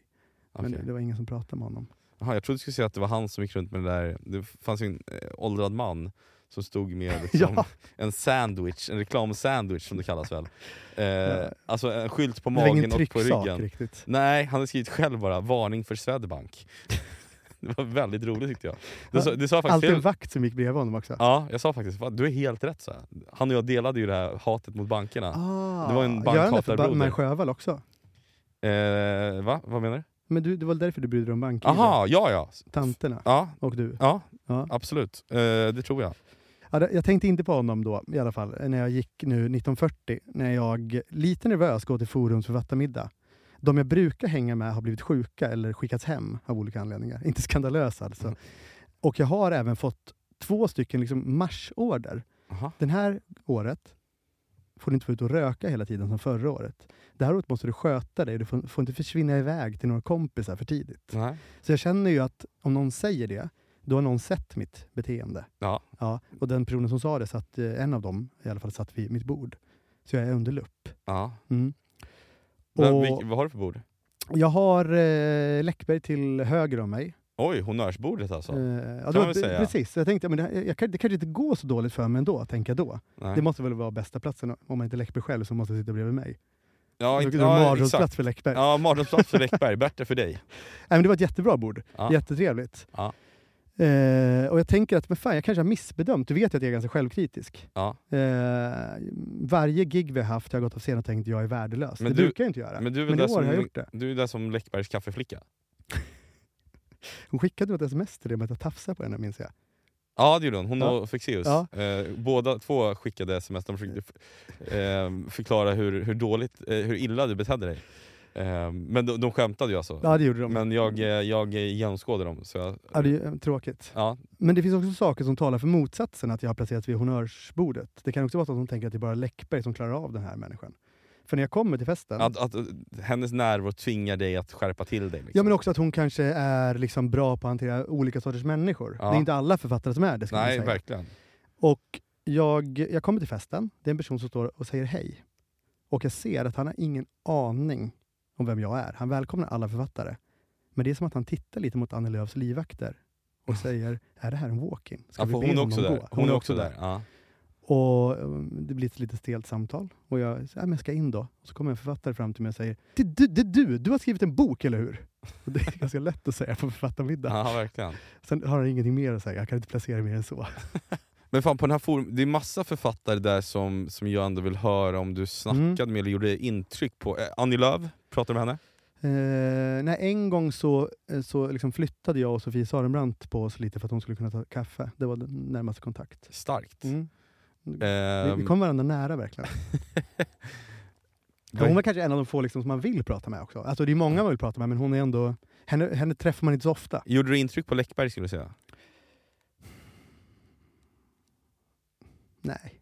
Speaker 3: Men
Speaker 2: Okej.
Speaker 3: det, det var ingen som pratade med honom.
Speaker 2: Jaha, jag trodde du skulle säga att det var han som gick runt med det där, det fanns ju en eh, åldrad man som stod med liksom,
Speaker 3: Ja.
Speaker 2: en sandwich, en reklamsandwich som det kallas väl. Eh,
Speaker 3: Ja.
Speaker 2: Alltså en skylt på
Speaker 3: Det var ingen
Speaker 2: magen och på
Speaker 3: trycksak
Speaker 2: ryggen.
Speaker 3: riktigt.
Speaker 2: Nej, han hade skrivit själv bara, varning för Swedbank. det var väldigt roligt tyckte jag. Det sa, det sa faktiskt
Speaker 3: Alltid en
Speaker 2: fel.
Speaker 3: vakt som gick bredvid honom också.
Speaker 2: Ja, jag sa faktiskt, "Fan, du är helt rätt så här. Han och jag delade ju det här hatet mot bankerna.
Speaker 3: Ah,
Speaker 2: Det var en
Speaker 3: gör han det för
Speaker 2: bankhatarbroder.
Speaker 3: Batman Sjövall också?
Speaker 2: Eh, va? Vad menar du?
Speaker 3: Men du, det var därför du brydde dig om banker?
Speaker 2: Aha, ja ja.
Speaker 3: Tanterna
Speaker 2: Ja,
Speaker 3: och du?
Speaker 2: ja
Speaker 3: Ja.
Speaker 2: absolut. Eh, det tror jag.
Speaker 3: Ja, det- jag tänkte inte på honom då i alla fall, när jag gick nu 1940, när jag lite nervös går till Forums författarmiddag. De jag brukar hänga med har blivit sjuka eller skickats hem av olika anledningar. Inte skandalösa alltså.
Speaker 2: Mm.
Speaker 3: Och jag har även fått två stycken liksom marsorder.
Speaker 2: Aha.
Speaker 3: Den här året får du inte vara ute och röka hela tiden som förra året. Det här året måste du sköta dig. Du får, får inte försvinna iväg till några kompisar för tidigt.
Speaker 2: Nej.
Speaker 3: Så jag känner ju att om någon säger det, då har någon sett mitt beteende.
Speaker 2: Ja.
Speaker 3: Ja, och den personen som sa det, satt, eh, en av dem i alla fall, satt vid mitt bord. Så jag är under lupp.
Speaker 2: Ja.
Speaker 3: Mm.
Speaker 2: Men,
Speaker 3: Och-
Speaker 2: vilk- vad har du för bord?
Speaker 3: Jag har eh, Läckberg till höger om mig.
Speaker 2: Oj, honnörsbordet alltså?
Speaker 3: Eh, ja,
Speaker 2: man
Speaker 3: det
Speaker 2: väl säga.
Speaker 3: precis, jag tänkte men det, här- jag, kan- det kanske inte går så dåligt för mig ändå, tänker jag då.
Speaker 2: Nej.
Speaker 3: Det måste väl vara bästa platsen, om man inte är Läckberg själv så måste jag sitta bredvid mig.
Speaker 2: ja,
Speaker 3: det
Speaker 2: inte,
Speaker 3: är en
Speaker 2: ja, exakt.
Speaker 3: mardrömsplats för Läckberg.
Speaker 2: Ja, mardrömsplats för Läckberg. Bättre för dig.
Speaker 3: Nej, men det var ett jättebra bord.
Speaker 2: Ja.
Speaker 3: Jättetrevligt.
Speaker 2: Ja.
Speaker 3: Eh, och jag tänker att men fan, jag kanske har missbedömt. Du vet ju att jag är ganska självkritisk.
Speaker 2: Ja.
Speaker 3: Eh, varje gig vi har haft har jag gått av scenen och tänkt jag är värdelös.
Speaker 2: Men
Speaker 3: det
Speaker 2: du-
Speaker 3: brukar jag inte göra.
Speaker 2: Men du är väl
Speaker 3: Men i
Speaker 2: där
Speaker 3: år
Speaker 2: som,
Speaker 3: har jag gjort det.
Speaker 2: du är där som Läckbergs kaffeflicka?
Speaker 3: Hon skickade ju ett sms till dig med att jag tafsade på henne minns jag.
Speaker 2: Ja det gjorde hon, hon
Speaker 3: Ja.
Speaker 2: och Fexeus.
Speaker 3: Ja.
Speaker 2: Eh, båda två skickade sms, de försökte f- eh, förklara hur, hur, dåligt, eh, hur illa du betedde dig. Eh, men de, de skämtade ju alltså.
Speaker 3: Ja det gjorde de.
Speaker 2: Men jag, eh, jag genomskådade dem. Så jag,
Speaker 3: Ja, det är ju eh, tråkigt.
Speaker 2: ja,
Speaker 3: Men det finns också saker som talar för motsatsen, att jag har placerats vid honnörsbordet. Det kan också vara så att de tänker att det är bara Läckberg som klarar av den här människan. För när jag kommer till festen,
Speaker 2: att, att, eh, hennes närvaro tvingar dig att skärpa till dig. Liksom.
Speaker 3: ja men också att hon kanske är liksom bra på att hantera olika sorters människor.
Speaker 2: Ja.
Speaker 3: Det är inte alla författare som är det, ska man
Speaker 2: Nej
Speaker 3: säga.
Speaker 2: verkligen.
Speaker 3: Och jag, jag kommer till festen, det är en person som står och säger hej. Och jag ser att han har ingen aning om vem jag är. Han välkomnar alla författare. Men det är som att han tittar lite mot Annie Lööfs livvakter och säger, är det här en walk-in? Ska
Speaker 2: Ja,
Speaker 3: vi
Speaker 2: för hon
Speaker 3: be
Speaker 2: är
Speaker 3: honom
Speaker 2: också
Speaker 3: gå?"
Speaker 2: där. Hon, är också där. Ja.
Speaker 3: Och um, det blir ett lite stelt samtal. Och jag säger, "Ja, men jag ska in då. Och så kommer en författare fram till mig och säger, det är du, det är du, du har skrivit en bok, eller hur? Och det är ganska lätt att säga på författarmiddag.
Speaker 2: ja verkligen.
Speaker 3: Sen har han ingenting mer att säga, jag kan inte placera mer än så.
Speaker 2: Men fan, på den här forum, det är massa författare där som, som jag ändå vill höra om du snackade
Speaker 3: Mm.
Speaker 2: med eller gjorde intryck på. Eh, Annie Lööf, pratade du med henne?
Speaker 3: Eh, nej, en gång så, eh, så liksom flyttade jag och Sofie Sarenbrant på oss lite för att hon skulle kunna ta kaffe. Det var den närmaste kontakt.
Speaker 2: Starkt.
Speaker 3: Vi, vi
Speaker 2: Ehm,
Speaker 3: kom varandra nära verkligen. Ja, Hon var kanske en av de få liksom, som man vill prata med också. Alltså, det är många man vill prata med, men hon är ändå... Henne, henne träffar man inte så ofta.
Speaker 2: Gjorde du intryck på Läckberg skulle du säga?
Speaker 3: Nej.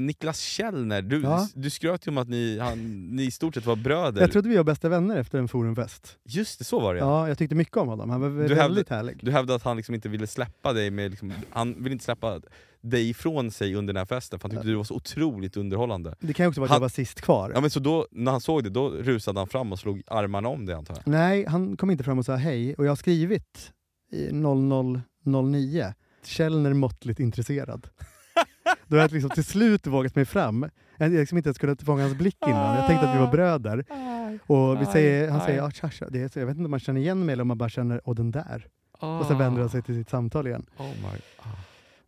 Speaker 2: Niklas Källner, du,
Speaker 3: Ja.
Speaker 2: du skröt ju om att ni, han, ni i stort sett var bröder.
Speaker 3: Jag trodde vi var bästa vänner efter en forumfest.
Speaker 2: Just det, så var det ja.
Speaker 3: Ja, jag tyckte mycket om honom. Han var
Speaker 2: Du
Speaker 3: väldigt
Speaker 2: hävdade-
Speaker 3: härlig.
Speaker 2: Du hävdade att han liksom inte ville släppa dig med, liksom, han ville inte släppa dig ifrån sig under den här festen för han tyckte du var så otroligt underhållande.
Speaker 3: Det kan ju också vara att
Speaker 2: Han-
Speaker 3: jag var sist kvar.
Speaker 2: Ja, men så då, när han såg det, då rusade han fram och slog armarna om dig antar jag?
Speaker 3: Nej, han kom inte fram och sa hej. Och jag har skrivit i 0009, Källner måttligt intresserad. Då har jag liksom till slut vågat mig fram. Jag hade liksom inte ens kunnat fånga hans blick innan. Jag tänkte att vi var bröder. Och vi
Speaker 2: Ah. Aj,
Speaker 3: säger, han
Speaker 2: aj.
Speaker 3: säger, ah, tja, tja. Det är, så jag vet inte om man känner igen mig eller om man bara känner, åh den där. Och sen vänder
Speaker 2: Ah.
Speaker 3: han sig till sitt samtal igen.
Speaker 2: Oh my. ah.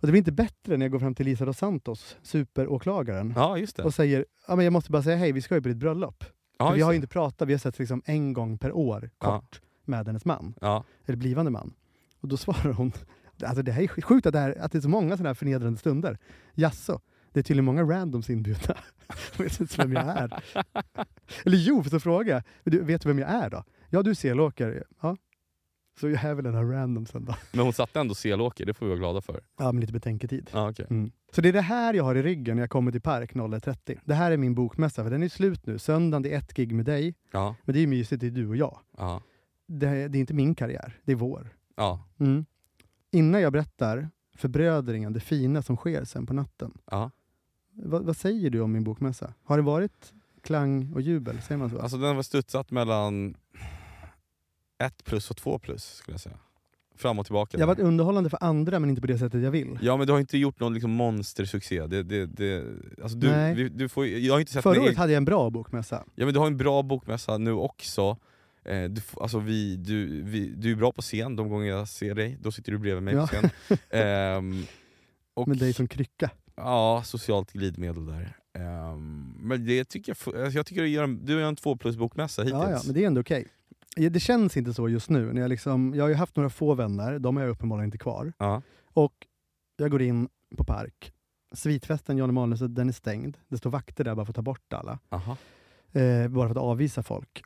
Speaker 3: Och det blir inte bättre när jag går fram till Lisa dos Santos, superåklagaren,
Speaker 2: Ja, just det.
Speaker 3: och säger, ja men jag måste bara säga hej, vi ska ju på ditt bröllop.
Speaker 2: Ja,
Speaker 3: För vi
Speaker 2: just
Speaker 3: har
Speaker 2: det.
Speaker 3: ju inte pratat, vi har sett liksom en gång per år,
Speaker 2: Ja.
Speaker 3: kort, med hennes man
Speaker 2: Ja.
Speaker 3: eller blivande man. Och då svarar hon, alltså det här är sk- sjukt att det, här, att det är så många sådana här förnedrande stunder. Jaså, det är tydligen många randoms inbjudna. Jag vet inte vem jag är. Eller jo, för så fråga. Du, vet du vem jag är då? Ja, du är selåkare. Ja. Så jag är väl den här randomsen då.
Speaker 2: Men hon satte ändå selåker, det får vi vara glada för.
Speaker 3: Ja, men lite betänketid.
Speaker 2: Ja, okej.
Speaker 3: Mm. Så det är det här jag har i ryggen när jag kommer till Park 01.30. Det här är min bokmässa, för den är slut nu. Söndagen det är ett gig med dig,
Speaker 2: ja,
Speaker 3: men det är ju mysigt, det är du och jag.
Speaker 2: ja,
Speaker 3: Det, det är inte min karriär, det är vår.
Speaker 2: ja,
Speaker 3: Mm. Innan jag berättar förbrödringen, det fina som sker sen på natten.
Speaker 2: ja.
Speaker 3: Vad, vad säger du om min bokmässa? Har det varit klang och jubel? Säger man så?
Speaker 2: Alltså den var studsat mellan ett plus och två plus skulle jag säga. Fram och tillbaka.
Speaker 3: jag har
Speaker 2: där.
Speaker 3: varit underhållande för andra men inte på det sättet jag vill.
Speaker 2: Ja men du har inte gjort någon liksom monstersuccé. Det, det, det, alltså du,
Speaker 3: Nej.
Speaker 2: vi, du får, ju- jag har inte sett
Speaker 3: Förra
Speaker 2: din
Speaker 3: året
Speaker 2: egen-
Speaker 3: hade jag en bra bokmässa.
Speaker 2: ja, men Du har en bra bokmässa nu också. Eh, du, f- alltså vi, du, vi, du är bra på scen de gånger jag ser dig, då sitter du bredvid mig på
Speaker 3: Ja.
Speaker 2: scen. Ehm, och,
Speaker 3: Med dig som krycka.
Speaker 2: Ja, socialt glidmedel där. Ehm, men det tycker jag, f- alltså jag tycker du gör en, du gör en två plus bokmässa hittills.
Speaker 3: Ja, ja, men det är ändå okej. Det känns inte så just nu. När jag, liksom, jag har ju haft några få vänner, de är jag uppenbarligen inte kvar.
Speaker 2: Ja.
Speaker 3: Och jag går in på Park. Svitfesten, Jan Emanuel, så den är stängd. Det står vakter där bara för att ta bort alla.
Speaker 2: Aha.
Speaker 3: Eh, bara för att avvisa folk.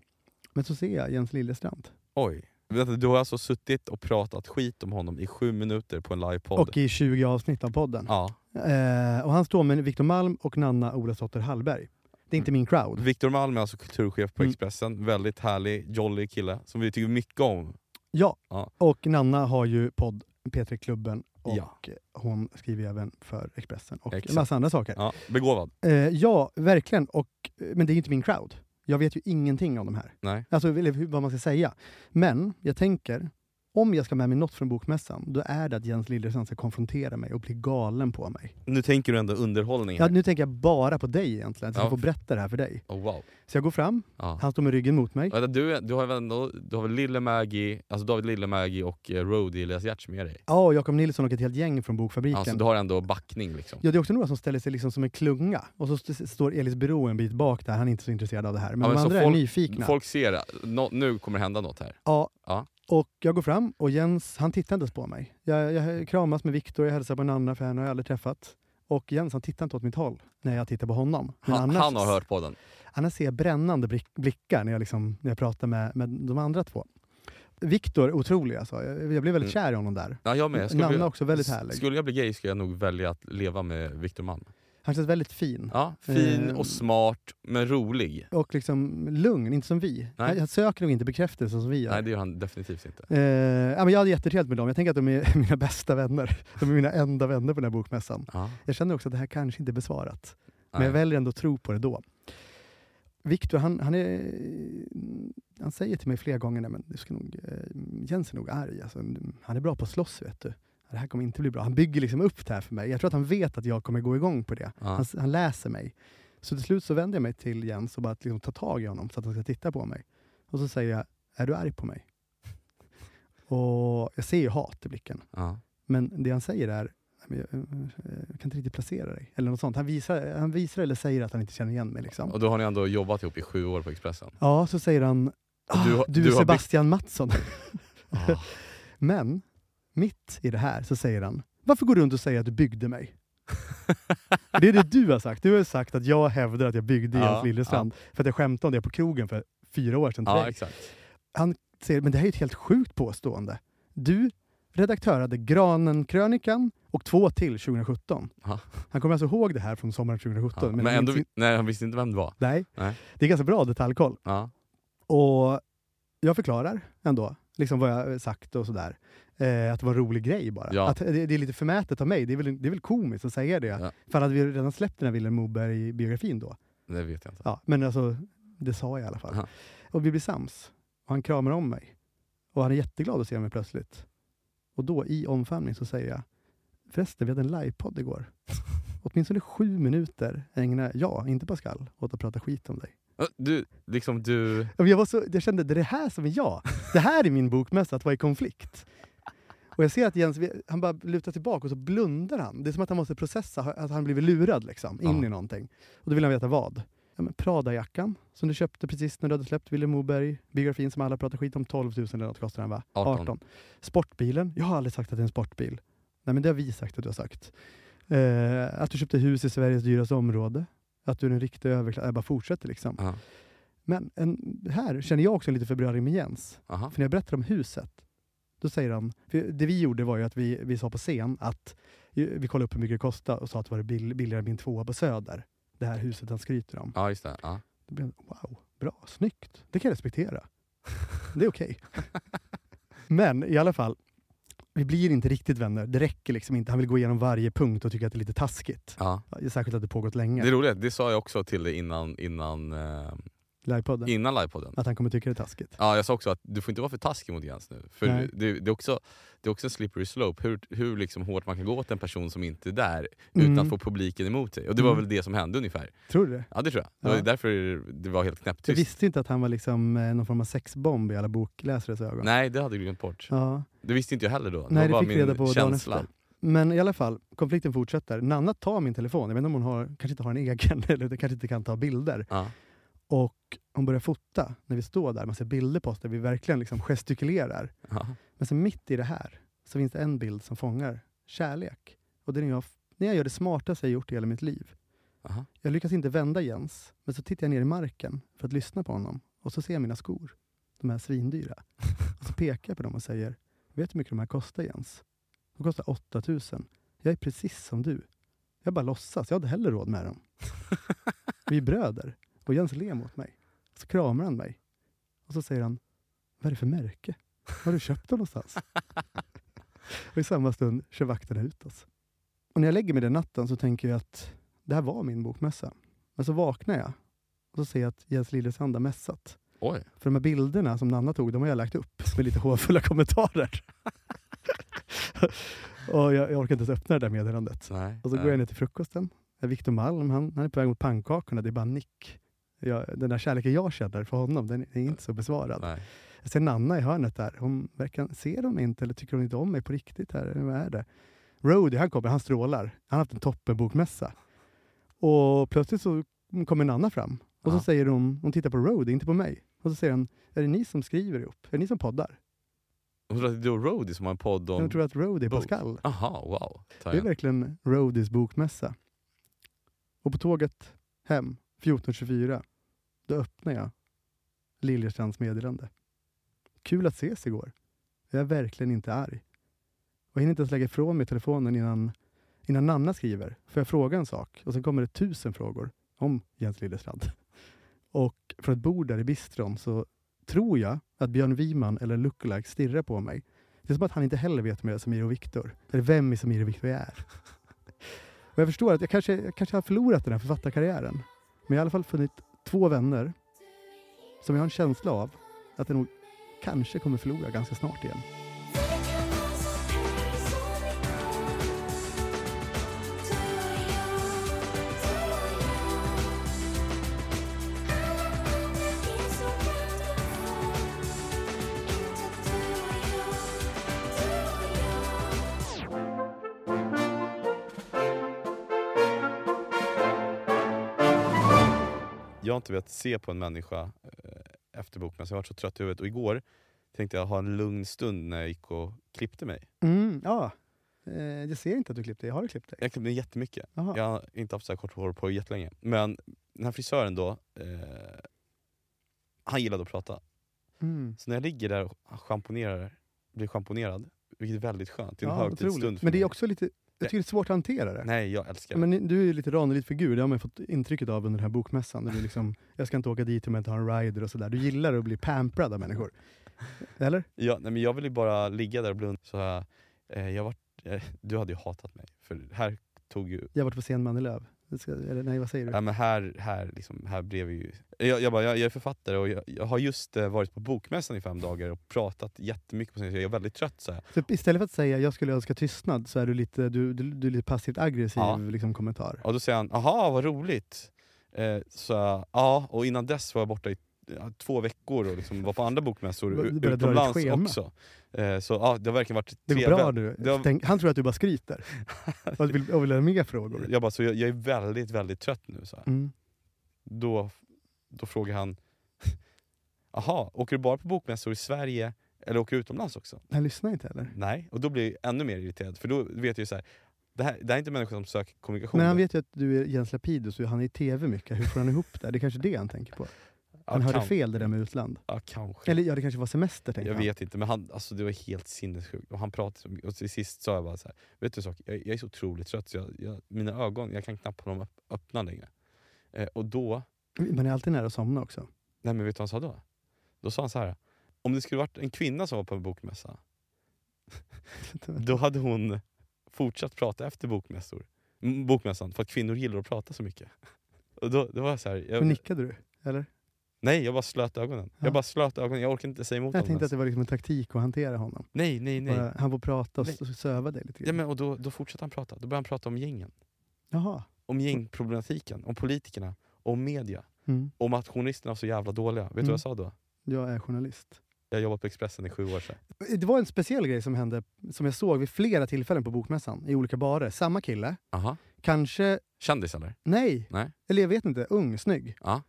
Speaker 3: Men så ser jag Jens Liljestrand.
Speaker 2: Oj. Vänta, Du har alltså suttit och pratat skit om honom i sju minuter på en livepodd.
Speaker 3: Och i 20 avsnitt av podden.
Speaker 2: Ja.
Speaker 3: Eh, och han står med Victor Malm och Nanna Olofsdotter Hallberg. Det är
Speaker 2: Mm.
Speaker 3: inte min crowd.
Speaker 2: Viktor Malm är alltså kulturchef på
Speaker 3: Mm.
Speaker 2: Expressen, väldigt härlig, jolly kille som vi tycker mycket om.
Speaker 3: Ja,
Speaker 2: Ja.
Speaker 3: och Nanna har ju podd P3 Klubben och
Speaker 2: Ja.
Speaker 3: hon skriver även för Expressen och
Speaker 2: Exakt.
Speaker 3: en massa andra saker.
Speaker 2: Ja, begåvad.
Speaker 3: Eh, ja, verkligen. Och, eh, men det är ju inte min crowd. Jag vet ju ingenting om de här.
Speaker 2: Nej.
Speaker 3: Alltså eller hur- vad man ska säga. Men jag tänker, om jag ska med mig något från bokmässan, då är det att Jens Liljestrand ska konfrontera mig och bli galen på mig.
Speaker 2: Nu tänker du ändå underhållning
Speaker 3: Ja,
Speaker 2: här.
Speaker 3: nu tänker jag bara på dig egentligen, så
Speaker 2: Ja.
Speaker 3: jag får berätta det här för dig.
Speaker 2: Oh, wow.
Speaker 3: Så jag går fram,
Speaker 2: Ja.
Speaker 3: han står med ryggen mot mig.
Speaker 2: Vänta, Du, du har väl ändå du har väl Lille Maggie, alltså David Lille Maggie och eh, Roadie Elias Giertz med dig?
Speaker 3: Ja, och Jakob Nilsson och ett helt gäng från Bokfabriken.
Speaker 2: Alltså, du har ändå backning liksom.
Speaker 3: Ja, det är också några som ställer sig liksom som en klunga. Och så st- står Elis Bero en bit bak där, han är inte så intresserad av det här. Men,
Speaker 2: Ja, men
Speaker 3: de
Speaker 2: så
Speaker 3: andra
Speaker 2: folk-
Speaker 3: är nyfikna.
Speaker 2: Folk ser, det. nå nu kommer det hända något här.
Speaker 3: Ja,
Speaker 2: Ja.
Speaker 3: Och jag går fram och Jens, han tittar inte ens på mig. Jag, jag kramas med Viktor, jag hälsar på Nanna för henne har jag aldrig träffat. Och Jens han tittar inte åt mitt håll när jag tittar på honom. Men
Speaker 5: Han, han har hört podden.
Speaker 3: Annars ser jag brännande blick, blickar när jag, liksom, när jag pratar med, med de andra två. Viktor, otrolig alltså. Jag, jag blev väldigt
Speaker 5: Mm.
Speaker 3: kär i honom där.
Speaker 5: Ja, jag med.
Speaker 3: Nanna
Speaker 5: bli,
Speaker 3: också väldigt härlig.
Speaker 5: Skulle jag bli gay skulle jag nog välja att leva med Victor Malm.
Speaker 3: Han känns väldigt fin.
Speaker 5: Ja, fin
Speaker 3: Eh.
Speaker 5: och smart, men rolig.
Speaker 3: Och liksom lugn, inte som vi.
Speaker 5: Nej.
Speaker 3: Han, han söker nog inte bekräftelse som vi gör.
Speaker 5: Nej, det gör han definitivt inte.
Speaker 3: Eh, ja, men jag hade jättetrevligt med dem. Jag tänker att de är mina bästa vänner. De är mina enda vänner på den här bokmässan.
Speaker 5: Ja,
Speaker 3: Jag känner också att det här kanske inte är besvarat. Men
Speaker 5: nej.
Speaker 3: jag väljer ändå att tro på det då. Viktor, han, han, är, han säger till mig flera gånger, Nej, men du ska nog, eh, Jens är nog arg. Alltså, han är bra på att slåss, vet du. Det här kommer inte bli bra. Han bygger liksom upp det här för mig. Jag tror att han vet att jag kommer gå igång på det.
Speaker 5: Ja.
Speaker 3: Han, han läser mig. Så till slut så vänder jag mig till Jens och bara liksom tar tag i honom så att han ska titta på mig. Och så säger jag, är du arg på mig? Och jag ser ju hat i blicken.
Speaker 5: Ja.
Speaker 3: Men det han säger är, "Nej, men jag, eh, jag kan inte riktigt placera dig. Eller något sånt. Han visar, han visar eller säger att han inte känner igen mig. Liksom.
Speaker 5: Och då har ni ändå jobbat ihop i sju år på Expressen.
Speaker 3: Ja, så säger han, ah,
Speaker 5: du
Speaker 3: du,
Speaker 5: har-
Speaker 3: är
Speaker 5: du har
Speaker 3: Sebastian Mattsson.
Speaker 5: Ah,
Speaker 3: Men mitt i det här så säger han, varför går du runt och säger att du byggde mig? det är det du har sagt. Du har sagt att jag hävdar att jag byggde
Speaker 5: Ja,
Speaker 3: Jens Liljestrand. För att jag skämtade om det på krogen för fyra år sedan. till
Speaker 5: ja,
Speaker 3: dig.
Speaker 5: exakt.
Speaker 3: säger, men det här är ju ett helt sjukt påstående. Du redaktörade Granen-krönikan och två till 2017.
Speaker 5: Ja.
Speaker 3: Han kommer alltså ihåg det här från sommaren 2017.
Speaker 5: Ja. Men
Speaker 3: han
Speaker 5: ändå,
Speaker 3: minns inte-
Speaker 5: nej, han visste inte vem det var.
Speaker 3: nej.
Speaker 5: Nej.
Speaker 3: det är ganska bra detaljkoll.
Speaker 5: Ja.
Speaker 3: Och jag förklarar ändå liksom vad jag sagt och sådär. Eh, att det var en rolig grej bara.
Speaker 5: Ja.
Speaker 3: Att det, det är lite förmätet av mig. Det är väl, det är väl komiskt att säga det.
Speaker 5: Ja.
Speaker 3: För hade vi redan släppt den här Vilhelm Moberg-biografin då.
Speaker 5: Det vet jag inte.
Speaker 3: Ja, men alltså, det sa jag i alla fall.
Speaker 5: Aha.
Speaker 3: Och vi blir sams. Och han kramar om mig. Och han är jätteglad att se mig plötsligt. Och då i omfamning så säger jag, förresten vi hade en livepodd igår. Åtminstone sju minuter ägnar jag, inte Pascal, åt att prata skit om dig.
Speaker 5: Du, liksom du...
Speaker 3: Ja, men Jag, var så, jag kände, det är det här som är jag. Det här är min bokmässa, att vara i konflikt. Och jag ser att Jens, han bara lutar tillbaka och så blundar han. Det är som att han måste processa att han blivit lurad liksom, in
Speaker 5: Ja.
Speaker 3: i någonting. Och då vill han veta vad. Ja, men Prada-jackan som du köpte precis när du hade släppt Willem Moberg, biografin som alla pratar skit om, 12 000 eller något kostar den va?
Speaker 5: 18.
Speaker 3: Sportbilen, jag har aldrig sagt att det är en sportbil. Nej men det har vi sagt att du har sagt. Eh, att du köpte hus i Sveriges dyraste område. Att du är en riktig överklass. Jag bara fortsätter liksom.
Speaker 5: Ja.
Speaker 3: Men en, här känner jag också en liten förbrödring med Jens.
Speaker 5: Aha.
Speaker 3: För när jag berättar om huset, då säger han... För det vi gjorde var ju att vi, vi sa på scen att ju- vi kollade upp hur mycket det kostade och sa att det var det bill- billigare än min tvåa på Söder. Det här huset han skryter om.
Speaker 5: Ja, just det. Ja.
Speaker 3: Då blev han, wow, bra, snyggt. Det kan jag respektera. Det är okej. Men i alla fall, vi blir inte riktigt vänner. Det räcker liksom inte. Han vill gå igenom varje punkt och tycker att det är lite taskigt.
Speaker 5: Ja.
Speaker 3: Särskilt att det pågått länge.
Speaker 5: Det roliga, det sa jag också till dig innan, innan, eh,
Speaker 3: Livepodden.
Speaker 5: innan livepodden.
Speaker 3: Att han kommer tycka det är taskigt.
Speaker 5: Ja, jag sa också att du får inte vara för taskig mot Jens nu. För
Speaker 3: Nej.
Speaker 5: det, det, är också, det är också en slippery slope, hur, hur liksom hårt man kan gå åt en person som inte är där utan
Speaker 3: Mm.
Speaker 5: att få publiken emot sig. Och det var
Speaker 3: Mm.
Speaker 5: väl det som hände ungefär.
Speaker 3: Tror du det?
Speaker 5: Ja, det tror jag. Det var
Speaker 3: Ja.
Speaker 5: därför det var helt
Speaker 3: Jag
Speaker 5: knäpptyst.
Speaker 3: visste inte att han var liksom eh, någon form av sexbomb i alla bokläsares ögon.
Speaker 5: Nej, det hade du glömt bort.
Speaker 3: Ja.
Speaker 5: Det visste inte jag heller då. Det
Speaker 3: Nej,
Speaker 5: var
Speaker 3: det
Speaker 5: bara
Speaker 3: fick
Speaker 5: min
Speaker 3: vi reda på dagen
Speaker 5: känsla.
Speaker 3: efter. Men i alla fall, konflikten fortsätter. Nanna tar min telefon. Jag vet inte om hon har, kanske inte har en egen, eller kanske inte kan ta bilder.
Speaker 5: Ja.
Speaker 3: Och hon börjar fota när vi står där. Man ser bilder på oss där vi verkligen liksom gestikulerar.
Speaker 5: Ja.
Speaker 3: Men sen mitt i det här så finns det en bild som fångar kärlek. Och det är när jag, när jag gör det smartaste jag gjort i hela mitt liv.
Speaker 5: Aha.
Speaker 3: Jag lyckas inte vända Jens, men så tittar jag ner i marken för att lyssna på honom. Och så ser jag mina skor. De här svindyra. Och så pekar jag på dem och säger, vet du hur mycket de här kostar Jens? De kostar 8000. Jag är precis som du. Jag bara låtsas, jag hade hellre råd med dem. Vi är bröder. Och Jens ler mot mig. Så kramar han mig. Och så säger han, vad är det för märke? Var har du köpt dem någonstans? och i samma stund kör vakterna ut oss. Och när jag lägger mig den natten så tänker jag att det här var min bokmässa. Men så vaknar jag och så ser jag att Jens Liljestrand har mässat.
Speaker 5: Oj.
Speaker 3: För de här bilderna som Nanna tog, de har jag lagt upp med lite hånfulla kommentarer. och jag, jag orkar inte ens öppna det där meddelandet.
Speaker 5: Nej.
Speaker 3: Och så går jag ner till frukosten. Viktor Malm, han, han är på väg mot pannkakorna. Det är bara nick. Jag, den där kärleken jag känner för honom, den är inte så besvarad.
Speaker 5: Nej.
Speaker 3: Jag ser Nanna i hörnet där. Hon verkar, ser hon mig inte eller tycker hon inte om mig på riktigt? här? Eller Vad är det? Roadie, han kommer, han strålar. Han har haft en toppenbokmässa. Och plötsligt så kommer Nanna fram. Och så
Speaker 5: Ja.
Speaker 3: säger hon, hon tittar på Roadie, inte på mig. Och så säger hon, är det ni som skriver ihop? Är det ni som poddar?
Speaker 5: Hon tror att det är Roadie som har en podd om...
Speaker 3: Jag tror att Road är
Speaker 5: Bok.
Speaker 3: Pascal.
Speaker 5: Aha, wow. Tar
Speaker 3: Det är
Speaker 5: jag.
Speaker 3: verkligen Roadies bokmässa. Och på tåget hem 14.24, då öppnar jag Liljestrands meddelande. Kul att ses igår. Jag är verkligen inte arg. Och jag hinner inte ens lägga ifrån mig telefonen innan, innan Nanna skriver. För jag frågar en sak och sen kommer det tusen frågor om Jens Liljestrand. Och från ett bord där i bistron så tror jag att Björn Wiman eller Lookalike stirrar på mig. Det är som att han inte heller vet om jag är Samir och Viktor. Eller vem Samir och Viktor är. Och jag förstår att jag kanske, jag kanske har förlorat den här författarkarriären. Men jag har i alla fall funnit två vänner som jag har en känsla av att jag nog kanske kommer förlora ganska snart igen.
Speaker 2: Jag har inte velat se på en människa eh, efter bokmässan, jag har varit så trött i huvudet. Och igår tänkte jag ha en lugn stund när jag gick och klippte mig.
Speaker 3: Mm, ja. Eh, jag ser inte att du klippte dig. Har du klippt dig?
Speaker 2: Jag klippte mig jättemycket.
Speaker 3: Jaha.
Speaker 2: Jag har inte haft så här kort hår på jättelänge. Men den här frisören då, eh, han gillade att prata.
Speaker 3: Mm.
Speaker 2: Så när jag ligger där och schamponerar, blir schamponerad, vilket är väldigt skönt. Det är en
Speaker 3: Ja,
Speaker 2: högtidsstund
Speaker 3: otroligt.
Speaker 2: för
Speaker 3: Men det är
Speaker 2: mig.
Speaker 3: också lite... Jag tycker det är svårt att hantera det.
Speaker 2: Nej, jag älskar det.
Speaker 3: Men ni- du är ju lite Ranelid-figur, det har man ju fått intrycket av under den här bokmässan. Där du liksom, jag ska inte åka dit om jag inte har en rider och sådär. Du gillar att bli pamprad av människor. Eller?
Speaker 2: Ja, nej, men jag ville ju bara ligga där och blunda. Så, här, eh, jag var, eh, du hade ju hatat mig, för här tog ju...
Speaker 3: Jag har varit på scen med Annie Lööf. Det ska- Eller nej, vad säger du?
Speaker 2: Ja, men här, här, liksom, här blev vi ju... Jag, jag, bara, jag, jag är författare och jag, jag har just eh, varit på bokmässan i fem dagar och pratat jättemycket på scenen, så jag är väldigt trött. Så här.
Speaker 3: Så Typ, istället för att säga jag skulle önska tystnad så är du lite, du, du, du är lite passivt aggressiv
Speaker 2: Ja.
Speaker 3: liksom, kommentar.
Speaker 2: Och då säger han “aha, vad roligt”. Eh, så, ja, och innan dess var jag borta i ja, två veckor och liksom var på andra bokmässor
Speaker 3: Du började
Speaker 2: u-
Speaker 3: dra ditt
Speaker 2: utomlands
Speaker 3: schema.
Speaker 2: också. Eh, så ja, det har verkligen varit
Speaker 3: Det går bra nu.
Speaker 2: Det var-
Speaker 3: Tänk, han tror att du bara skryter och vill, och vill ha mer frågor.
Speaker 2: Jag, bara, så jag, jag är väldigt, väldigt trött nu. Så här.
Speaker 3: Mm.
Speaker 2: då, då frågar han Jaha, åker du bara på bokmässor i Sverige eller åker du utomlands också?
Speaker 3: Han lyssnar inte heller.
Speaker 2: Nej, och då blir jag ännu mer irriterad för då vet jag ju så här, det här, det här är inte människor som söker kommunikation.
Speaker 3: Men han vet ju att du är Jens Lapidus och han är i tv mycket. Hur får han ihop det? Det är kanske det han tänker på. Han
Speaker 2: ja,
Speaker 3: hörde
Speaker 2: kan-
Speaker 3: fel det där med utland.
Speaker 2: Ja, kanske.
Speaker 3: Eller ja, det kanske var semester tänkte
Speaker 2: jag
Speaker 3: han.
Speaker 2: vet inte, men han, alltså, det var helt sinnessjukt. Och han pratade så mycket. och till sist sa jag bara så här, vet du en sak? Jag, jag är så otroligt trött så jag, jag, mina ögon, jag kan knappt ha dem öpp- öppna längre. Eh, och då,
Speaker 3: Man är alltid nära att somna också.
Speaker 2: nej men vet du vad han sa då? Då sa han så här, om det skulle varit en kvinna som var på en bokmässa, Då hade hon fortsatt prata efter bokmässor. M- bokmässan, för att kvinnor gillar att prata så mycket. Och då, då var jag så här,
Speaker 3: Men
Speaker 2: jag,
Speaker 3: nickade du? Eller?
Speaker 2: nej, jag bara slöt ögonen.
Speaker 3: Ja.
Speaker 2: Jag bara slöt ögonen, jag orkar inte säga emot
Speaker 3: Jag
Speaker 2: honom.
Speaker 3: tänkte att
Speaker 2: ens.
Speaker 3: det var liksom en taktik att hantera honom.
Speaker 2: Nej, nej, nej.
Speaker 3: Bara, han får prata och
Speaker 2: Nej.
Speaker 3: s- söva dig lite
Speaker 2: Ja,
Speaker 3: grann.
Speaker 2: men, och då, då fortsatte han prata. Då började han prata om gängen.
Speaker 3: Jaha.
Speaker 2: Om gängproblematiken, om politikerna, om media.
Speaker 3: Mm.
Speaker 2: Om att journalisterna var så jävla dåliga. Vet du
Speaker 3: Mm.
Speaker 2: vad jag sa då?
Speaker 3: Jag är journalist.
Speaker 2: Jag har jobbat på Expressen i sju år sedan.
Speaker 3: Det var en speciell grej som hände, som jag såg vid flera tillfällen på Bokmässan i olika barer. Samma kille,
Speaker 5: Aha.
Speaker 3: kanske,
Speaker 5: Kändis eller?
Speaker 3: nej,
Speaker 5: Nej.
Speaker 3: eller jag vet inte, ung, snygg.
Speaker 5: Ja.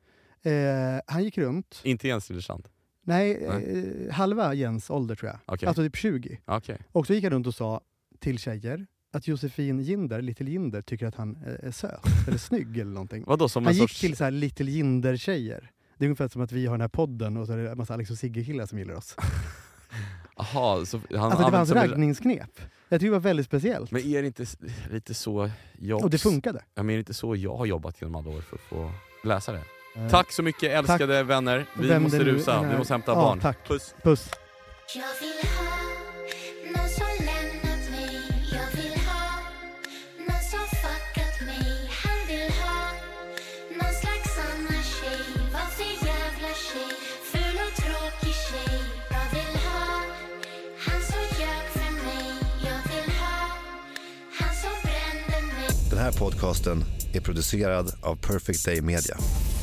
Speaker 3: Eh, han gick runt,
Speaker 5: Inte Jens Liljestrand?
Speaker 3: nej, Eh, halva Jens ålder tror jag,
Speaker 5: Okej.
Speaker 3: alltså typ 20.
Speaker 5: Okej.
Speaker 3: Och så gick han runt och sa till tjejer att Josefin Ginder, Little Jinder, tycker att han eh, är söt eller snygg eller någonting.
Speaker 5: Vadå, som
Speaker 3: Han
Speaker 5: en
Speaker 3: gick
Speaker 5: sorts...
Speaker 3: till så här Little Jinder-tjejer. Det är ungefär som att vi har den här podden och så är det en massa Alex och Sigge-killar som gillar oss.
Speaker 5: Aha, så han
Speaker 3: Alltså det var
Speaker 5: använde
Speaker 3: hans
Speaker 5: som en-
Speaker 3: raggningsknep. Jag tycker det var väldigt speciellt.
Speaker 5: Men är det inte s- lite så jag...
Speaker 3: Och det funkade.
Speaker 5: Ja, men är det inte så jag har jobbat genom alla år för att få läsa det? Tack så mycket älskade vänner. Vi
Speaker 3: Vem
Speaker 5: måste
Speaker 3: det nu
Speaker 5: rusa,
Speaker 3: är.
Speaker 5: vi måste hämta
Speaker 3: Ja,
Speaker 5: barn.
Speaker 3: tack.
Speaker 5: Puss.
Speaker 3: Puss.
Speaker 6: Jag vill ha någon som lämnat mig Jag vill ha någon som fuckat mig Han vill ha någon slags annan tjej Vad för jävla tjej Ful och tråkig tjej Jag vill ha han som ljög för mig Jag vill ha han som brände mig
Speaker 7: Den här podcasten är producerad av Perfect Day Media.